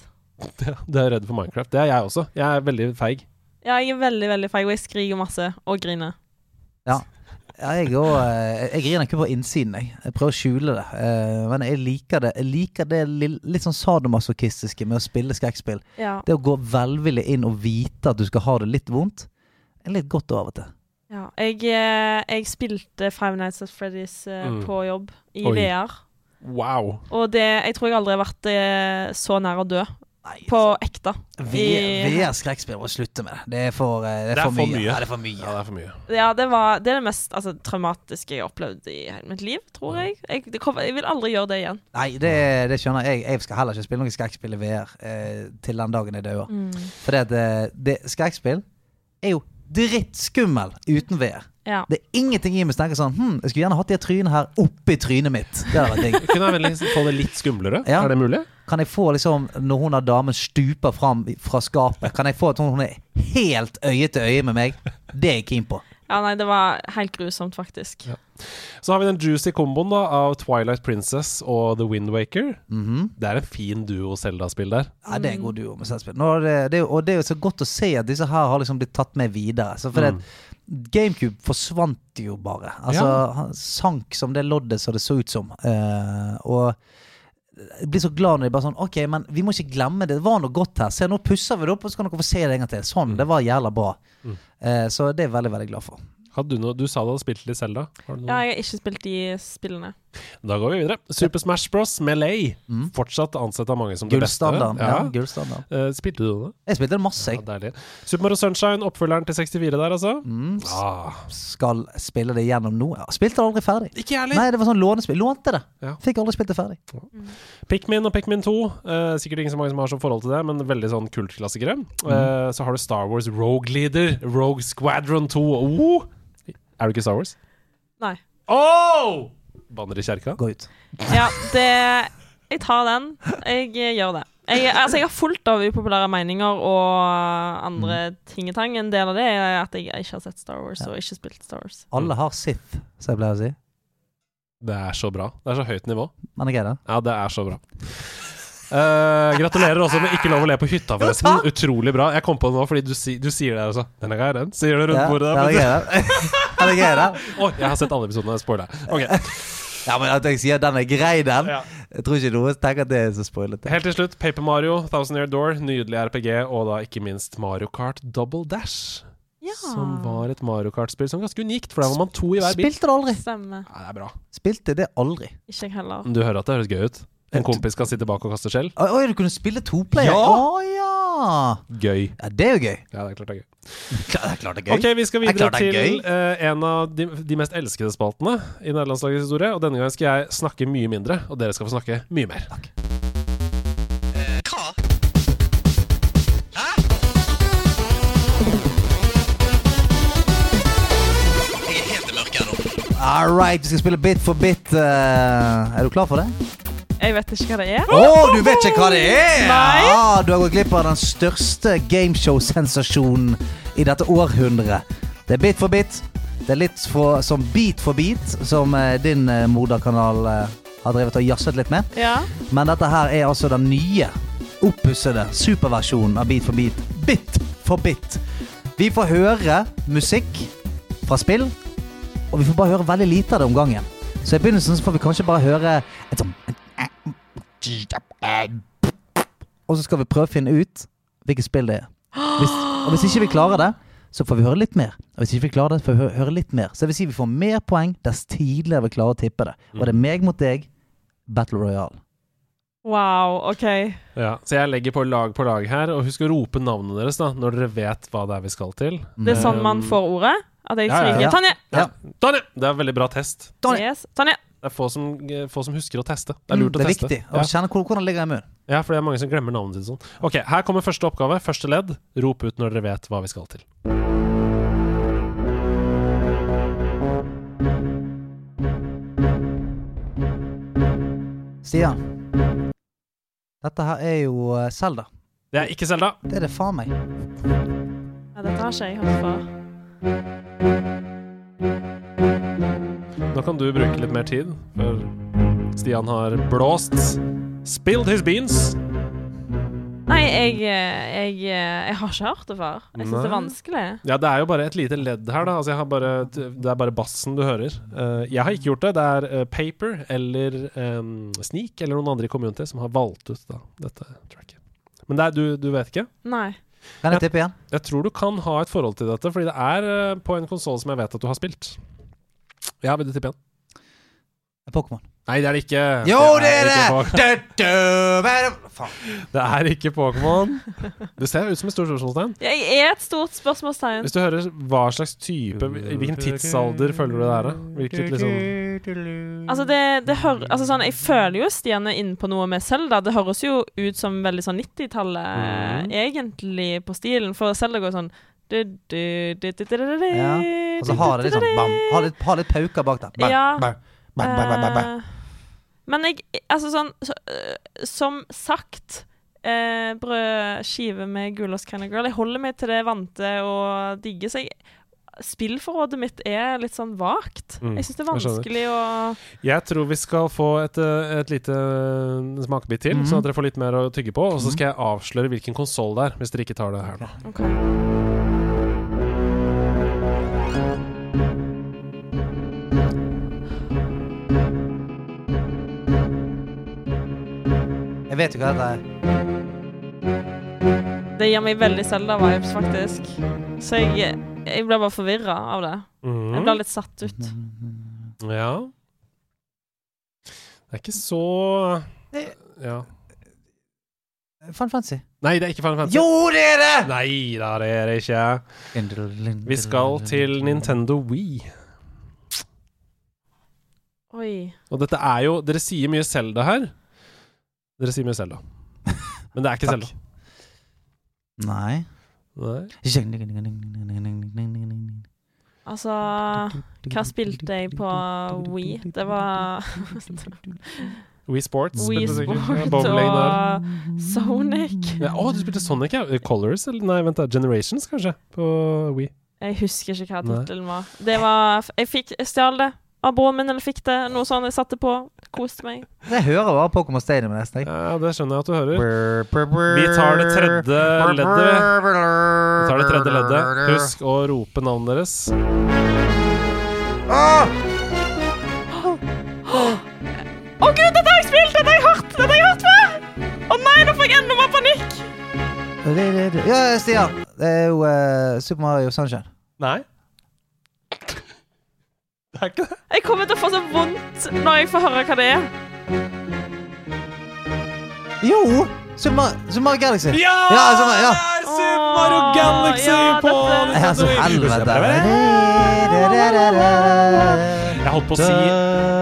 [SPEAKER 1] Ja, det er redd for Minecraft. Det er jeg også. Jeg er veldig feig.
[SPEAKER 5] Ja, jeg er veldig, veldig feig, og jeg skriker masse og griner.
[SPEAKER 2] Ja, jeg, går, eh, jeg griner ikke på innsiden, jeg. Jeg prøver å skjule det. Eh, Men jeg liker det. Jeg liker det lill- litt sånn sadomasochistiske med å spille skrekkspill.
[SPEAKER 5] Ja.
[SPEAKER 2] Det å gå velvillig inn og vite at du skal ha det litt vondt, er litt godt av og til.
[SPEAKER 5] ja. Jeg, eh, jeg spilte Five Nights at Freddy's eh,
[SPEAKER 1] Mm.
[SPEAKER 5] på jobb i
[SPEAKER 1] Oi.
[SPEAKER 5] VR,
[SPEAKER 1] Wow.
[SPEAKER 5] og det, jeg tror jeg aldri har vært eh, så nær å dø.
[SPEAKER 2] Nei, altså,
[SPEAKER 5] På ekte. i-
[SPEAKER 2] VR-skrekkspill, må slutte med det. Det er for, eh, det er for, mye. Ja, det er for mye.
[SPEAKER 1] Ja, det er for mye.
[SPEAKER 5] Ja, det, var, det er det mest altså, traumatiske jeg har opplevd i hele mitt liv, tror
[SPEAKER 1] Mm.
[SPEAKER 5] jeg. Jeg, det kommer, jeg vil aldri gjøre det igjen.
[SPEAKER 2] Nei, det, det skjønner jeg. Jeg skal heller ikke spille noe skrekkspill i VR eh, til den dagen jeg dør.
[SPEAKER 5] Mm.
[SPEAKER 2] For det, at, eh, det, skrekkspill er jo drittskummel uten VR.
[SPEAKER 5] Ja.
[SPEAKER 2] Det er ingenting i meg som tenker sånn hm, Jeg skulle gjerne hatt det trynet her oppi trynet mitt. Det hadde vært digg.
[SPEAKER 1] Kunne jeg veldig få det litt skumlere?
[SPEAKER 2] Ja.
[SPEAKER 1] Er det mulig?
[SPEAKER 2] Kan jeg få liksom Når hun der damen stuper fram fra skapet, kan jeg få at hun er helt øye til øye med meg? Det er jeg keen på.
[SPEAKER 5] ja, nei, det var helt grusomt, faktisk.
[SPEAKER 1] Så har vi den juicy komboen da av Twilight Princess og The Windwaker.
[SPEAKER 2] Mhm.
[SPEAKER 1] Det er en fin duo Zelda-spill der.
[SPEAKER 2] Ja, det er en god duo med selvspill. Nå er det, det, er jo- og det er jo så godt å se at disse her har liksom blitt tatt med videre. Så for det, at GameCube forsvant jo bare. Altså,
[SPEAKER 1] Ja.
[SPEAKER 2] Han sank som det loddet som det så ut som. Eh, og jeg blir så glad når de bare sånn OK, men vi må ikke glemme det. Det var noe godt her. Se, nå pusser vi det opp, og så kan dere få se det en gang til. Sånn. Det var jævla bra. Eh, så det er jeg veldig, veldig glad for.
[SPEAKER 1] Hadde du, noe, du sa du hadde spilt litt Zelda. Har du noe?
[SPEAKER 5] Ja, jeg har ikke spilt de spillene.
[SPEAKER 1] Da går vi videre. Super Smash Bros. Melee. Fortsatt ansett av mange som det beste.
[SPEAKER 2] Mhm. Gullstandarden. Ja.
[SPEAKER 1] Ja.
[SPEAKER 2] gullstandarden.
[SPEAKER 1] Eh, spilte du det?
[SPEAKER 2] Jeg spilte det masse.
[SPEAKER 1] Ja,
[SPEAKER 2] Jeg
[SPEAKER 1] deilig. Super Mario Sunshine, oppfølgeren til 64 der, altså.
[SPEAKER 2] Mhm.
[SPEAKER 1] Ah.
[SPEAKER 2] skal spille det gjennom nå. Jeg spilte det aldri ferdig.
[SPEAKER 1] Ikke jeg heller.
[SPEAKER 2] Nei, det var sånn lånespill. Lånte det.
[SPEAKER 1] Ja.
[SPEAKER 2] Fikk aldri spilt det ferdig.
[SPEAKER 1] Pikmin og Pikmin 2, eh, sikkert ikke så mange som har så forhold til det, men veldig sånn kultklassikere. Eh, så har du Star Wars Rogue Leader, Rogue Squadron 2. Oh! Er du ikke Star Wars?
[SPEAKER 5] Nei.
[SPEAKER 1] Oh! Banner i kjerka?
[SPEAKER 2] Gå ut.
[SPEAKER 5] Ja, det Jeg tar den. Jeg eh, gjør det. Jeg, altså, jeg har fullt av upopulære meninger og andre
[SPEAKER 1] Mm.
[SPEAKER 5] tingetang. En del av det er at jeg ikke har sett Star Wars og ikke spilt Star Wars.
[SPEAKER 2] Alle
[SPEAKER 1] Mm.
[SPEAKER 2] har Sith, som jeg pleier å si.
[SPEAKER 1] Det er så bra. Det er så høyt nivå.
[SPEAKER 2] Men jeg er det.
[SPEAKER 1] Ja, det er så bra. Eh, gratulerer også med Ikke lov å le på hytta, forresten. Utrolig bra. Jeg kom på det nå fordi du, si, du sier det også. Denne gangen sier det rundt
[SPEAKER 2] Ja,
[SPEAKER 1] bordet.
[SPEAKER 2] men
[SPEAKER 1] Der,
[SPEAKER 2] jeg er det. Men jeg er det.
[SPEAKER 1] Oi, jeg har sett alle episodene. Spoiler. Ok
[SPEAKER 2] Ja, men at jeg sier den er grei, den.
[SPEAKER 1] Ja.
[SPEAKER 2] Jeg tror ikke noen tenker at det er så spoilete.
[SPEAKER 1] Helt til slutt, Paper Mario, Thousand Year Door, nydelig RPG, og da ikke minst Mario Kart Double Dash.
[SPEAKER 5] Ja.
[SPEAKER 1] Som var et Mario Kart-spill som var ganske unikt, for der var man to i hver bil.
[SPEAKER 2] Spilte det aldri.
[SPEAKER 5] Stemmer.
[SPEAKER 1] Ja, det er bra.
[SPEAKER 2] Spilte det aldri.
[SPEAKER 5] Ikke jeg heller.
[SPEAKER 1] Du hører at det høres gøy ut? En kompis skal sitte bak og kaste skjell?
[SPEAKER 2] Oi, oi, du kunne spille toplayer?
[SPEAKER 1] Ja.
[SPEAKER 2] Å ja!
[SPEAKER 1] Gøy.
[SPEAKER 2] ja! Det er jo gøy.
[SPEAKER 1] Ja, det er klart det er gøy.
[SPEAKER 2] Klar, det er klart det er gøy.
[SPEAKER 1] Ok, vi skal
[SPEAKER 2] Det er
[SPEAKER 1] videre
[SPEAKER 2] klart det er
[SPEAKER 1] til
[SPEAKER 2] gøy.
[SPEAKER 1] eh, en av de, de mest elskede spaltene i nederlandslagets historie, og denne gangen skal jeg snakke mye mindre, og dere skal få snakke mye mer.
[SPEAKER 2] All right, vi skal spille bit for bit. eh, er du klar for det?
[SPEAKER 5] Jeg vet ikke hva det er.
[SPEAKER 2] Å, du vet ikke hva det er!
[SPEAKER 5] Nei.
[SPEAKER 2] Ah, du har gått glipp av den største gameshow-sensasjonen i dette århundret. Det er bit for bit. Det er litt for, som Beat for beat, som eh, din eh, moderkanal eh, har drevet og jazzet litt med.
[SPEAKER 5] Ja.
[SPEAKER 2] Men dette her er altså den nye, oppussede superversjonen av Beat for beat. Bit for bit. Vi får høre musikk fra spill, og vi får bare høre veldig lite av det om gangen. Så i begynnelsen så får vi kanskje bare høre et sånn Og så skal vi prøve å finne ut hvilket spill det er. Hvis, og hvis ikke vi klarer det, så får vi høre litt mer. Og hvis ikke vi klarer det, får vi hø- høre litt mer. Så det vil si vi får mer poeng dess tidligere vi klarer å tippe det. Og det er meg mot deg, Battle Royale.
[SPEAKER 5] Wow, OK.
[SPEAKER 1] Ja, så jeg legger på lag på lag her, og husk å rope navnene deres da, når dere vet hva det er vi skal til.
[SPEAKER 5] Det er sånn man får ordet? At jeg
[SPEAKER 1] um, Ja, ja,
[SPEAKER 5] svinger?
[SPEAKER 2] ja.
[SPEAKER 5] Tonje!
[SPEAKER 2] Ja.
[SPEAKER 1] Tonje! Det er en veldig bra test.
[SPEAKER 2] Tonje.
[SPEAKER 5] Yes. Tonje!
[SPEAKER 1] Det er få som, eh, få som husker å teste. Det er lurt
[SPEAKER 2] Mm, det
[SPEAKER 1] å
[SPEAKER 2] er
[SPEAKER 1] teste.
[SPEAKER 2] viktig å
[SPEAKER 1] Ja.
[SPEAKER 2] kjenne hvor- hvordan det ligger i munnen.
[SPEAKER 1] ja, for det er mange som glemmer navnet sitt sånn. Ok, her kommer første oppgave. Første ledd. Rop ut når dere vet hva vi skal til.
[SPEAKER 2] Stian. Dette her er jo eh, Zelda.
[SPEAKER 1] Det er ikke Selda.
[SPEAKER 2] Det er det faen meg.
[SPEAKER 5] Ja, dette har ikke jeg hørt før.
[SPEAKER 1] Nå kan du bruke litt mer tid, for Stian har blåst. Spilled his beans.
[SPEAKER 5] Nei, jeg, eh, jeg, eh, jeg har ikke hørt det før. Jeg syns det er
[SPEAKER 1] Nei.
[SPEAKER 5] vanskelig.
[SPEAKER 1] Ja, det er jo bare et lite ledd her, da. Altså, jeg har bare, det er bare bassen du hører. Eh, jeg har ikke gjort det. Det er eh, Paper eller eh, Sneak eller noen andre i community som har valgt ut da, dette tracket. Men det er, du, du vet ikke?
[SPEAKER 5] Nei.
[SPEAKER 2] Kan jeg
[SPEAKER 1] Ja.
[SPEAKER 2] tippe igjen?
[SPEAKER 1] Jeg tror du kan ha et forhold til dette, fordi det er eh, på en konsoll som jeg vet at du har spilt. Ja, vil du tippe igjen?
[SPEAKER 2] Pokémon.
[SPEAKER 1] Nei, det er det ikke.
[SPEAKER 2] Jo, det er
[SPEAKER 1] ikke
[SPEAKER 2] det! Du, du, hva er det- Faen.
[SPEAKER 1] Pok- Det er ikke Pokémon. Du ser ut som et stort spørsmålstegn.
[SPEAKER 5] Jeg er et stort spørsmålstegn.
[SPEAKER 1] Hvis du hører hva slags type i Hvilken tidsalder føler du det er, da? Hvilket liksom
[SPEAKER 5] Altså, det, det hører, altså sånn, jeg føler jo Stian er inne på noe med Selda. Det høres jo ut som veldig sånn 90-tallet,
[SPEAKER 2] Mm.
[SPEAKER 5] egentlig, på stilen. For Selda går sånn du, du, du, du, du, du, du, du,
[SPEAKER 2] Ja. Og så har det litt sånn bam. Har litt, har litt pauker bak der. Bam,
[SPEAKER 5] Ja.
[SPEAKER 2] bam, bam, bam, bam, bam, bam.
[SPEAKER 5] Eh, Men jeg Altså sånn så, eh, Som sagt eh, Brødskive med gulost kind of girl. Jeg holder meg til det vante og digge. Så jeg, spillforrådet mitt er litt sånn vagt.
[SPEAKER 1] Mm,
[SPEAKER 5] jeg syns det
[SPEAKER 1] jeg
[SPEAKER 5] er
[SPEAKER 1] skjønner.
[SPEAKER 5] vanskelig å
[SPEAKER 1] Jeg tror vi skal få et, eh, et lite smakebit til, sånn at dere får litt mer å tygge på. Og så skal jeg avsløre hvilken konsoll det er, hvis dere ikke tar det her nå.
[SPEAKER 5] Ok.
[SPEAKER 2] Jeg vet jo hva dette er.
[SPEAKER 5] Det gir meg veldig Zelda-vibes, faktisk. Så jeg, jeg ble bare forvirra av det. Jeg ble litt satt ut.
[SPEAKER 2] Mm,
[SPEAKER 1] Ja. Det er ikke så Ja.
[SPEAKER 2] Fan Fancy.
[SPEAKER 1] Nei, det er ikke Final Fantasy.
[SPEAKER 2] Jo, det er det!
[SPEAKER 1] Nei da, det er det ikke. Vi skal til Nintendo Wii.
[SPEAKER 5] Oi.
[SPEAKER 1] Og dette er jo Dere sier mye Selda her. Dere sier mye Selda. Men det er ikke
[SPEAKER 2] Takk.
[SPEAKER 1] Selda.
[SPEAKER 2] Nei.
[SPEAKER 1] Nei.
[SPEAKER 5] Altså Hva spilte jeg på Wii? Det var
[SPEAKER 1] Wii Sports.
[SPEAKER 5] Wii
[SPEAKER 1] spilte du sikkert. Ja,
[SPEAKER 5] Sport
[SPEAKER 1] bowling der.
[SPEAKER 5] og Sonic.
[SPEAKER 1] Ja, å, du spilte Sonic, ja. Colors, eller nei, vent da. Generations, kanskje, på Wii.
[SPEAKER 5] Jeg husker ikke hva
[SPEAKER 1] Nei.
[SPEAKER 5] tittelen var. Det var Jeg fikk Jeg stjal det av broren min, eller fikk det. Noe sånt jeg satte på. Koste meg.
[SPEAKER 2] Jeg hører bare Pokémon Stadium nesten. jeg.
[SPEAKER 1] Ja, det skjønner jeg at du hører. Vi tar det tredje leddet, vi. Vi tar det tredje leddet. Husk å rope navnet deres.
[SPEAKER 5] Å gud, dette har jeg spilt! Dette har jeg hørt! Dette har jeg hørt før! Å nei, nå får jeg enda mer panikk!
[SPEAKER 2] Ja, Stian. Det er jo eh, Super Mario Sunshine.
[SPEAKER 1] Nei. Det er ikke det.
[SPEAKER 5] Jeg kommer til å få så vondt når jeg får høre hva det er.
[SPEAKER 2] Jo! Super Mario, Super Mario Galaxy.
[SPEAKER 1] Ja!
[SPEAKER 2] Ja, altså, ja.
[SPEAKER 1] Det er Super Mario Galaxy
[SPEAKER 5] Ja,
[SPEAKER 1] på
[SPEAKER 5] dette-
[SPEAKER 2] Ja, så
[SPEAKER 1] Nintendo Wii.
[SPEAKER 2] helvete.
[SPEAKER 1] Jeg holdt på å si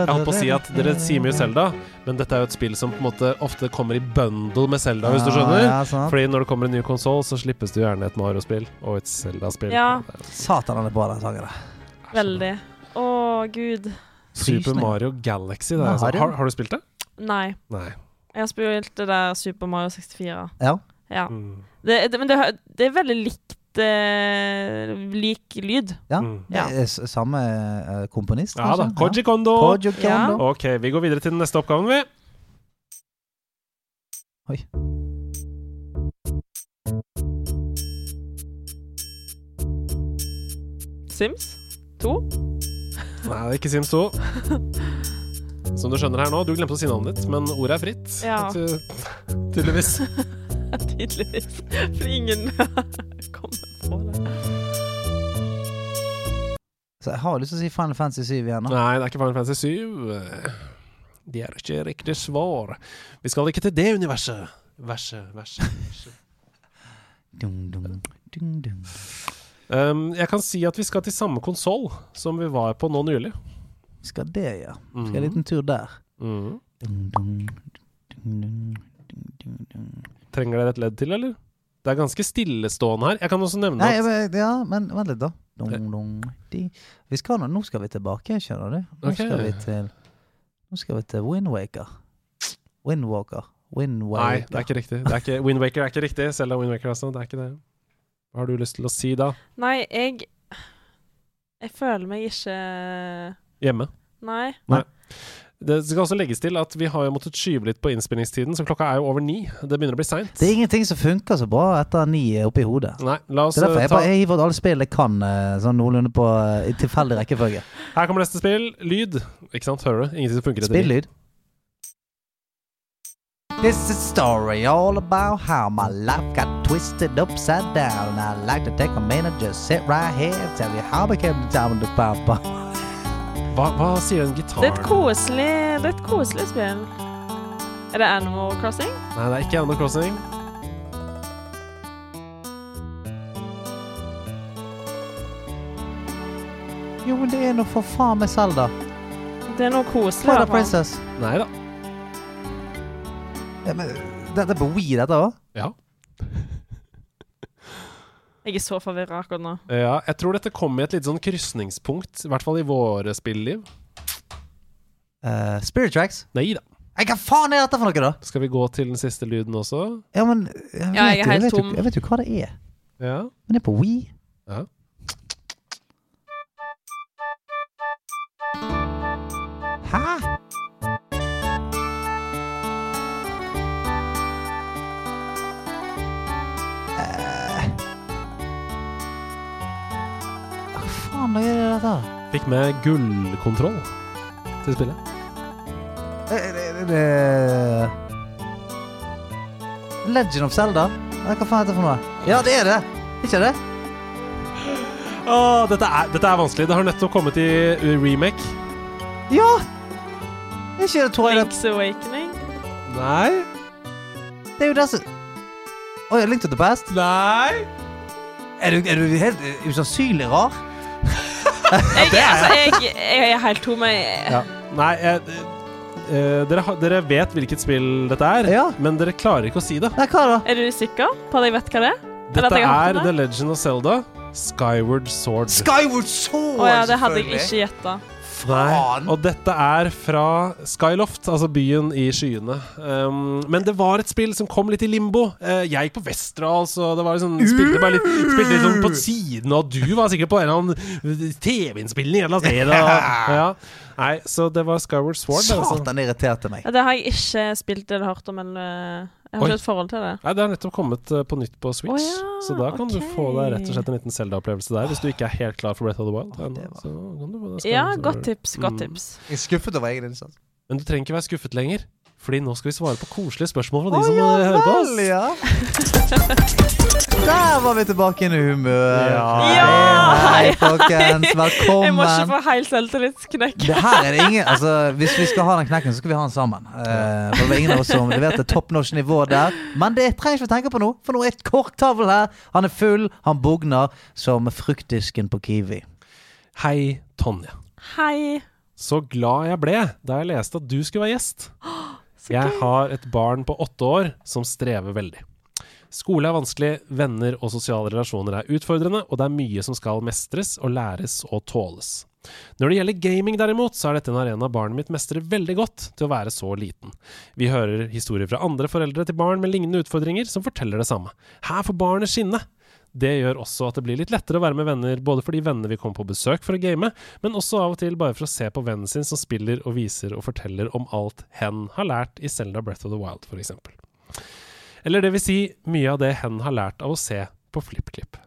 [SPEAKER 1] jeg holdt på å si at dere sier mye Zelda, men dette er jo et spill som på en måte ofte kommer i bundle med Zelda, hvis du skjønner.
[SPEAKER 2] Ja, sant.
[SPEAKER 1] Fordi når det kommer en ny konsoll, så slippes det gjerne et Mario-spill og et Zelda-spill.
[SPEAKER 5] Ja.
[SPEAKER 1] Det er
[SPEAKER 2] Satan, han er bra, den sangen. der.
[SPEAKER 5] Veldig. Å gud.
[SPEAKER 1] Super
[SPEAKER 2] Frysning.
[SPEAKER 1] Mario Galaxy. Det er,
[SPEAKER 2] Mario.
[SPEAKER 1] altså. har, har du spilt det?
[SPEAKER 5] Nei.
[SPEAKER 1] Nei.
[SPEAKER 5] Jeg har spilt det der Super Mario 64.
[SPEAKER 2] Ja.
[SPEAKER 5] Ja.
[SPEAKER 1] Mm.
[SPEAKER 5] Det, det, men det, hø- det er veldig likt eh, lik lyd.
[SPEAKER 2] ja.
[SPEAKER 1] Mm.
[SPEAKER 5] Ja.
[SPEAKER 2] Eh, s- Samme eh, komponist,
[SPEAKER 1] Ja da. Koji Kondo.
[SPEAKER 2] Ja. Koji
[SPEAKER 5] Ja.
[SPEAKER 2] Kondo.
[SPEAKER 1] Ok, vi går videre til den neste oppgaven, vi.
[SPEAKER 2] Oi.
[SPEAKER 5] Sims 2.
[SPEAKER 1] Nei, det er ikke Sims 2. Som du skjønner her nå, du glemte å si navnet ditt, men ordet er fritt.
[SPEAKER 5] Ja.
[SPEAKER 1] Ty tydeligvis.
[SPEAKER 5] Tydeligvis. For ingen kommer på det.
[SPEAKER 2] Så jeg har lyst til å si Final Fantasy 7 igjen. nå.
[SPEAKER 1] Nei, det er ikke Final Fantasy 7. De er ikke riktig svar. Vi skal ikke til det universet. Verset, verset.
[SPEAKER 2] Dum, dum, dum, dum.
[SPEAKER 1] Um, jeg kan si at vi skal til samme konsoll som vi var på nå nylig.
[SPEAKER 2] Skal det, ja. Skal
[SPEAKER 1] Mhm.
[SPEAKER 2] jeg en liten tur der.
[SPEAKER 1] Mhm.
[SPEAKER 2] Dum, dum, dum, dum, dum, dum, dum.
[SPEAKER 1] Trenger dere et ledd til, eller? Det er ganske stillestående her. Jeg kan også nevne
[SPEAKER 2] Nei,
[SPEAKER 1] at
[SPEAKER 2] men- ja, men vent litt, da. Dum, dum, di. Vi skal, nå- nå skal vi tilbake, skjønner du. Nå
[SPEAKER 1] Ok.
[SPEAKER 2] skal vi til Nå skal vi til Windwaker. Windwalker.
[SPEAKER 1] Nei, det
[SPEAKER 2] Windwaker.
[SPEAKER 1] er ikke riktig. Det er ikke, Wind Waker er ikke riktig. Selv om Wind Waker altså, det er ikke det. Hva har du lyst til å si da?
[SPEAKER 5] Nei, jeg Jeg føler meg ikke
[SPEAKER 1] Hjemme.
[SPEAKER 5] Nei.
[SPEAKER 1] Det skal også legges til at vi har jo måttet skyve litt på innspillingstiden, så klokka er jo over ni. Det begynner å bli seint.
[SPEAKER 2] Det er ingenting som funker så bra etter ni oppi hodet.
[SPEAKER 1] Nei, la oss
[SPEAKER 2] Det er derfor
[SPEAKER 1] eh,
[SPEAKER 2] jeg
[SPEAKER 1] ta
[SPEAKER 2] bare jeg hiver ut alle spill jeg kan, eh, sånn noenlunde på eh, i tilfeldig rekkefølge.
[SPEAKER 1] Her kommer neste spill. Lyd. Ikke sant, hører du? Ingenting som funker etter ni.
[SPEAKER 2] Spillyd. This is a story all about how my life got twisted upside down. I'd like to take a minute, just sit right here, and tell you how I became the diamond to papa.
[SPEAKER 1] Hva, hva sier den
[SPEAKER 5] Det er et
[SPEAKER 1] gitaren?
[SPEAKER 5] koselig, det er et koselig spill. Er det Animal Crossing?
[SPEAKER 1] Nei, det er ikke Animal Crossing.
[SPEAKER 2] Jo, men det er nå for faen meg Selda.
[SPEAKER 5] Det er noe koselig. i
[SPEAKER 2] Twilight
[SPEAKER 5] hvert fall.
[SPEAKER 2] Princess.
[SPEAKER 1] Nei da.
[SPEAKER 2] Ja, men, dette er på Wii, dette òg?
[SPEAKER 1] Ja.
[SPEAKER 5] Jeg er så forvirra akkurat nå.
[SPEAKER 1] ja. Jeg tror dette kom i et litt sånn krysningspunkt, i hvert fall i våre spillliv.
[SPEAKER 2] Uh, Spirit Tracks.
[SPEAKER 1] Nei da.
[SPEAKER 2] Nei, hva faen er dette for noe, da?
[SPEAKER 1] Skal vi gå til den siste lyden også?
[SPEAKER 2] Ja, men Jeg vet,
[SPEAKER 5] Ja, jeg er
[SPEAKER 2] jo-
[SPEAKER 5] helt
[SPEAKER 2] vet jo-
[SPEAKER 5] tom.
[SPEAKER 2] jeg vet jo hva det er.
[SPEAKER 1] Ja.
[SPEAKER 2] Men det er på Wii.
[SPEAKER 1] Ja.
[SPEAKER 2] Hæ? Eh. Hva faen da gjør jeg dette?
[SPEAKER 1] Fikk med gullkontroll til spillet.
[SPEAKER 2] Eh, eh, eh, eh. Legend of Zelda? Nei, Hva faen er det for noe? Ja, det er det! Ikke det?
[SPEAKER 1] Åh, dette, er, dette er vanskelig. Det har nettopp kommet i remake.
[SPEAKER 2] Ja! Ikke det Twilight
[SPEAKER 5] Link's Awakening.
[SPEAKER 1] Nei.
[SPEAKER 2] Det er jo det som Oi, Link to the Past?
[SPEAKER 1] Nei.
[SPEAKER 2] Er du, er du helt eh, usannsynlig rar?
[SPEAKER 5] Jeg, altså, jeg, jeg er helt tom. Jeg,
[SPEAKER 1] Ja. Nei, jeg, eh, dere, har- dere vet hvilket spill dette er,
[SPEAKER 2] Ja.
[SPEAKER 1] men dere klarer ikke å si det.
[SPEAKER 2] Nei, hva da?
[SPEAKER 5] Er du sikker på at jeg vet hva det er? Eller at
[SPEAKER 1] Dette
[SPEAKER 5] jeg har hørt
[SPEAKER 1] er
[SPEAKER 5] om
[SPEAKER 1] The Legend of Zelda Skyward Sword.
[SPEAKER 2] Skyward Sword,
[SPEAKER 5] Å ja, det hadde jeg ikke gjetta.
[SPEAKER 1] Nei.
[SPEAKER 2] Faen.
[SPEAKER 1] Og dette er fra Skyloft, altså byen i skyene. Um, men det var et spill som kom litt i limbo. Eh, jeg gikk på Westerdals, og det var liksom Spilte bare litt, spilte litt
[SPEAKER 2] Uh!
[SPEAKER 1] sånn på siden, og du var sikkert på en eller annen TV-innspilling et eller annet sted. Og, ja. Nei, så det var Skyward Sword. det, Altså.
[SPEAKER 2] Satan, det irriterte meg.
[SPEAKER 5] Ja, Det har jeg ikke spilt eller hørt om, eller eh,
[SPEAKER 1] Oi.
[SPEAKER 5] Jeg har ikke et forhold til det.
[SPEAKER 1] Nei, Det har nettopp kommet eh, på nytt på Switch,
[SPEAKER 5] Å ja,
[SPEAKER 1] så da kan du få deg rett og slett en liten Zelda-opplevelse der, hvis du ikke er helt klar for Breath of the Wild.
[SPEAKER 2] det var-
[SPEAKER 1] Så kan du få deg Skyward
[SPEAKER 5] Ja,
[SPEAKER 1] Sword.
[SPEAKER 5] godt tips. Godt
[SPEAKER 1] Mm.
[SPEAKER 5] tips.
[SPEAKER 2] Jeg er skuffet over egen innsats.
[SPEAKER 1] Men du trenger ikke være skuffet lenger, Fordi nå skal vi svare på koselige spørsmål fra
[SPEAKER 2] Å
[SPEAKER 1] de som
[SPEAKER 2] ja
[SPEAKER 1] eh, hører på oss.
[SPEAKER 2] vel, ja. Der var vi tilbake inn i humør.
[SPEAKER 1] Ja.
[SPEAKER 5] Ja.
[SPEAKER 2] Hei, folkens.
[SPEAKER 5] Jeg må ikke
[SPEAKER 2] Velkommen.
[SPEAKER 5] få heil selvtillitsknekk.
[SPEAKER 2] Det her er det ingen Altså, Hvis vi skal ha den knekken, så skal vi ha den sammen. Eh, for det var ingen av oss som Du vet det er top notch nivå der. Men det trenger jeg ikke å tenke på nå, for nå er korktavlen her. Han er full, han bugner som fruktdisken på Kiwi.
[SPEAKER 1] Hei, Tonje.
[SPEAKER 5] Hei.
[SPEAKER 1] Så glad jeg ble da jeg leste at du skulle være gjest.
[SPEAKER 5] Så
[SPEAKER 1] Jeg
[SPEAKER 5] gøy.
[SPEAKER 1] har et barn på åtte år som strever veldig. Skole er vanskelig, venner og sosiale relasjoner er utfordrende, og det er mye som skal mestres og læres og tåles. Når det gjelder gaming derimot, så er dette en arena barnet mitt mestrer veldig godt til å være så liten. Vi hører historier fra andre foreldre til barn med lignende utfordringer som forteller det samme. Her får barnet skinne! Det gjør også at det blir litt lettere å være med venner, både fordi vennene vil komme på besøk for å game, men også av og til bare for å se på vennen sin som spiller og viser og forteller om alt hen har lært i Selda Breath of the Wild, f.eks. Eller det vil si mye av det hen har lært av å se på FlippKlipp.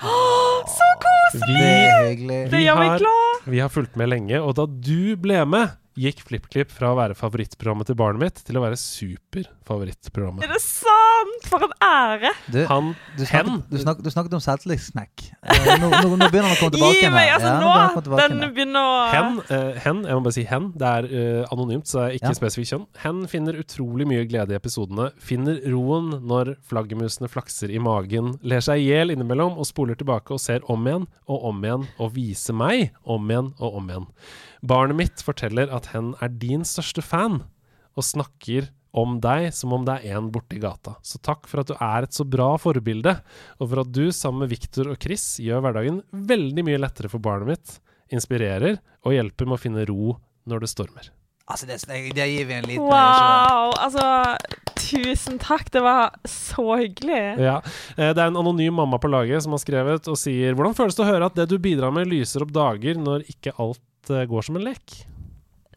[SPEAKER 5] Så koselig!
[SPEAKER 2] Det er hyggelig.
[SPEAKER 5] Det gjør meg
[SPEAKER 1] har-
[SPEAKER 5] glad!
[SPEAKER 1] Vi har fulgt med lenge, og da du ble med, gikk FlippKlipp fra å være favorittprogrammet til barnet mitt til å være
[SPEAKER 5] Er
[SPEAKER 1] superfavorittprogrammet.
[SPEAKER 5] det sant? For en ære!
[SPEAKER 2] Du,
[SPEAKER 1] Han,
[SPEAKER 2] du,
[SPEAKER 1] hen,
[SPEAKER 2] snakket, du, snakket, du snakket om selvtillitssnack. Eh, Nå, nå, nå begynner han å komme tilbake
[SPEAKER 5] Gi
[SPEAKER 2] igjen.
[SPEAKER 5] meg!
[SPEAKER 2] her.
[SPEAKER 5] Altså,
[SPEAKER 2] Ja, nå begynner han å komme
[SPEAKER 5] nå!
[SPEAKER 2] tilbake igjen
[SPEAKER 5] Den
[SPEAKER 2] her.
[SPEAKER 5] begynner å
[SPEAKER 1] hen, eh, hen, jeg må bare si hen, det er eh, anonymt, så det er ikke
[SPEAKER 2] Ja.
[SPEAKER 1] spesifikt kjønn. Hen finner utrolig mye glede i episodene, finner roen når flaggermusene flakser i magen, ler seg i hjel innimellom og spoler tilbake og ser om igjen og om igjen og viser meg om igjen og om igjen. Barnet mitt forteller at hen er din største fan, og snakker om deg som om det er en borti gata. Så takk for at du er et så bra forbilde, og for at du sammen med Victor og Chris gjør hverdagen veldig mye lettere for barnet mitt, inspirerer og hjelper med å finne ro når det stormer.
[SPEAKER 2] Altså, det, det gir vi en liten
[SPEAKER 5] Wow! Altså, tusen takk. Det var så hyggelig.
[SPEAKER 1] Ja. Eh, Det er en anonym mamma på laget som har skrevet og sier Hvordan føles det å høre at det du bidrar med, lyser opp dager når ikke alt eh, går som en lek?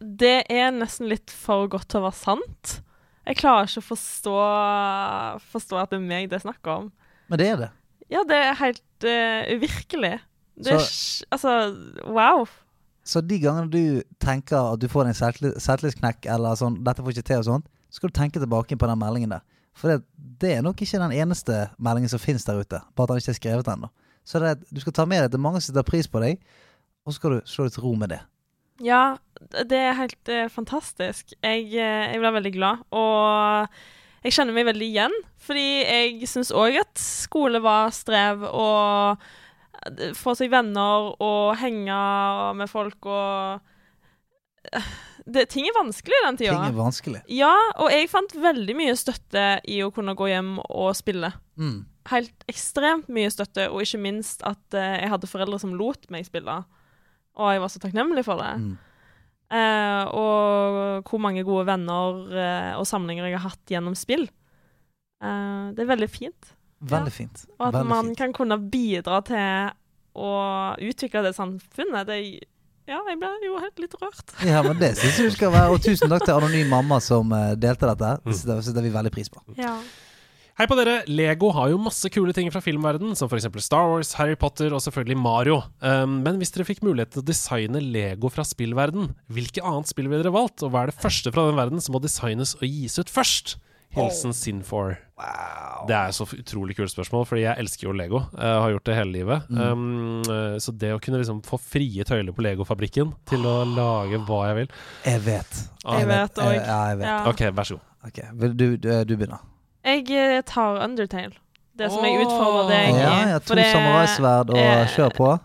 [SPEAKER 5] Det er nesten litt for godt til å være sant. Jeg klarer ikke å forstå, forstå at det er meg det er snakk om.
[SPEAKER 2] Men det er det.
[SPEAKER 5] Ja, det er helt eh, uvirkelig. Det er sj- Altså, wow.
[SPEAKER 2] Så de gangene du tenker at du får en selvtillit- selvtillitsknekk eller sånn 'dette får ikke til' og sånt, så skal du tenke tilbake på den meldingen der. For det, det er nok ikke den eneste meldingen som finnes der ute, bare at den ikke er skrevet ennå. Så det, er- du skal ta med deg at det er mange som setter pris på deg, og så skal du slå deg til ro med det.
[SPEAKER 5] Ja, det er helt eh, fantastisk. Jeg, eh, jeg ble veldig glad, og jeg kjenner meg veldig igjen. Fordi jeg syns òg at skole var strev, og eh, få seg venner og henge med folk og eh, det, Ting er vanskelig i den tida.
[SPEAKER 2] Ting er vanskelig.
[SPEAKER 5] Ja, og jeg fant veldig mye støtte i å kunne gå hjem og spille.
[SPEAKER 2] Mm.
[SPEAKER 5] Helt ekstremt mye støtte, og ikke minst at eh, jeg hadde foreldre som lot meg spille. Og jeg var så takknemlig for det.
[SPEAKER 2] Mm.
[SPEAKER 5] Eh, og hvor mange gode venner eh, og samlinger jeg har hatt gjennom spill. Eh, det er veldig fint. Ja.
[SPEAKER 2] Veldig fint.
[SPEAKER 5] Og at
[SPEAKER 2] Veldig
[SPEAKER 5] man
[SPEAKER 2] fint.
[SPEAKER 5] kan kunne bidra til å utvikle det samfunnet. Det, ja, jeg ble jo helt litt rørt.
[SPEAKER 2] Ja, men det syns jeg du skal være. Og tusen takk til anonym mamma som eh, delte dette. Det setter- setter vi veldig pris på.
[SPEAKER 5] Ja.
[SPEAKER 1] Hei på dere! Lego har jo masse kule ting fra filmverden, som f.eks. Star Wars, Harry Potter og selvfølgelig Mario. Um, men hvis dere fikk mulighet til å designe Lego fra spillverden, hvilket annet spill ville dere valgt? Og hva er det første fra den verden som må designes og gis ut først? Hilsen Sin4. Det er så utrolig kult spørsmål, fordi jeg elsker jo Lego. Jeg har gjort det hele livet.
[SPEAKER 2] Mm.
[SPEAKER 1] Um, eh, så det å kunne liksom få frie tøyler på Lego-fabrikken til å lage hva jeg vil
[SPEAKER 2] Jeg vet.
[SPEAKER 5] Jeg vet
[SPEAKER 2] Eh,
[SPEAKER 5] òg.
[SPEAKER 2] Ja, jeg vet.
[SPEAKER 5] Ja.
[SPEAKER 1] OK, vær så god.
[SPEAKER 2] Ok, Vil du, eh, du, du begynner.
[SPEAKER 5] Jeg eh, tar Undertale. Det som jeg utfordrer deg i.
[SPEAKER 2] Ja, ja, to
[SPEAKER 5] for det-
[SPEAKER 2] samuraisverd
[SPEAKER 5] eh,
[SPEAKER 2] og kjør på.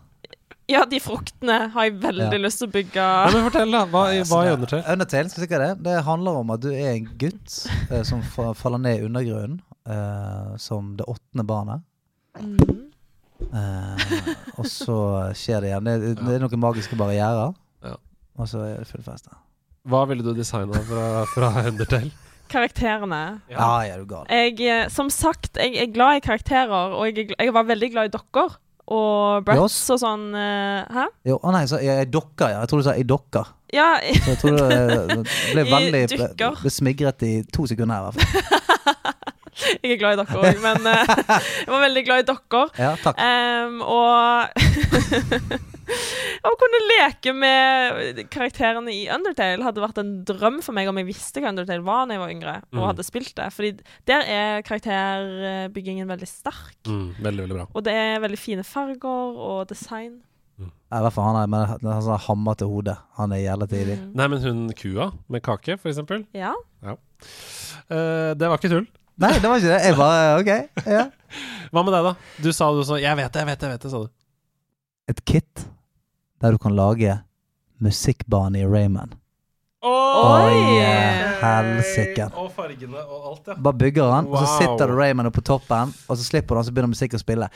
[SPEAKER 5] Ja, de fruktene har jeg veldig
[SPEAKER 2] Ja.
[SPEAKER 5] lyst til å bygge.
[SPEAKER 1] Nei, men fortell, da. Hva,
[SPEAKER 2] Nei,
[SPEAKER 1] hva er
[SPEAKER 2] altså, Ah. det-
[SPEAKER 1] Undertale?
[SPEAKER 2] Undertale, skal jeg si hva det er? Det handler om at du er en gutt eh, som fa- faller ned i undergrunnen eh, som det åttende barnet.
[SPEAKER 5] Mm.
[SPEAKER 2] Eh, og så skjer det igjen. Det, det er noen magiske barrierer.
[SPEAKER 1] Ja.
[SPEAKER 2] Og så er det full fest. da.
[SPEAKER 1] Hva ville du designa fra, fra Undertale?
[SPEAKER 5] Karakterene.
[SPEAKER 1] Ja.
[SPEAKER 2] Ja, ah, ja, du er gal.
[SPEAKER 5] Jeg, eh, som sagt, jeg er glad i karakterer, og jeg, er gl- jeg var veldig glad i dokker. Og brats
[SPEAKER 2] Joss?
[SPEAKER 5] og sånn. eh, hæ?
[SPEAKER 2] Jo, å nei, så jeg, jeg dokker, ja. Jeg tror du sa jeg dokker.
[SPEAKER 5] Ja,
[SPEAKER 2] Så jeg tror du eh, ble
[SPEAKER 5] I
[SPEAKER 2] veldig ble,
[SPEAKER 5] dukker.
[SPEAKER 2] ble smigret i to sekunder her, i hvert fall.
[SPEAKER 5] jeg er glad i dokker òg, men eh, jeg var veldig glad i dokker.
[SPEAKER 2] Ja, takk.
[SPEAKER 5] Em, og Å kunne leke med karakterene i Undertale hadde vært en drøm for meg om jeg visste hva Undertale var da jeg var yngre og
[SPEAKER 1] Mm.
[SPEAKER 5] hadde spilt det. Fordi der er karakterbyggingen veldig sterk.
[SPEAKER 1] Mm, veldig, veldig bra.
[SPEAKER 5] Og det er veldig fine farger og design.
[SPEAKER 2] Ja, I hvert fall han er med en sånn hammer til hodet. Han er jævla tidlig.
[SPEAKER 1] Nei, men hun kua med kake, for eksempel.
[SPEAKER 5] Mm. Ja.
[SPEAKER 1] Eh, det var ikke tull.
[SPEAKER 2] Nei, det var ikke det. Jeg bare OK. Ja.
[SPEAKER 1] Hva med deg, da? Du sa du sa 'jeg vet det, jeg vet det', jeg vet det, sa du.
[SPEAKER 2] et kit der du kan lage musikkbane i Rayman. Oi, helsike.
[SPEAKER 1] Og fargene og alt, ja.
[SPEAKER 2] Bare bygger han, og så
[SPEAKER 1] Wow.
[SPEAKER 2] sitter du Rayman oppe på toppen, og så slipper du han, så begynner musikk å spille.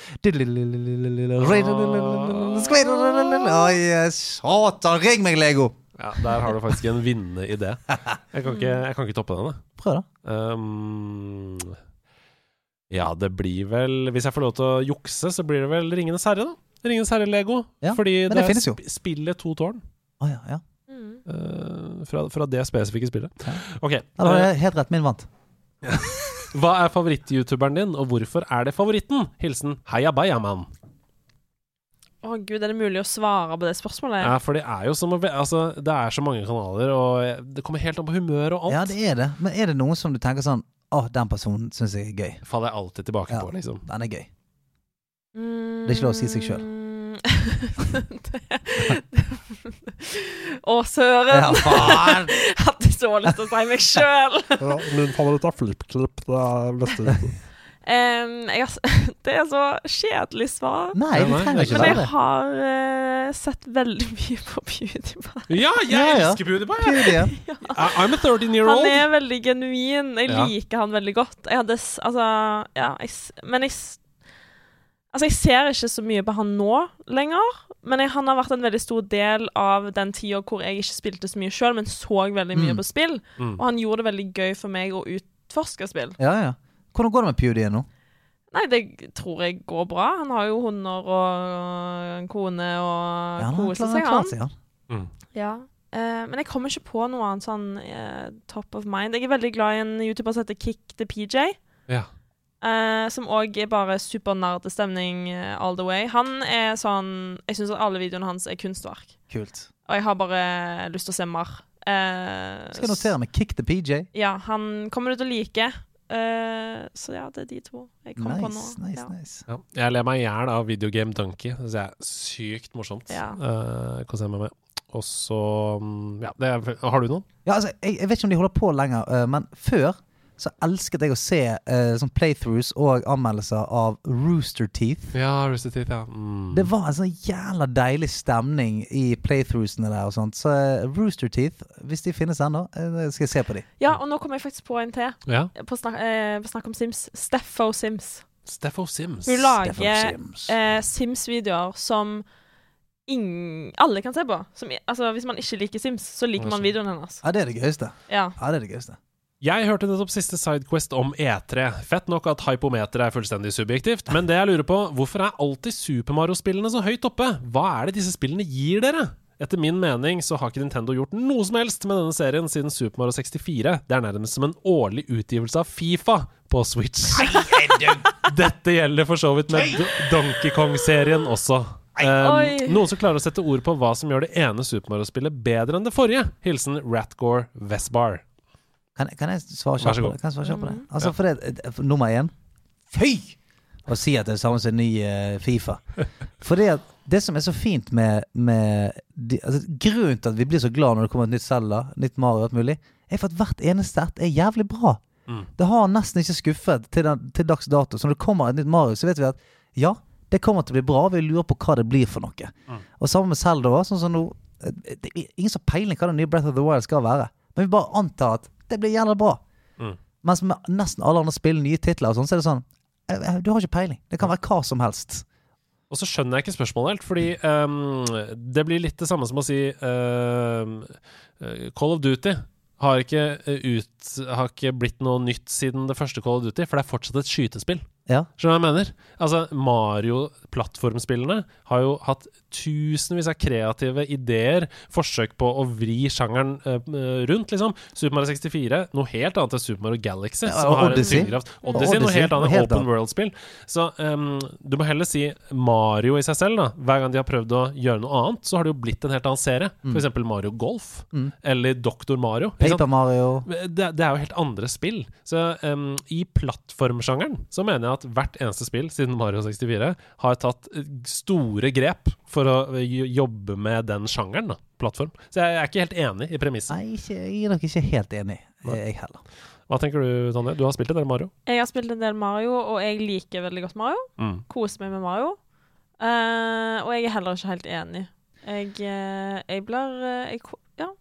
[SPEAKER 2] Skyld? Oi, satan! Ring meg, Lego!
[SPEAKER 1] Ja, der har du faktisk en vinnende idé. Jeg kan ikke, jeg kan ikke toppe den. da.
[SPEAKER 2] Prøv, da.
[SPEAKER 1] Ehm, ja, det blir vel Hvis jeg får lov til å jukse, så blir det vel Ringenes herre, da. Ringenes herre-lego.
[SPEAKER 2] Ja,
[SPEAKER 1] Fordi
[SPEAKER 2] men det finnes jo.
[SPEAKER 1] sp- spillet To tårn.
[SPEAKER 2] Å, ja, ja.
[SPEAKER 5] Mm.
[SPEAKER 1] eh, fra, fra det spesifikke spillet. Ok.
[SPEAKER 2] Da var
[SPEAKER 1] eh,
[SPEAKER 2] det helt rett. Min vant.
[SPEAKER 1] hva er favoritt-youtuberen din, og hvorfor er det favoritten? Hilsen Heia Bayaman.
[SPEAKER 5] Å gud, er det mulig å svare på det spørsmålet?
[SPEAKER 1] Ja, for det er jo som å ve- Altså, det er så mange kanaler, og jeg- det kommer helt an på humør og alt.
[SPEAKER 2] Ja, det er det. Men er det noen som du tenker sånn Å, den personen syns jeg er gøy.
[SPEAKER 1] faller jeg alltid tilbake
[SPEAKER 2] Ja.
[SPEAKER 1] på, liksom.
[SPEAKER 2] Den er gøy.
[SPEAKER 5] Mm.
[SPEAKER 2] Det er ikke lov å si seg selv.
[SPEAKER 5] Det- Å, søren!
[SPEAKER 2] Ja, faen!
[SPEAKER 5] Hadde så lyst til å si meg sjøl!
[SPEAKER 9] Ja, min favoritt er FlippKlipp. Det er beste YouTube.
[SPEAKER 5] det er så kjedelig svar.
[SPEAKER 2] Nei, du
[SPEAKER 1] Nei, det
[SPEAKER 2] trenger
[SPEAKER 1] er
[SPEAKER 2] ikke
[SPEAKER 1] ikke
[SPEAKER 5] Men
[SPEAKER 2] være
[SPEAKER 5] jeg
[SPEAKER 2] det.
[SPEAKER 5] har eh, sett veldig mye på PewDiePie.
[SPEAKER 1] Ja, jeg
[SPEAKER 2] Ja, ja.
[SPEAKER 1] elsker PewDiePie!
[SPEAKER 2] Gud, ja.
[SPEAKER 1] I- I'm a 13 year
[SPEAKER 5] Han
[SPEAKER 1] old.
[SPEAKER 5] er veldig genuin. Jeg
[SPEAKER 1] Ja.
[SPEAKER 5] liker han veldig godt. Jeg hadde s- Altså, ja jeg, s- Men jeg s- Altså, jeg ser ikke så mye på han nå lenger. Men jeg, han har vært en veldig stor del av den tida hvor jeg ikke spilte så mye sjøl, men så veldig mye
[SPEAKER 2] Mm.
[SPEAKER 5] på spill.
[SPEAKER 1] Mm.
[SPEAKER 5] Og han gjorde det veldig gøy for meg å utforske spill.
[SPEAKER 2] Ja, ja. Hvordan går det med PewDie nå?
[SPEAKER 5] Nei, det tror jeg går bra. Han har jo hunder og en kone og
[SPEAKER 2] Ja, han har
[SPEAKER 5] koser
[SPEAKER 2] klart-
[SPEAKER 5] seg,
[SPEAKER 2] klart
[SPEAKER 5] han.
[SPEAKER 2] seg, han.
[SPEAKER 5] Ja. Eh, men jeg kommer ikke på noe annet sånn eh, top of mind. Jeg er veldig glad i en YouTuber som heter Kick the PJ.
[SPEAKER 1] Ja.
[SPEAKER 5] eh, som òg er bare supernerdestemning eh, all the way. Han er sånn Jeg syns at alle videoene hans er kunstverk.
[SPEAKER 2] Kult.
[SPEAKER 5] Og jeg har bare lyst til å se mer. Eh,
[SPEAKER 2] Skal jeg notere meg Kick the PJ.
[SPEAKER 5] Ja, han kommer du til å like. Eh, så ja, det er de to jeg kom på nå.
[SPEAKER 2] Nice, nice,
[SPEAKER 5] ja.
[SPEAKER 2] nice.
[SPEAKER 1] Ja. Jeg ler meg i hjel av Videogame Donkey. Det synes jeg er sykt morsomt.
[SPEAKER 5] Ja.
[SPEAKER 1] Eh, koser jeg meg med. Og så mm, Ja, det er, har du noen?
[SPEAKER 2] Ja, altså, jeg, jeg vet ikke om de holder på lenger, eh, men før så elsket jeg å se eh, sånn playthroughs og anmeldelser av Rooster Teeth.
[SPEAKER 1] Ja, Rusty Teeth, ja. Mm.
[SPEAKER 2] Det var en sånn jævla deilig stemning i playthroughsene der og sånt. Så eh, Rooster Teeth, hvis de finnes ennå, eh, skal jeg se på de.
[SPEAKER 5] Ja, og nå kom jeg faktisk på en til.
[SPEAKER 1] ja.
[SPEAKER 5] På snak, eh, på snakk om Sims. Steffo Sims.
[SPEAKER 1] Steffo Sims.
[SPEAKER 2] Stefan
[SPEAKER 5] Hun lager
[SPEAKER 2] Sims.
[SPEAKER 5] eh, Sims-videoer som ing alle kan se på. Som, i- altså, hvis man ikke liker Sims, så liker
[SPEAKER 1] Ja,
[SPEAKER 5] man
[SPEAKER 1] sånn.
[SPEAKER 5] videoen hennes.
[SPEAKER 2] Ja, det er det gøyeste.
[SPEAKER 5] Ja.
[SPEAKER 2] Ja, det er det gøyeste.
[SPEAKER 1] Jeg hørte nettopp siste Sidequest om E3. Fett nok at hypometer er fullstendig subjektivt, men det jeg lurer på, hvorfor er alltid Super Mario-spillene så høyt oppe? Hva er det disse spillene gir dere? Etter min mening så har ikke Nintendo gjort noe som helst med denne serien siden Super Mario 64. Det er nærmest som en årlig utgivelse av Fifa på Switch. Dette gjelder for så vidt med Do- Donkey Kong-serien også.
[SPEAKER 5] Oi.
[SPEAKER 1] Um, noen som klarer å sette ord på hva som gjør det ene Super Mario-spillet bedre enn det forrige? Hilsen Ratgore Vesbar.
[SPEAKER 2] Kan, kan jeg
[SPEAKER 1] Vær
[SPEAKER 2] svare
[SPEAKER 1] så
[SPEAKER 2] kjapt på
[SPEAKER 1] god.
[SPEAKER 2] det? Kan jeg svare kjapt på det? Altså, for det, eh, for nummer én Fy! Å si at det er det samme som en ny eh, Fifa. For det, at, det som er så fint med, med de, altså, Grunnen til at vi blir så glad når det kommer et nytt Zelda, nytt Mario og alt mulig, er for at hvert eneste ett er jævlig bra. Det har nesten ikke skuffet til, den, til dags dato. Så når det kommer et nytt Mario, så vet vi at ja, det kommer til å bli bra. Vi lurer på hva det blir for noe. Og sammen med Zelda også, sånn som nå eh, Det er ingen som har peiling hva den nye Breath of the Wild skal være. Men vi bare antar at det blir gjerne bra.
[SPEAKER 1] Mm.
[SPEAKER 2] Mens med nesten alle andre spill, nye titler og sånn, så er det sånn eh, eh, Du har ikke peiling. Det kan være hva som helst.
[SPEAKER 1] Og så skjønner jeg ikke spørsmålet helt, fordi ehm, det blir litt det samme som å si ehm, eh, Call of Duty har ikke, eh, ut, har ikke blitt noe nytt siden det første Call of Duty, for det er fortsatt et skytespill.
[SPEAKER 2] Ja.
[SPEAKER 1] Skjønner du hva jeg mener? Altså, Mario-plattformspillene har jo hatt tusenvis av kreative ideer, forsøk på å vri sjangeren eh, rundt, liksom. Super Mario 64, noe helt annet enn Super Mario Galaxy.
[SPEAKER 2] Ja,
[SPEAKER 1] som har en
[SPEAKER 2] Odyssey.
[SPEAKER 1] tyngdekraft. Odyssey, noe
[SPEAKER 2] Odyssey,
[SPEAKER 1] helt annet.
[SPEAKER 2] noe helt
[SPEAKER 1] Open
[SPEAKER 2] annet.
[SPEAKER 1] World-spill. Så ehm, du må heller si Mario i seg selv, da. Hver gang de har prøvd å gjøre noe annet, så har det jo blitt en helt annen serie.
[SPEAKER 2] Mm.
[SPEAKER 1] For eksempel Mario Golf, eller Doktor Mario. ikke sant?
[SPEAKER 2] Paper Mario
[SPEAKER 1] det, det er jo helt andre spill. Så em, i plattformsjangeren så mener jeg at hvert eneste spill siden Mario 64 har tatt eh, store grep for å eh, jo- jobbe med den sjangeren, da. Plattform. Så jeg er ikke helt enig i premisset.
[SPEAKER 2] Nei, ikke, jeg er nok ikke helt enig, eh, jeg heller.
[SPEAKER 1] Hva tenker du, Tonje? Du har spilt en del Mario?
[SPEAKER 5] Jeg har spilt en del Mario, og jeg liker veldig godt Mario.
[SPEAKER 1] Mm.
[SPEAKER 5] Koser meg med Mario. Eh, og jeg er heller ikke helt enig. Jeg, eh, jeg blir eh, jeg, ko- Ja.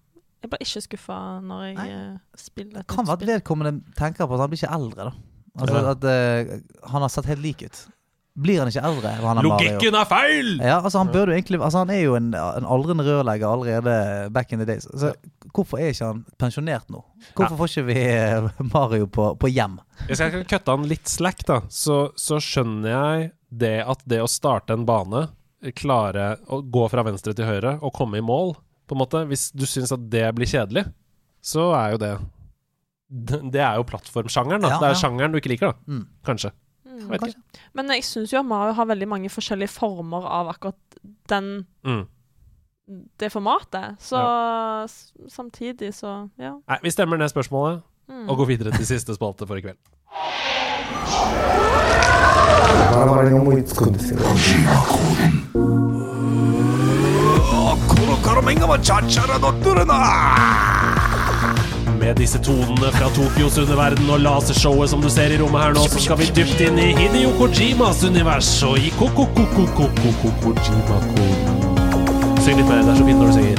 [SPEAKER 5] Jeg blir ikke skuffa når jeg
[SPEAKER 2] Nei.
[SPEAKER 5] eh, spiller
[SPEAKER 2] Det
[SPEAKER 5] et
[SPEAKER 2] kan
[SPEAKER 5] nytt
[SPEAKER 2] være at vedkommende tenker på at han blir ikke eldre, da. Altså
[SPEAKER 1] Ja.
[SPEAKER 2] at eh, han har sett helt lik ut. blir han ikke eldre? enn Han er Mario?
[SPEAKER 1] Logikken er feil!
[SPEAKER 2] Ja, altså Han burde jo egentlig Altså han er jo en, en aldrende rørlegger allerede back in the days. Altså, Hvorfor er ikke han pensjonert nå? Hvorfor får ikke vi eh, Mario på, på hjem? Mm.
[SPEAKER 1] Hvis jeg kan kutte han litt slack, da, så, så skjønner jeg det at det å starte en bane, klare å gå fra venstre til høyre og komme i mål, på en måte Hvis du syns at det blir kjedelig, så er jo det Det det er jo plattformsjangeren, da.
[SPEAKER 2] Ja,
[SPEAKER 1] det er
[SPEAKER 2] ja.
[SPEAKER 1] sjangeren du ikke liker, da.
[SPEAKER 2] Mm.
[SPEAKER 1] Kanskje. Jeg vet ikke.
[SPEAKER 5] Men jeg syns jo at Mario har veldig mange forskjellige former av akkurat den,
[SPEAKER 1] Mm.
[SPEAKER 5] det formatet. Så s- samtidig, så ja.
[SPEAKER 1] Nei, vi stemmer ned spørsmålet og går videre til siste spalte for i kveld. Med disse tonene fra Tokyos underverden og lasershowet som du ser i rommet her nå, så skal vi dypt inn i Hideo Kojimas univers og i ko-ko-ko-ko-ko-ko-ko-Kojima-ko. Syng litt mer, det er så fint når du synger.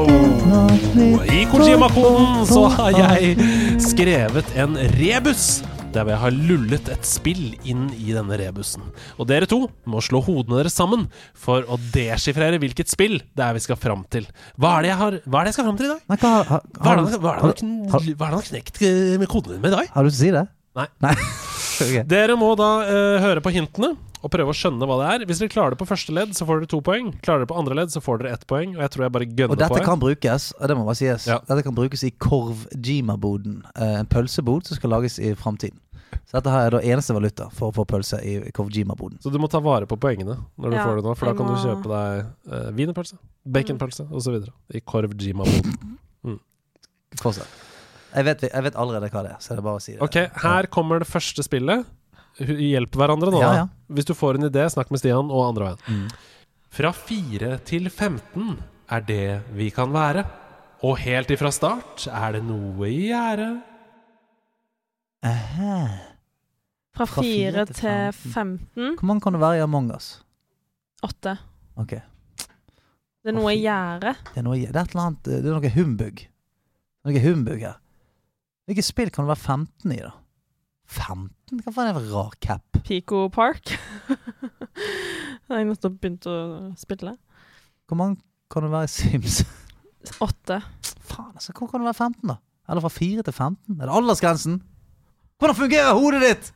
[SPEAKER 1] Og I Kojima-koden så har jeg skrevet en rebus. Der hvor jeg har lullet et spill inn i denne rebusen. Og dere to må slå hodene deres sammen for å deskifrere hvilket spill det er vi skal fram til. Hva er det jeg, har, hva er det jeg skal fram til i dag?
[SPEAKER 2] Men hva, har,
[SPEAKER 1] Hva er
[SPEAKER 2] har,
[SPEAKER 1] det han- hva er
[SPEAKER 2] har,
[SPEAKER 1] det han har kn- hva er det han har knekt eh, med koden din med i dag?
[SPEAKER 2] har du lyst til å si det?
[SPEAKER 1] Nei.
[SPEAKER 2] Nei. Ok.
[SPEAKER 1] Dere må da eh, høre på hintene og prøve å skjønne hva det er. Hvis dere klarer det på første ledd, så får dere to poeng. Klarer dere på andre ledd, så får dere ett poeng. Og jeg tror jeg bare
[SPEAKER 2] Og
[SPEAKER 1] gønner
[SPEAKER 2] dette
[SPEAKER 1] på. jeg.
[SPEAKER 2] kan brukes og det må bare sies
[SPEAKER 1] Ja.
[SPEAKER 2] Dette kan brukes i Korv-Jima-boden. eh, En pølsebod som skal lages i framtiden. Så dette her er da eneste valuta for å få pølse i Korv-Jima-boden.
[SPEAKER 1] Så du må ta vare på poengene når du
[SPEAKER 5] Ja,
[SPEAKER 1] får det nå, for da
[SPEAKER 5] jeg
[SPEAKER 1] kan du
[SPEAKER 5] må-
[SPEAKER 1] kjøpe deg uh, wienerpølse, baconpølse osv. I korv jima-boden.
[SPEAKER 2] Fortsett. Jeg vet, jeg vet allerede hva det er, så det er bare å si det.
[SPEAKER 1] Ok, her kommer det første spillet. Hu- Hjelp hverandre nå.
[SPEAKER 2] Ja,
[SPEAKER 1] da.
[SPEAKER 2] ja.
[SPEAKER 1] Hvis du får en idé, snakk med Stian og andre veien.
[SPEAKER 2] Mm.
[SPEAKER 1] Fra 4 til 15 er det vi kan være. Og helt ifra start er det noe i gjære.
[SPEAKER 2] Aha.
[SPEAKER 5] Fra
[SPEAKER 2] Fra fire
[SPEAKER 5] 4
[SPEAKER 2] til
[SPEAKER 5] til
[SPEAKER 2] 15.
[SPEAKER 5] 15.
[SPEAKER 2] Hvor mange kan det være i Among us?
[SPEAKER 5] 8.
[SPEAKER 2] Ok.
[SPEAKER 5] Det er
[SPEAKER 2] Fra
[SPEAKER 5] noe i
[SPEAKER 2] fire-
[SPEAKER 5] gjære.
[SPEAKER 2] Det er noe, det er et eller annet, det er noe humbug. Noe humbug her. Hvilket spill kan det være 15 i, da? 15? Hva faen er det for rar cap?
[SPEAKER 5] Pico Park. jeg nettopp begynte å spille.
[SPEAKER 2] Hvor mange kan det være i Sims?
[SPEAKER 5] 8.
[SPEAKER 2] Faen, altså. Hvor kan det være 15, da? Eller fra 4 til 15? Er det aldersgrensen? Hvordan fungerer hodet ditt?!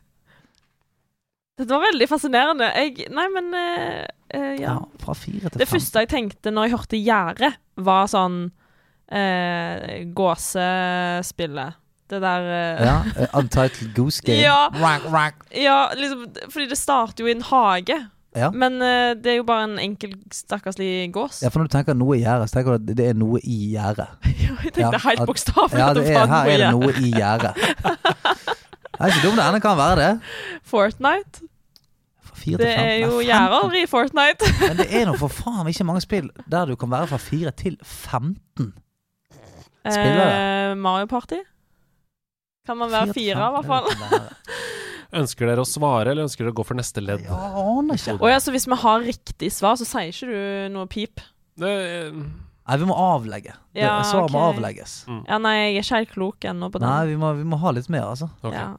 [SPEAKER 5] Dette var veldig fascinerende. Jeg, nei, men eh, eh, ja.
[SPEAKER 2] Ja, fra 4 til
[SPEAKER 5] Det
[SPEAKER 2] 15.
[SPEAKER 5] første jeg tenkte når jeg hørte gjære, var sånn eh, gåsespillet. Det der eh,
[SPEAKER 2] Ja, eh, Untitled Goose Game.
[SPEAKER 5] Ja.
[SPEAKER 2] Rank, rank.
[SPEAKER 5] Ja, liksom, fordi det starter jo i en hage.
[SPEAKER 2] Ja.
[SPEAKER 5] Men eh, det er jo bare en enkel, stakkarslig gås.
[SPEAKER 2] ja, for når du tenker noe i gjerdet, så tenker du at det er noe i gjerdet.
[SPEAKER 5] jeg tenkte
[SPEAKER 2] Ja,
[SPEAKER 5] helt
[SPEAKER 2] at-
[SPEAKER 5] bokstavelig
[SPEAKER 2] Ja,
[SPEAKER 5] at
[SPEAKER 2] det
[SPEAKER 5] det
[SPEAKER 2] er,
[SPEAKER 5] var
[SPEAKER 2] her er det
[SPEAKER 5] noe
[SPEAKER 2] noe i gjerdet. Det er ikke dumt det ene kan være det.
[SPEAKER 5] i Fortnite.
[SPEAKER 2] Fra fire til
[SPEAKER 5] Det er
[SPEAKER 2] fem-
[SPEAKER 5] jo altså.
[SPEAKER 2] nei,
[SPEAKER 5] gjerder i Fortnite.
[SPEAKER 2] 15. Men det er nå for faen ikke mange spill der du kan være fra 4 til 15. Spillere.
[SPEAKER 5] Eh, Mario Party. Kan man være fire, i hvert fall?
[SPEAKER 1] Ønsker dere å svare, eller ønsker dere å gå for neste ledd?
[SPEAKER 2] Ja, aner ikke.
[SPEAKER 5] Å ja, så hvis vi har riktig svar, så sier ikke du noe pip?
[SPEAKER 1] Det, eh,
[SPEAKER 2] Nei, vi må avlegge. Det-
[SPEAKER 5] Ja,
[SPEAKER 2] Svaret må
[SPEAKER 5] ok.
[SPEAKER 2] avlegges.
[SPEAKER 5] Ja, nei, jeg er ikke helt klok ennå på den.
[SPEAKER 2] Nei, vi må, vi må ha litt mer, altså.
[SPEAKER 1] ok.
[SPEAKER 5] ja.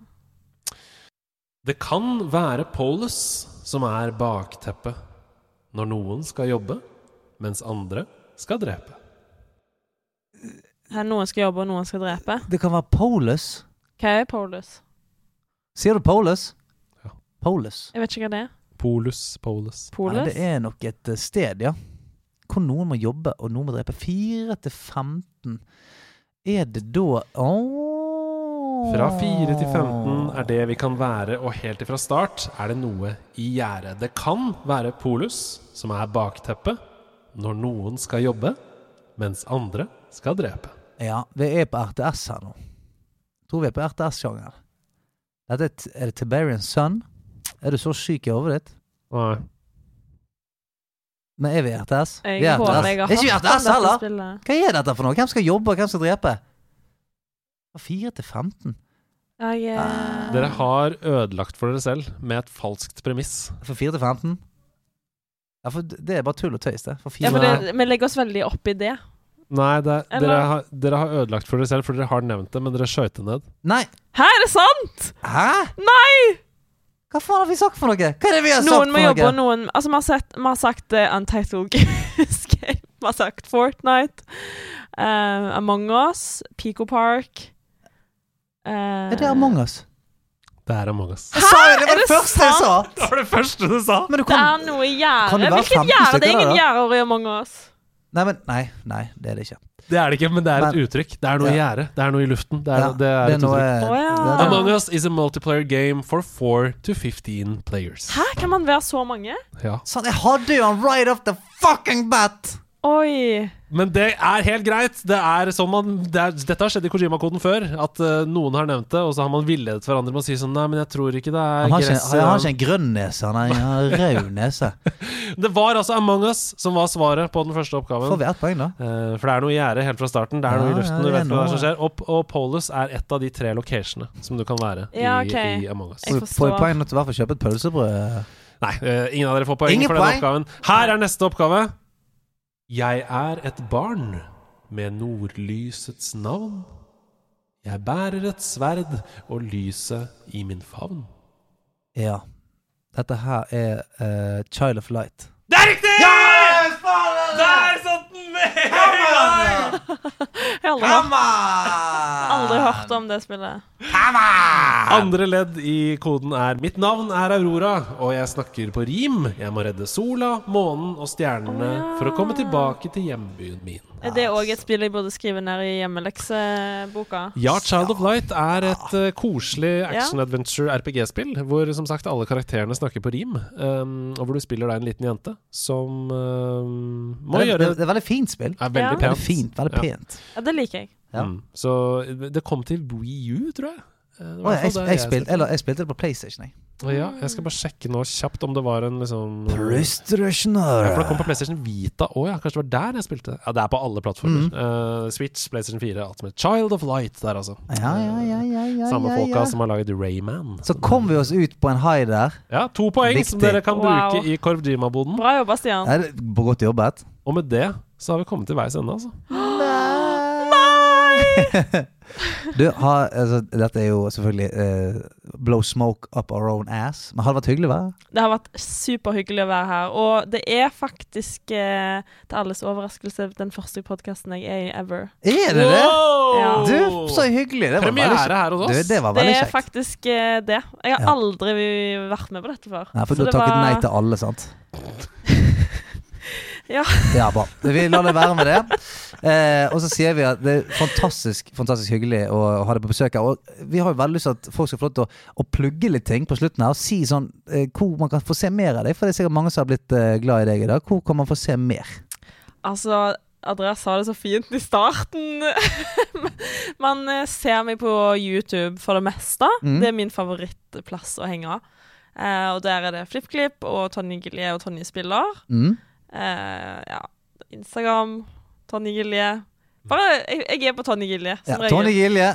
[SPEAKER 1] Det kan være Polus som er bakteppet når noen skal jobbe, mens andre skal drepe.
[SPEAKER 5] Her noen skal jobbe, og noen skal drepe.
[SPEAKER 2] Det kan være Polus.
[SPEAKER 5] Hva er polus?
[SPEAKER 2] Sier du Polus?
[SPEAKER 1] Ja.
[SPEAKER 2] Polus.
[SPEAKER 5] Jeg vet ikke hva det er.
[SPEAKER 1] Polus, Polus.
[SPEAKER 5] Polus?
[SPEAKER 2] Nei, det er nok et eh, sted, ja. Hvor noen må jobbe, og noen må drepe. 4 til 15. Er det da Åh.
[SPEAKER 1] Fra 4 til 15 er det vi kan være, og helt ifra start er det noe i gjære. Det kan være Polus som er bakteppet når noen skal jobbe, mens andre skal drepe.
[SPEAKER 2] Ja, vi er på RTS her nå. Tror vi er på RTS-sjangeren. Dette er, t er det Tiberian Sun. Er du så syk i hodet ditt?
[SPEAKER 1] Nei.
[SPEAKER 2] Men er vi i RTS?
[SPEAKER 5] Jeg
[SPEAKER 2] vi er
[SPEAKER 5] håper
[SPEAKER 2] RTS. er
[SPEAKER 5] jeg har
[SPEAKER 2] ikke vi i
[SPEAKER 5] hørt om
[SPEAKER 2] RTS
[SPEAKER 5] dette
[SPEAKER 2] heller?
[SPEAKER 5] spillet.
[SPEAKER 2] Hva er dette for noe? Hvem skal jobbe, og hvem skal drepe? Fra 4 til 15?
[SPEAKER 5] Jeg, eh,
[SPEAKER 1] Dere har ødelagt for dere selv med et falskt premiss.
[SPEAKER 2] Fra 4 til 15? Ja, for det er bare tull og tøys, det. Fra
[SPEAKER 5] ja,
[SPEAKER 2] 4
[SPEAKER 5] for det, Vi legger oss veldig opp i det.
[SPEAKER 1] Nei, det,
[SPEAKER 5] Eller-
[SPEAKER 1] dere, har, dere har ødelagt for dere selv, for dere har nevnt det, men dere skøyt det ned.
[SPEAKER 2] Nei!
[SPEAKER 5] Hæ, er det sant?!
[SPEAKER 2] Hæ?
[SPEAKER 5] Nei!
[SPEAKER 2] Hva faen har vi sagt for noe? Hva er det vi har sagt
[SPEAKER 5] Noen må
[SPEAKER 2] for
[SPEAKER 5] jobbe,
[SPEAKER 2] noe?
[SPEAKER 5] og noen Altså, vi har, sett, vi har sagt eh, Untitled Goose Game. Vi har sagt Fortnite. eh, Among Us. Pico Park. eh,
[SPEAKER 2] Er det Among us?
[SPEAKER 1] Det er Among us.
[SPEAKER 2] Jeg sa jo det
[SPEAKER 5] Er
[SPEAKER 2] var det
[SPEAKER 5] det
[SPEAKER 2] første jeg sa!
[SPEAKER 1] Det var det første du sa!
[SPEAKER 2] Men du
[SPEAKER 5] Det
[SPEAKER 2] kom
[SPEAKER 5] er noe
[SPEAKER 2] Kan
[SPEAKER 5] gjerde.
[SPEAKER 2] det være
[SPEAKER 5] Hvilket
[SPEAKER 2] 50
[SPEAKER 5] gjerde? Det
[SPEAKER 2] stykker
[SPEAKER 5] er
[SPEAKER 2] der,
[SPEAKER 5] ingen
[SPEAKER 2] da?
[SPEAKER 5] gjerder i Among us.
[SPEAKER 2] Nei, men Nei, nei, det er det ikke.
[SPEAKER 1] Det er det ikke, men det er et
[SPEAKER 2] Men-
[SPEAKER 1] uttrykk. Det er noe i gjære. Det er noe i luften. Det er,
[SPEAKER 2] Ja,
[SPEAKER 1] det er
[SPEAKER 2] det er
[SPEAKER 1] et
[SPEAKER 2] noe
[SPEAKER 1] uttrykk.
[SPEAKER 2] det
[SPEAKER 5] Å, ja.
[SPEAKER 2] er noe-
[SPEAKER 1] Among us is a multiplayer game for 4 to 15 players.
[SPEAKER 5] Hæ, kan man være så mange?
[SPEAKER 1] Ja.
[SPEAKER 2] Sånn, jeg hadde jo han right off the fucking bat!
[SPEAKER 5] Oi.
[SPEAKER 1] Men det er helt greit. Det er sånn man, det er, dette har skjedd i Kojima-koden før. At eh, noen har nevnt det, og så har man villedet hverandre med å si sånn Nei, men jeg tror ikke det er
[SPEAKER 2] Han har ikke,
[SPEAKER 1] gress i
[SPEAKER 2] han
[SPEAKER 1] den."
[SPEAKER 2] har ikke en grønn nese, han har en rød nese.
[SPEAKER 1] Det var altså Among us som var svaret på den første oppgaven.
[SPEAKER 2] Får vi ett poeng, da?
[SPEAKER 1] Eh, for det er noe i gjerdet helt fra starten. Det er noe
[SPEAKER 2] Ja,
[SPEAKER 1] i luften.
[SPEAKER 2] ja,
[SPEAKER 1] du
[SPEAKER 2] det er
[SPEAKER 1] vet hva
[SPEAKER 2] noe.
[SPEAKER 1] som skjer. Og, og Polus er et av de tre locationene som du kan være
[SPEAKER 5] Ja,
[SPEAKER 1] i,
[SPEAKER 5] ok.
[SPEAKER 1] i Among us.
[SPEAKER 5] Jeg
[SPEAKER 2] Får vi
[SPEAKER 5] forstår.
[SPEAKER 2] poeng nå til å i hvert fall kjøpe et pølsebrød?
[SPEAKER 1] Nei, eh, ingen av dere får poeng
[SPEAKER 2] Ingen
[SPEAKER 1] for denne
[SPEAKER 2] poeng.
[SPEAKER 1] oppgaven. Her er neste oppgave. Jeg er et barn med nordlysets navn. Jeg bærer et sverd og lyset i min favn.
[SPEAKER 2] Ja. Dette her er eh, Child of Light.
[SPEAKER 1] Det er riktig! Yes, Der satt den med!
[SPEAKER 5] Jeg har aldri, hørt- aldri hørt om det spillet.
[SPEAKER 1] Andre ledd i koden er Mitt navn er Aurora, og jeg snakker på rim. Jeg må redde sola, månen og stjernene for å komme tilbake til hjembyen min.
[SPEAKER 5] Er det òg et spill jeg burde skrive ned i hjemmelekseboka?
[SPEAKER 1] Ja, Child of Light er et eh, koselig action-adventure-RPG-spill, hvor som sagt alle karakterene snakker på rim, um, og hvor du spiller deg en liten jente som um, må
[SPEAKER 2] Det, er-
[SPEAKER 1] gjøre
[SPEAKER 2] det, det er veldig fint spill.
[SPEAKER 1] er veldig
[SPEAKER 5] Ja.
[SPEAKER 1] pent.
[SPEAKER 2] Veldig fint, veldig pent.
[SPEAKER 5] Ja, det liker jeg.
[SPEAKER 2] Ja.
[SPEAKER 1] Mm. Så det kom til Wii U, tror jeg. Eh, det
[SPEAKER 2] Å,
[SPEAKER 1] var i hvert
[SPEAKER 2] jeg,
[SPEAKER 1] fall der
[SPEAKER 2] jeg, spilte,
[SPEAKER 1] spilte.
[SPEAKER 2] eller, jeg spilte det på PlayStation, jeg.
[SPEAKER 1] Ja, jeg skal bare sjekke nå kjapt om det var en liksom
[SPEAKER 2] PlayStation
[SPEAKER 1] Ja, for det kom på PlayStation Vita òg, ja. Kanskje det var der jeg spilte? Ja, det er på alle
[SPEAKER 2] Mm.
[SPEAKER 1] plattformer. Eh, Switch, PlayStation 4, alt som heter Child of Light der, altså.
[SPEAKER 2] Ja, ja, ja, ja, ja,
[SPEAKER 1] Samme altså.
[SPEAKER 2] ja,
[SPEAKER 1] folka
[SPEAKER 2] ja.
[SPEAKER 1] som har laget Rayman.
[SPEAKER 2] Så kom vi oss ut på en high der.
[SPEAKER 1] Ja, to poeng som
[SPEAKER 2] Viktig.
[SPEAKER 1] dere kan bruke
[SPEAKER 5] Wow.
[SPEAKER 1] i Korvjima-boden.
[SPEAKER 5] Bra jobba, Stian.
[SPEAKER 2] Er det godt jobbet.
[SPEAKER 1] Og med det så har vi kommet til veis ende, altså.
[SPEAKER 2] Du, har, altså, dette er jo selvfølgelig eh, blow smoke up our own ass. Men hadde det vært hyggelig, hva?
[SPEAKER 5] Det har vært superhyggelig å være her. Og det er faktisk, eh, til alles overraskelse, den første podkasten jeg er i ever.
[SPEAKER 2] Er det det?
[SPEAKER 1] Wow!
[SPEAKER 2] Du, så hyggelig. Det var
[SPEAKER 1] Premiere
[SPEAKER 2] veldig kjekt.
[SPEAKER 1] her hos
[SPEAKER 2] Du,
[SPEAKER 1] oss.
[SPEAKER 2] det var
[SPEAKER 5] Det
[SPEAKER 2] veldig
[SPEAKER 5] er
[SPEAKER 2] kjekt.
[SPEAKER 5] faktisk eh, det. Jeg har
[SPEAKER 2] Ja.
[SPEAKER 5] aldri vært med på dette før.
[SPEAKER 2] Nei, for
[SPEAKER 5] Så
[SPEAKER 2] du har
[SPEAKER 5] det
[SPEAKER 2] takket
[SPEAKER 5] var-
[SPEAKER 2] nei til alle, sant?
[SPEAKER 5] Ja.
[SPEAKER 2] ja, bra. Vi lar det være med det. Eh, og så sier vi at det er fantastisk fantastisk hyggelig å ha deg på besøk her. Og vi har jo veldig lyst til at folk skal få lov til å, å plugge litt ting på slutten her. Og si sånn eh, hvor man kan få se mer av deg. For det er sikkert mange som har blitt eh, glad i deg i dag. Hvor kan man få se mer?
[SPEAKER 5] Altså, Andreas sa det så fint i starten. Man eh, ser meg på YouTube for det meste.
[SPEAKER 2] Mm.
[SPEAKER 5] Det er min favorittplass å henge av. Eh, og der er det FlippKlipp og Tonje Gilje og Tonje Spiller.
[SPEAKER 2] Mm.
[SPEAKER 5] Eh, ja, Instagram, Tonje Gilje. Bare, jeg, jeg er på Tonje Gilje,
[SPEAKER 2] Ja,
[SPEAKER 5] som
[SPEAKER 2] Tone
[SPEAKER 5] regel.
[SPEAKER 2] Gilje.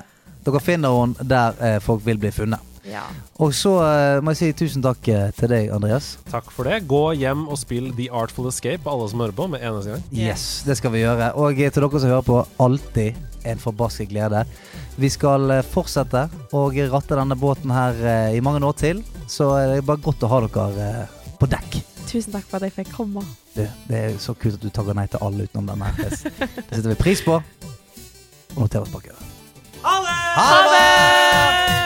[SPEAKER 2] Dere finner henne der eh, folk vil bli funnet.
[SPEAKER 5] Ja.
[SPEAKER 2] Og så eh, må jeg si tusen takk eh, til deg, Andreas.
[SPEAKER 1] Takk for det. Gå hjem og spill The Artful Escape, alle som hører på, med eneste gang.
[SPEAKER 2] Yes, det skal vi gjøre. Og eh, til dere som hører på, alltid en forbasket glede. Vi skal eh, fortsette å ratte denne båten her eh, i mange år til, så eh, det er bare godt å ha dere eh, på dekk.
[SPEAKER 5] Tusen takk for at jeg fikk komme.
[SPEAKER 2] Du, det er så kult at du takker nei til alle utenom denne. her. Det det setter vi pris på. Og noter oss bak øret. Ha det!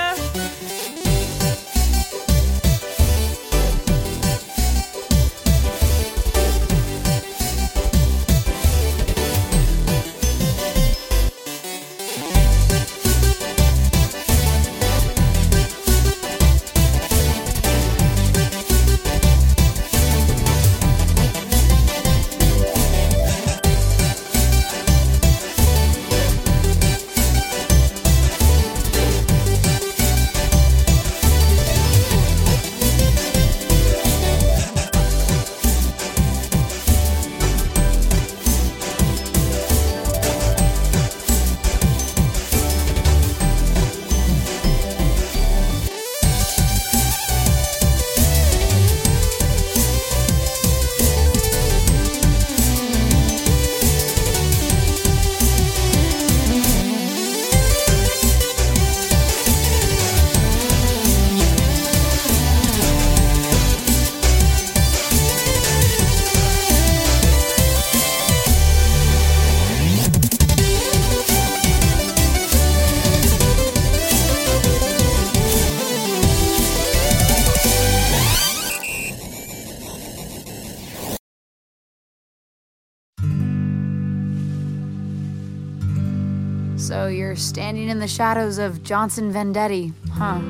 [SPEAKER 10] So you're standing in the shadows of Johnson Vendetti, huh?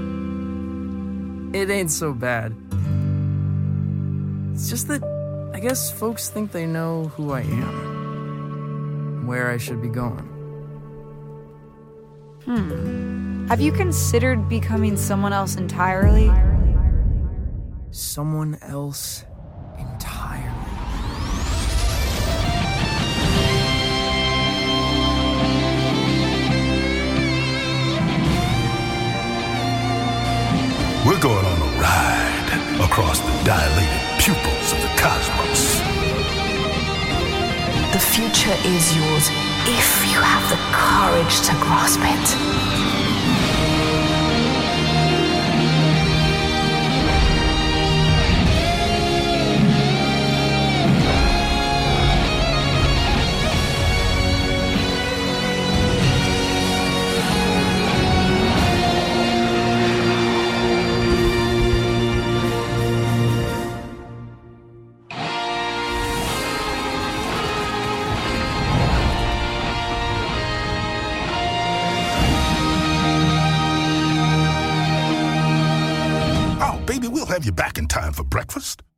[SPEAKER 11] It ain't so bad. It's just that I guess folks think they know who I am, where I should be going.
[SPEAKER 10] Hmm. Have you considered becoming someone else entirely?
[SPEAKER 11] Someone else entirely.
[SPEAKER 12] We're going on a ride across the dilated pupils of the cosmos.
[SPEAKER 6] The future is yours if you have the courage to grasp it.
[SPEAKER 12] Oh, baby, we'll have you back in time for breakfast.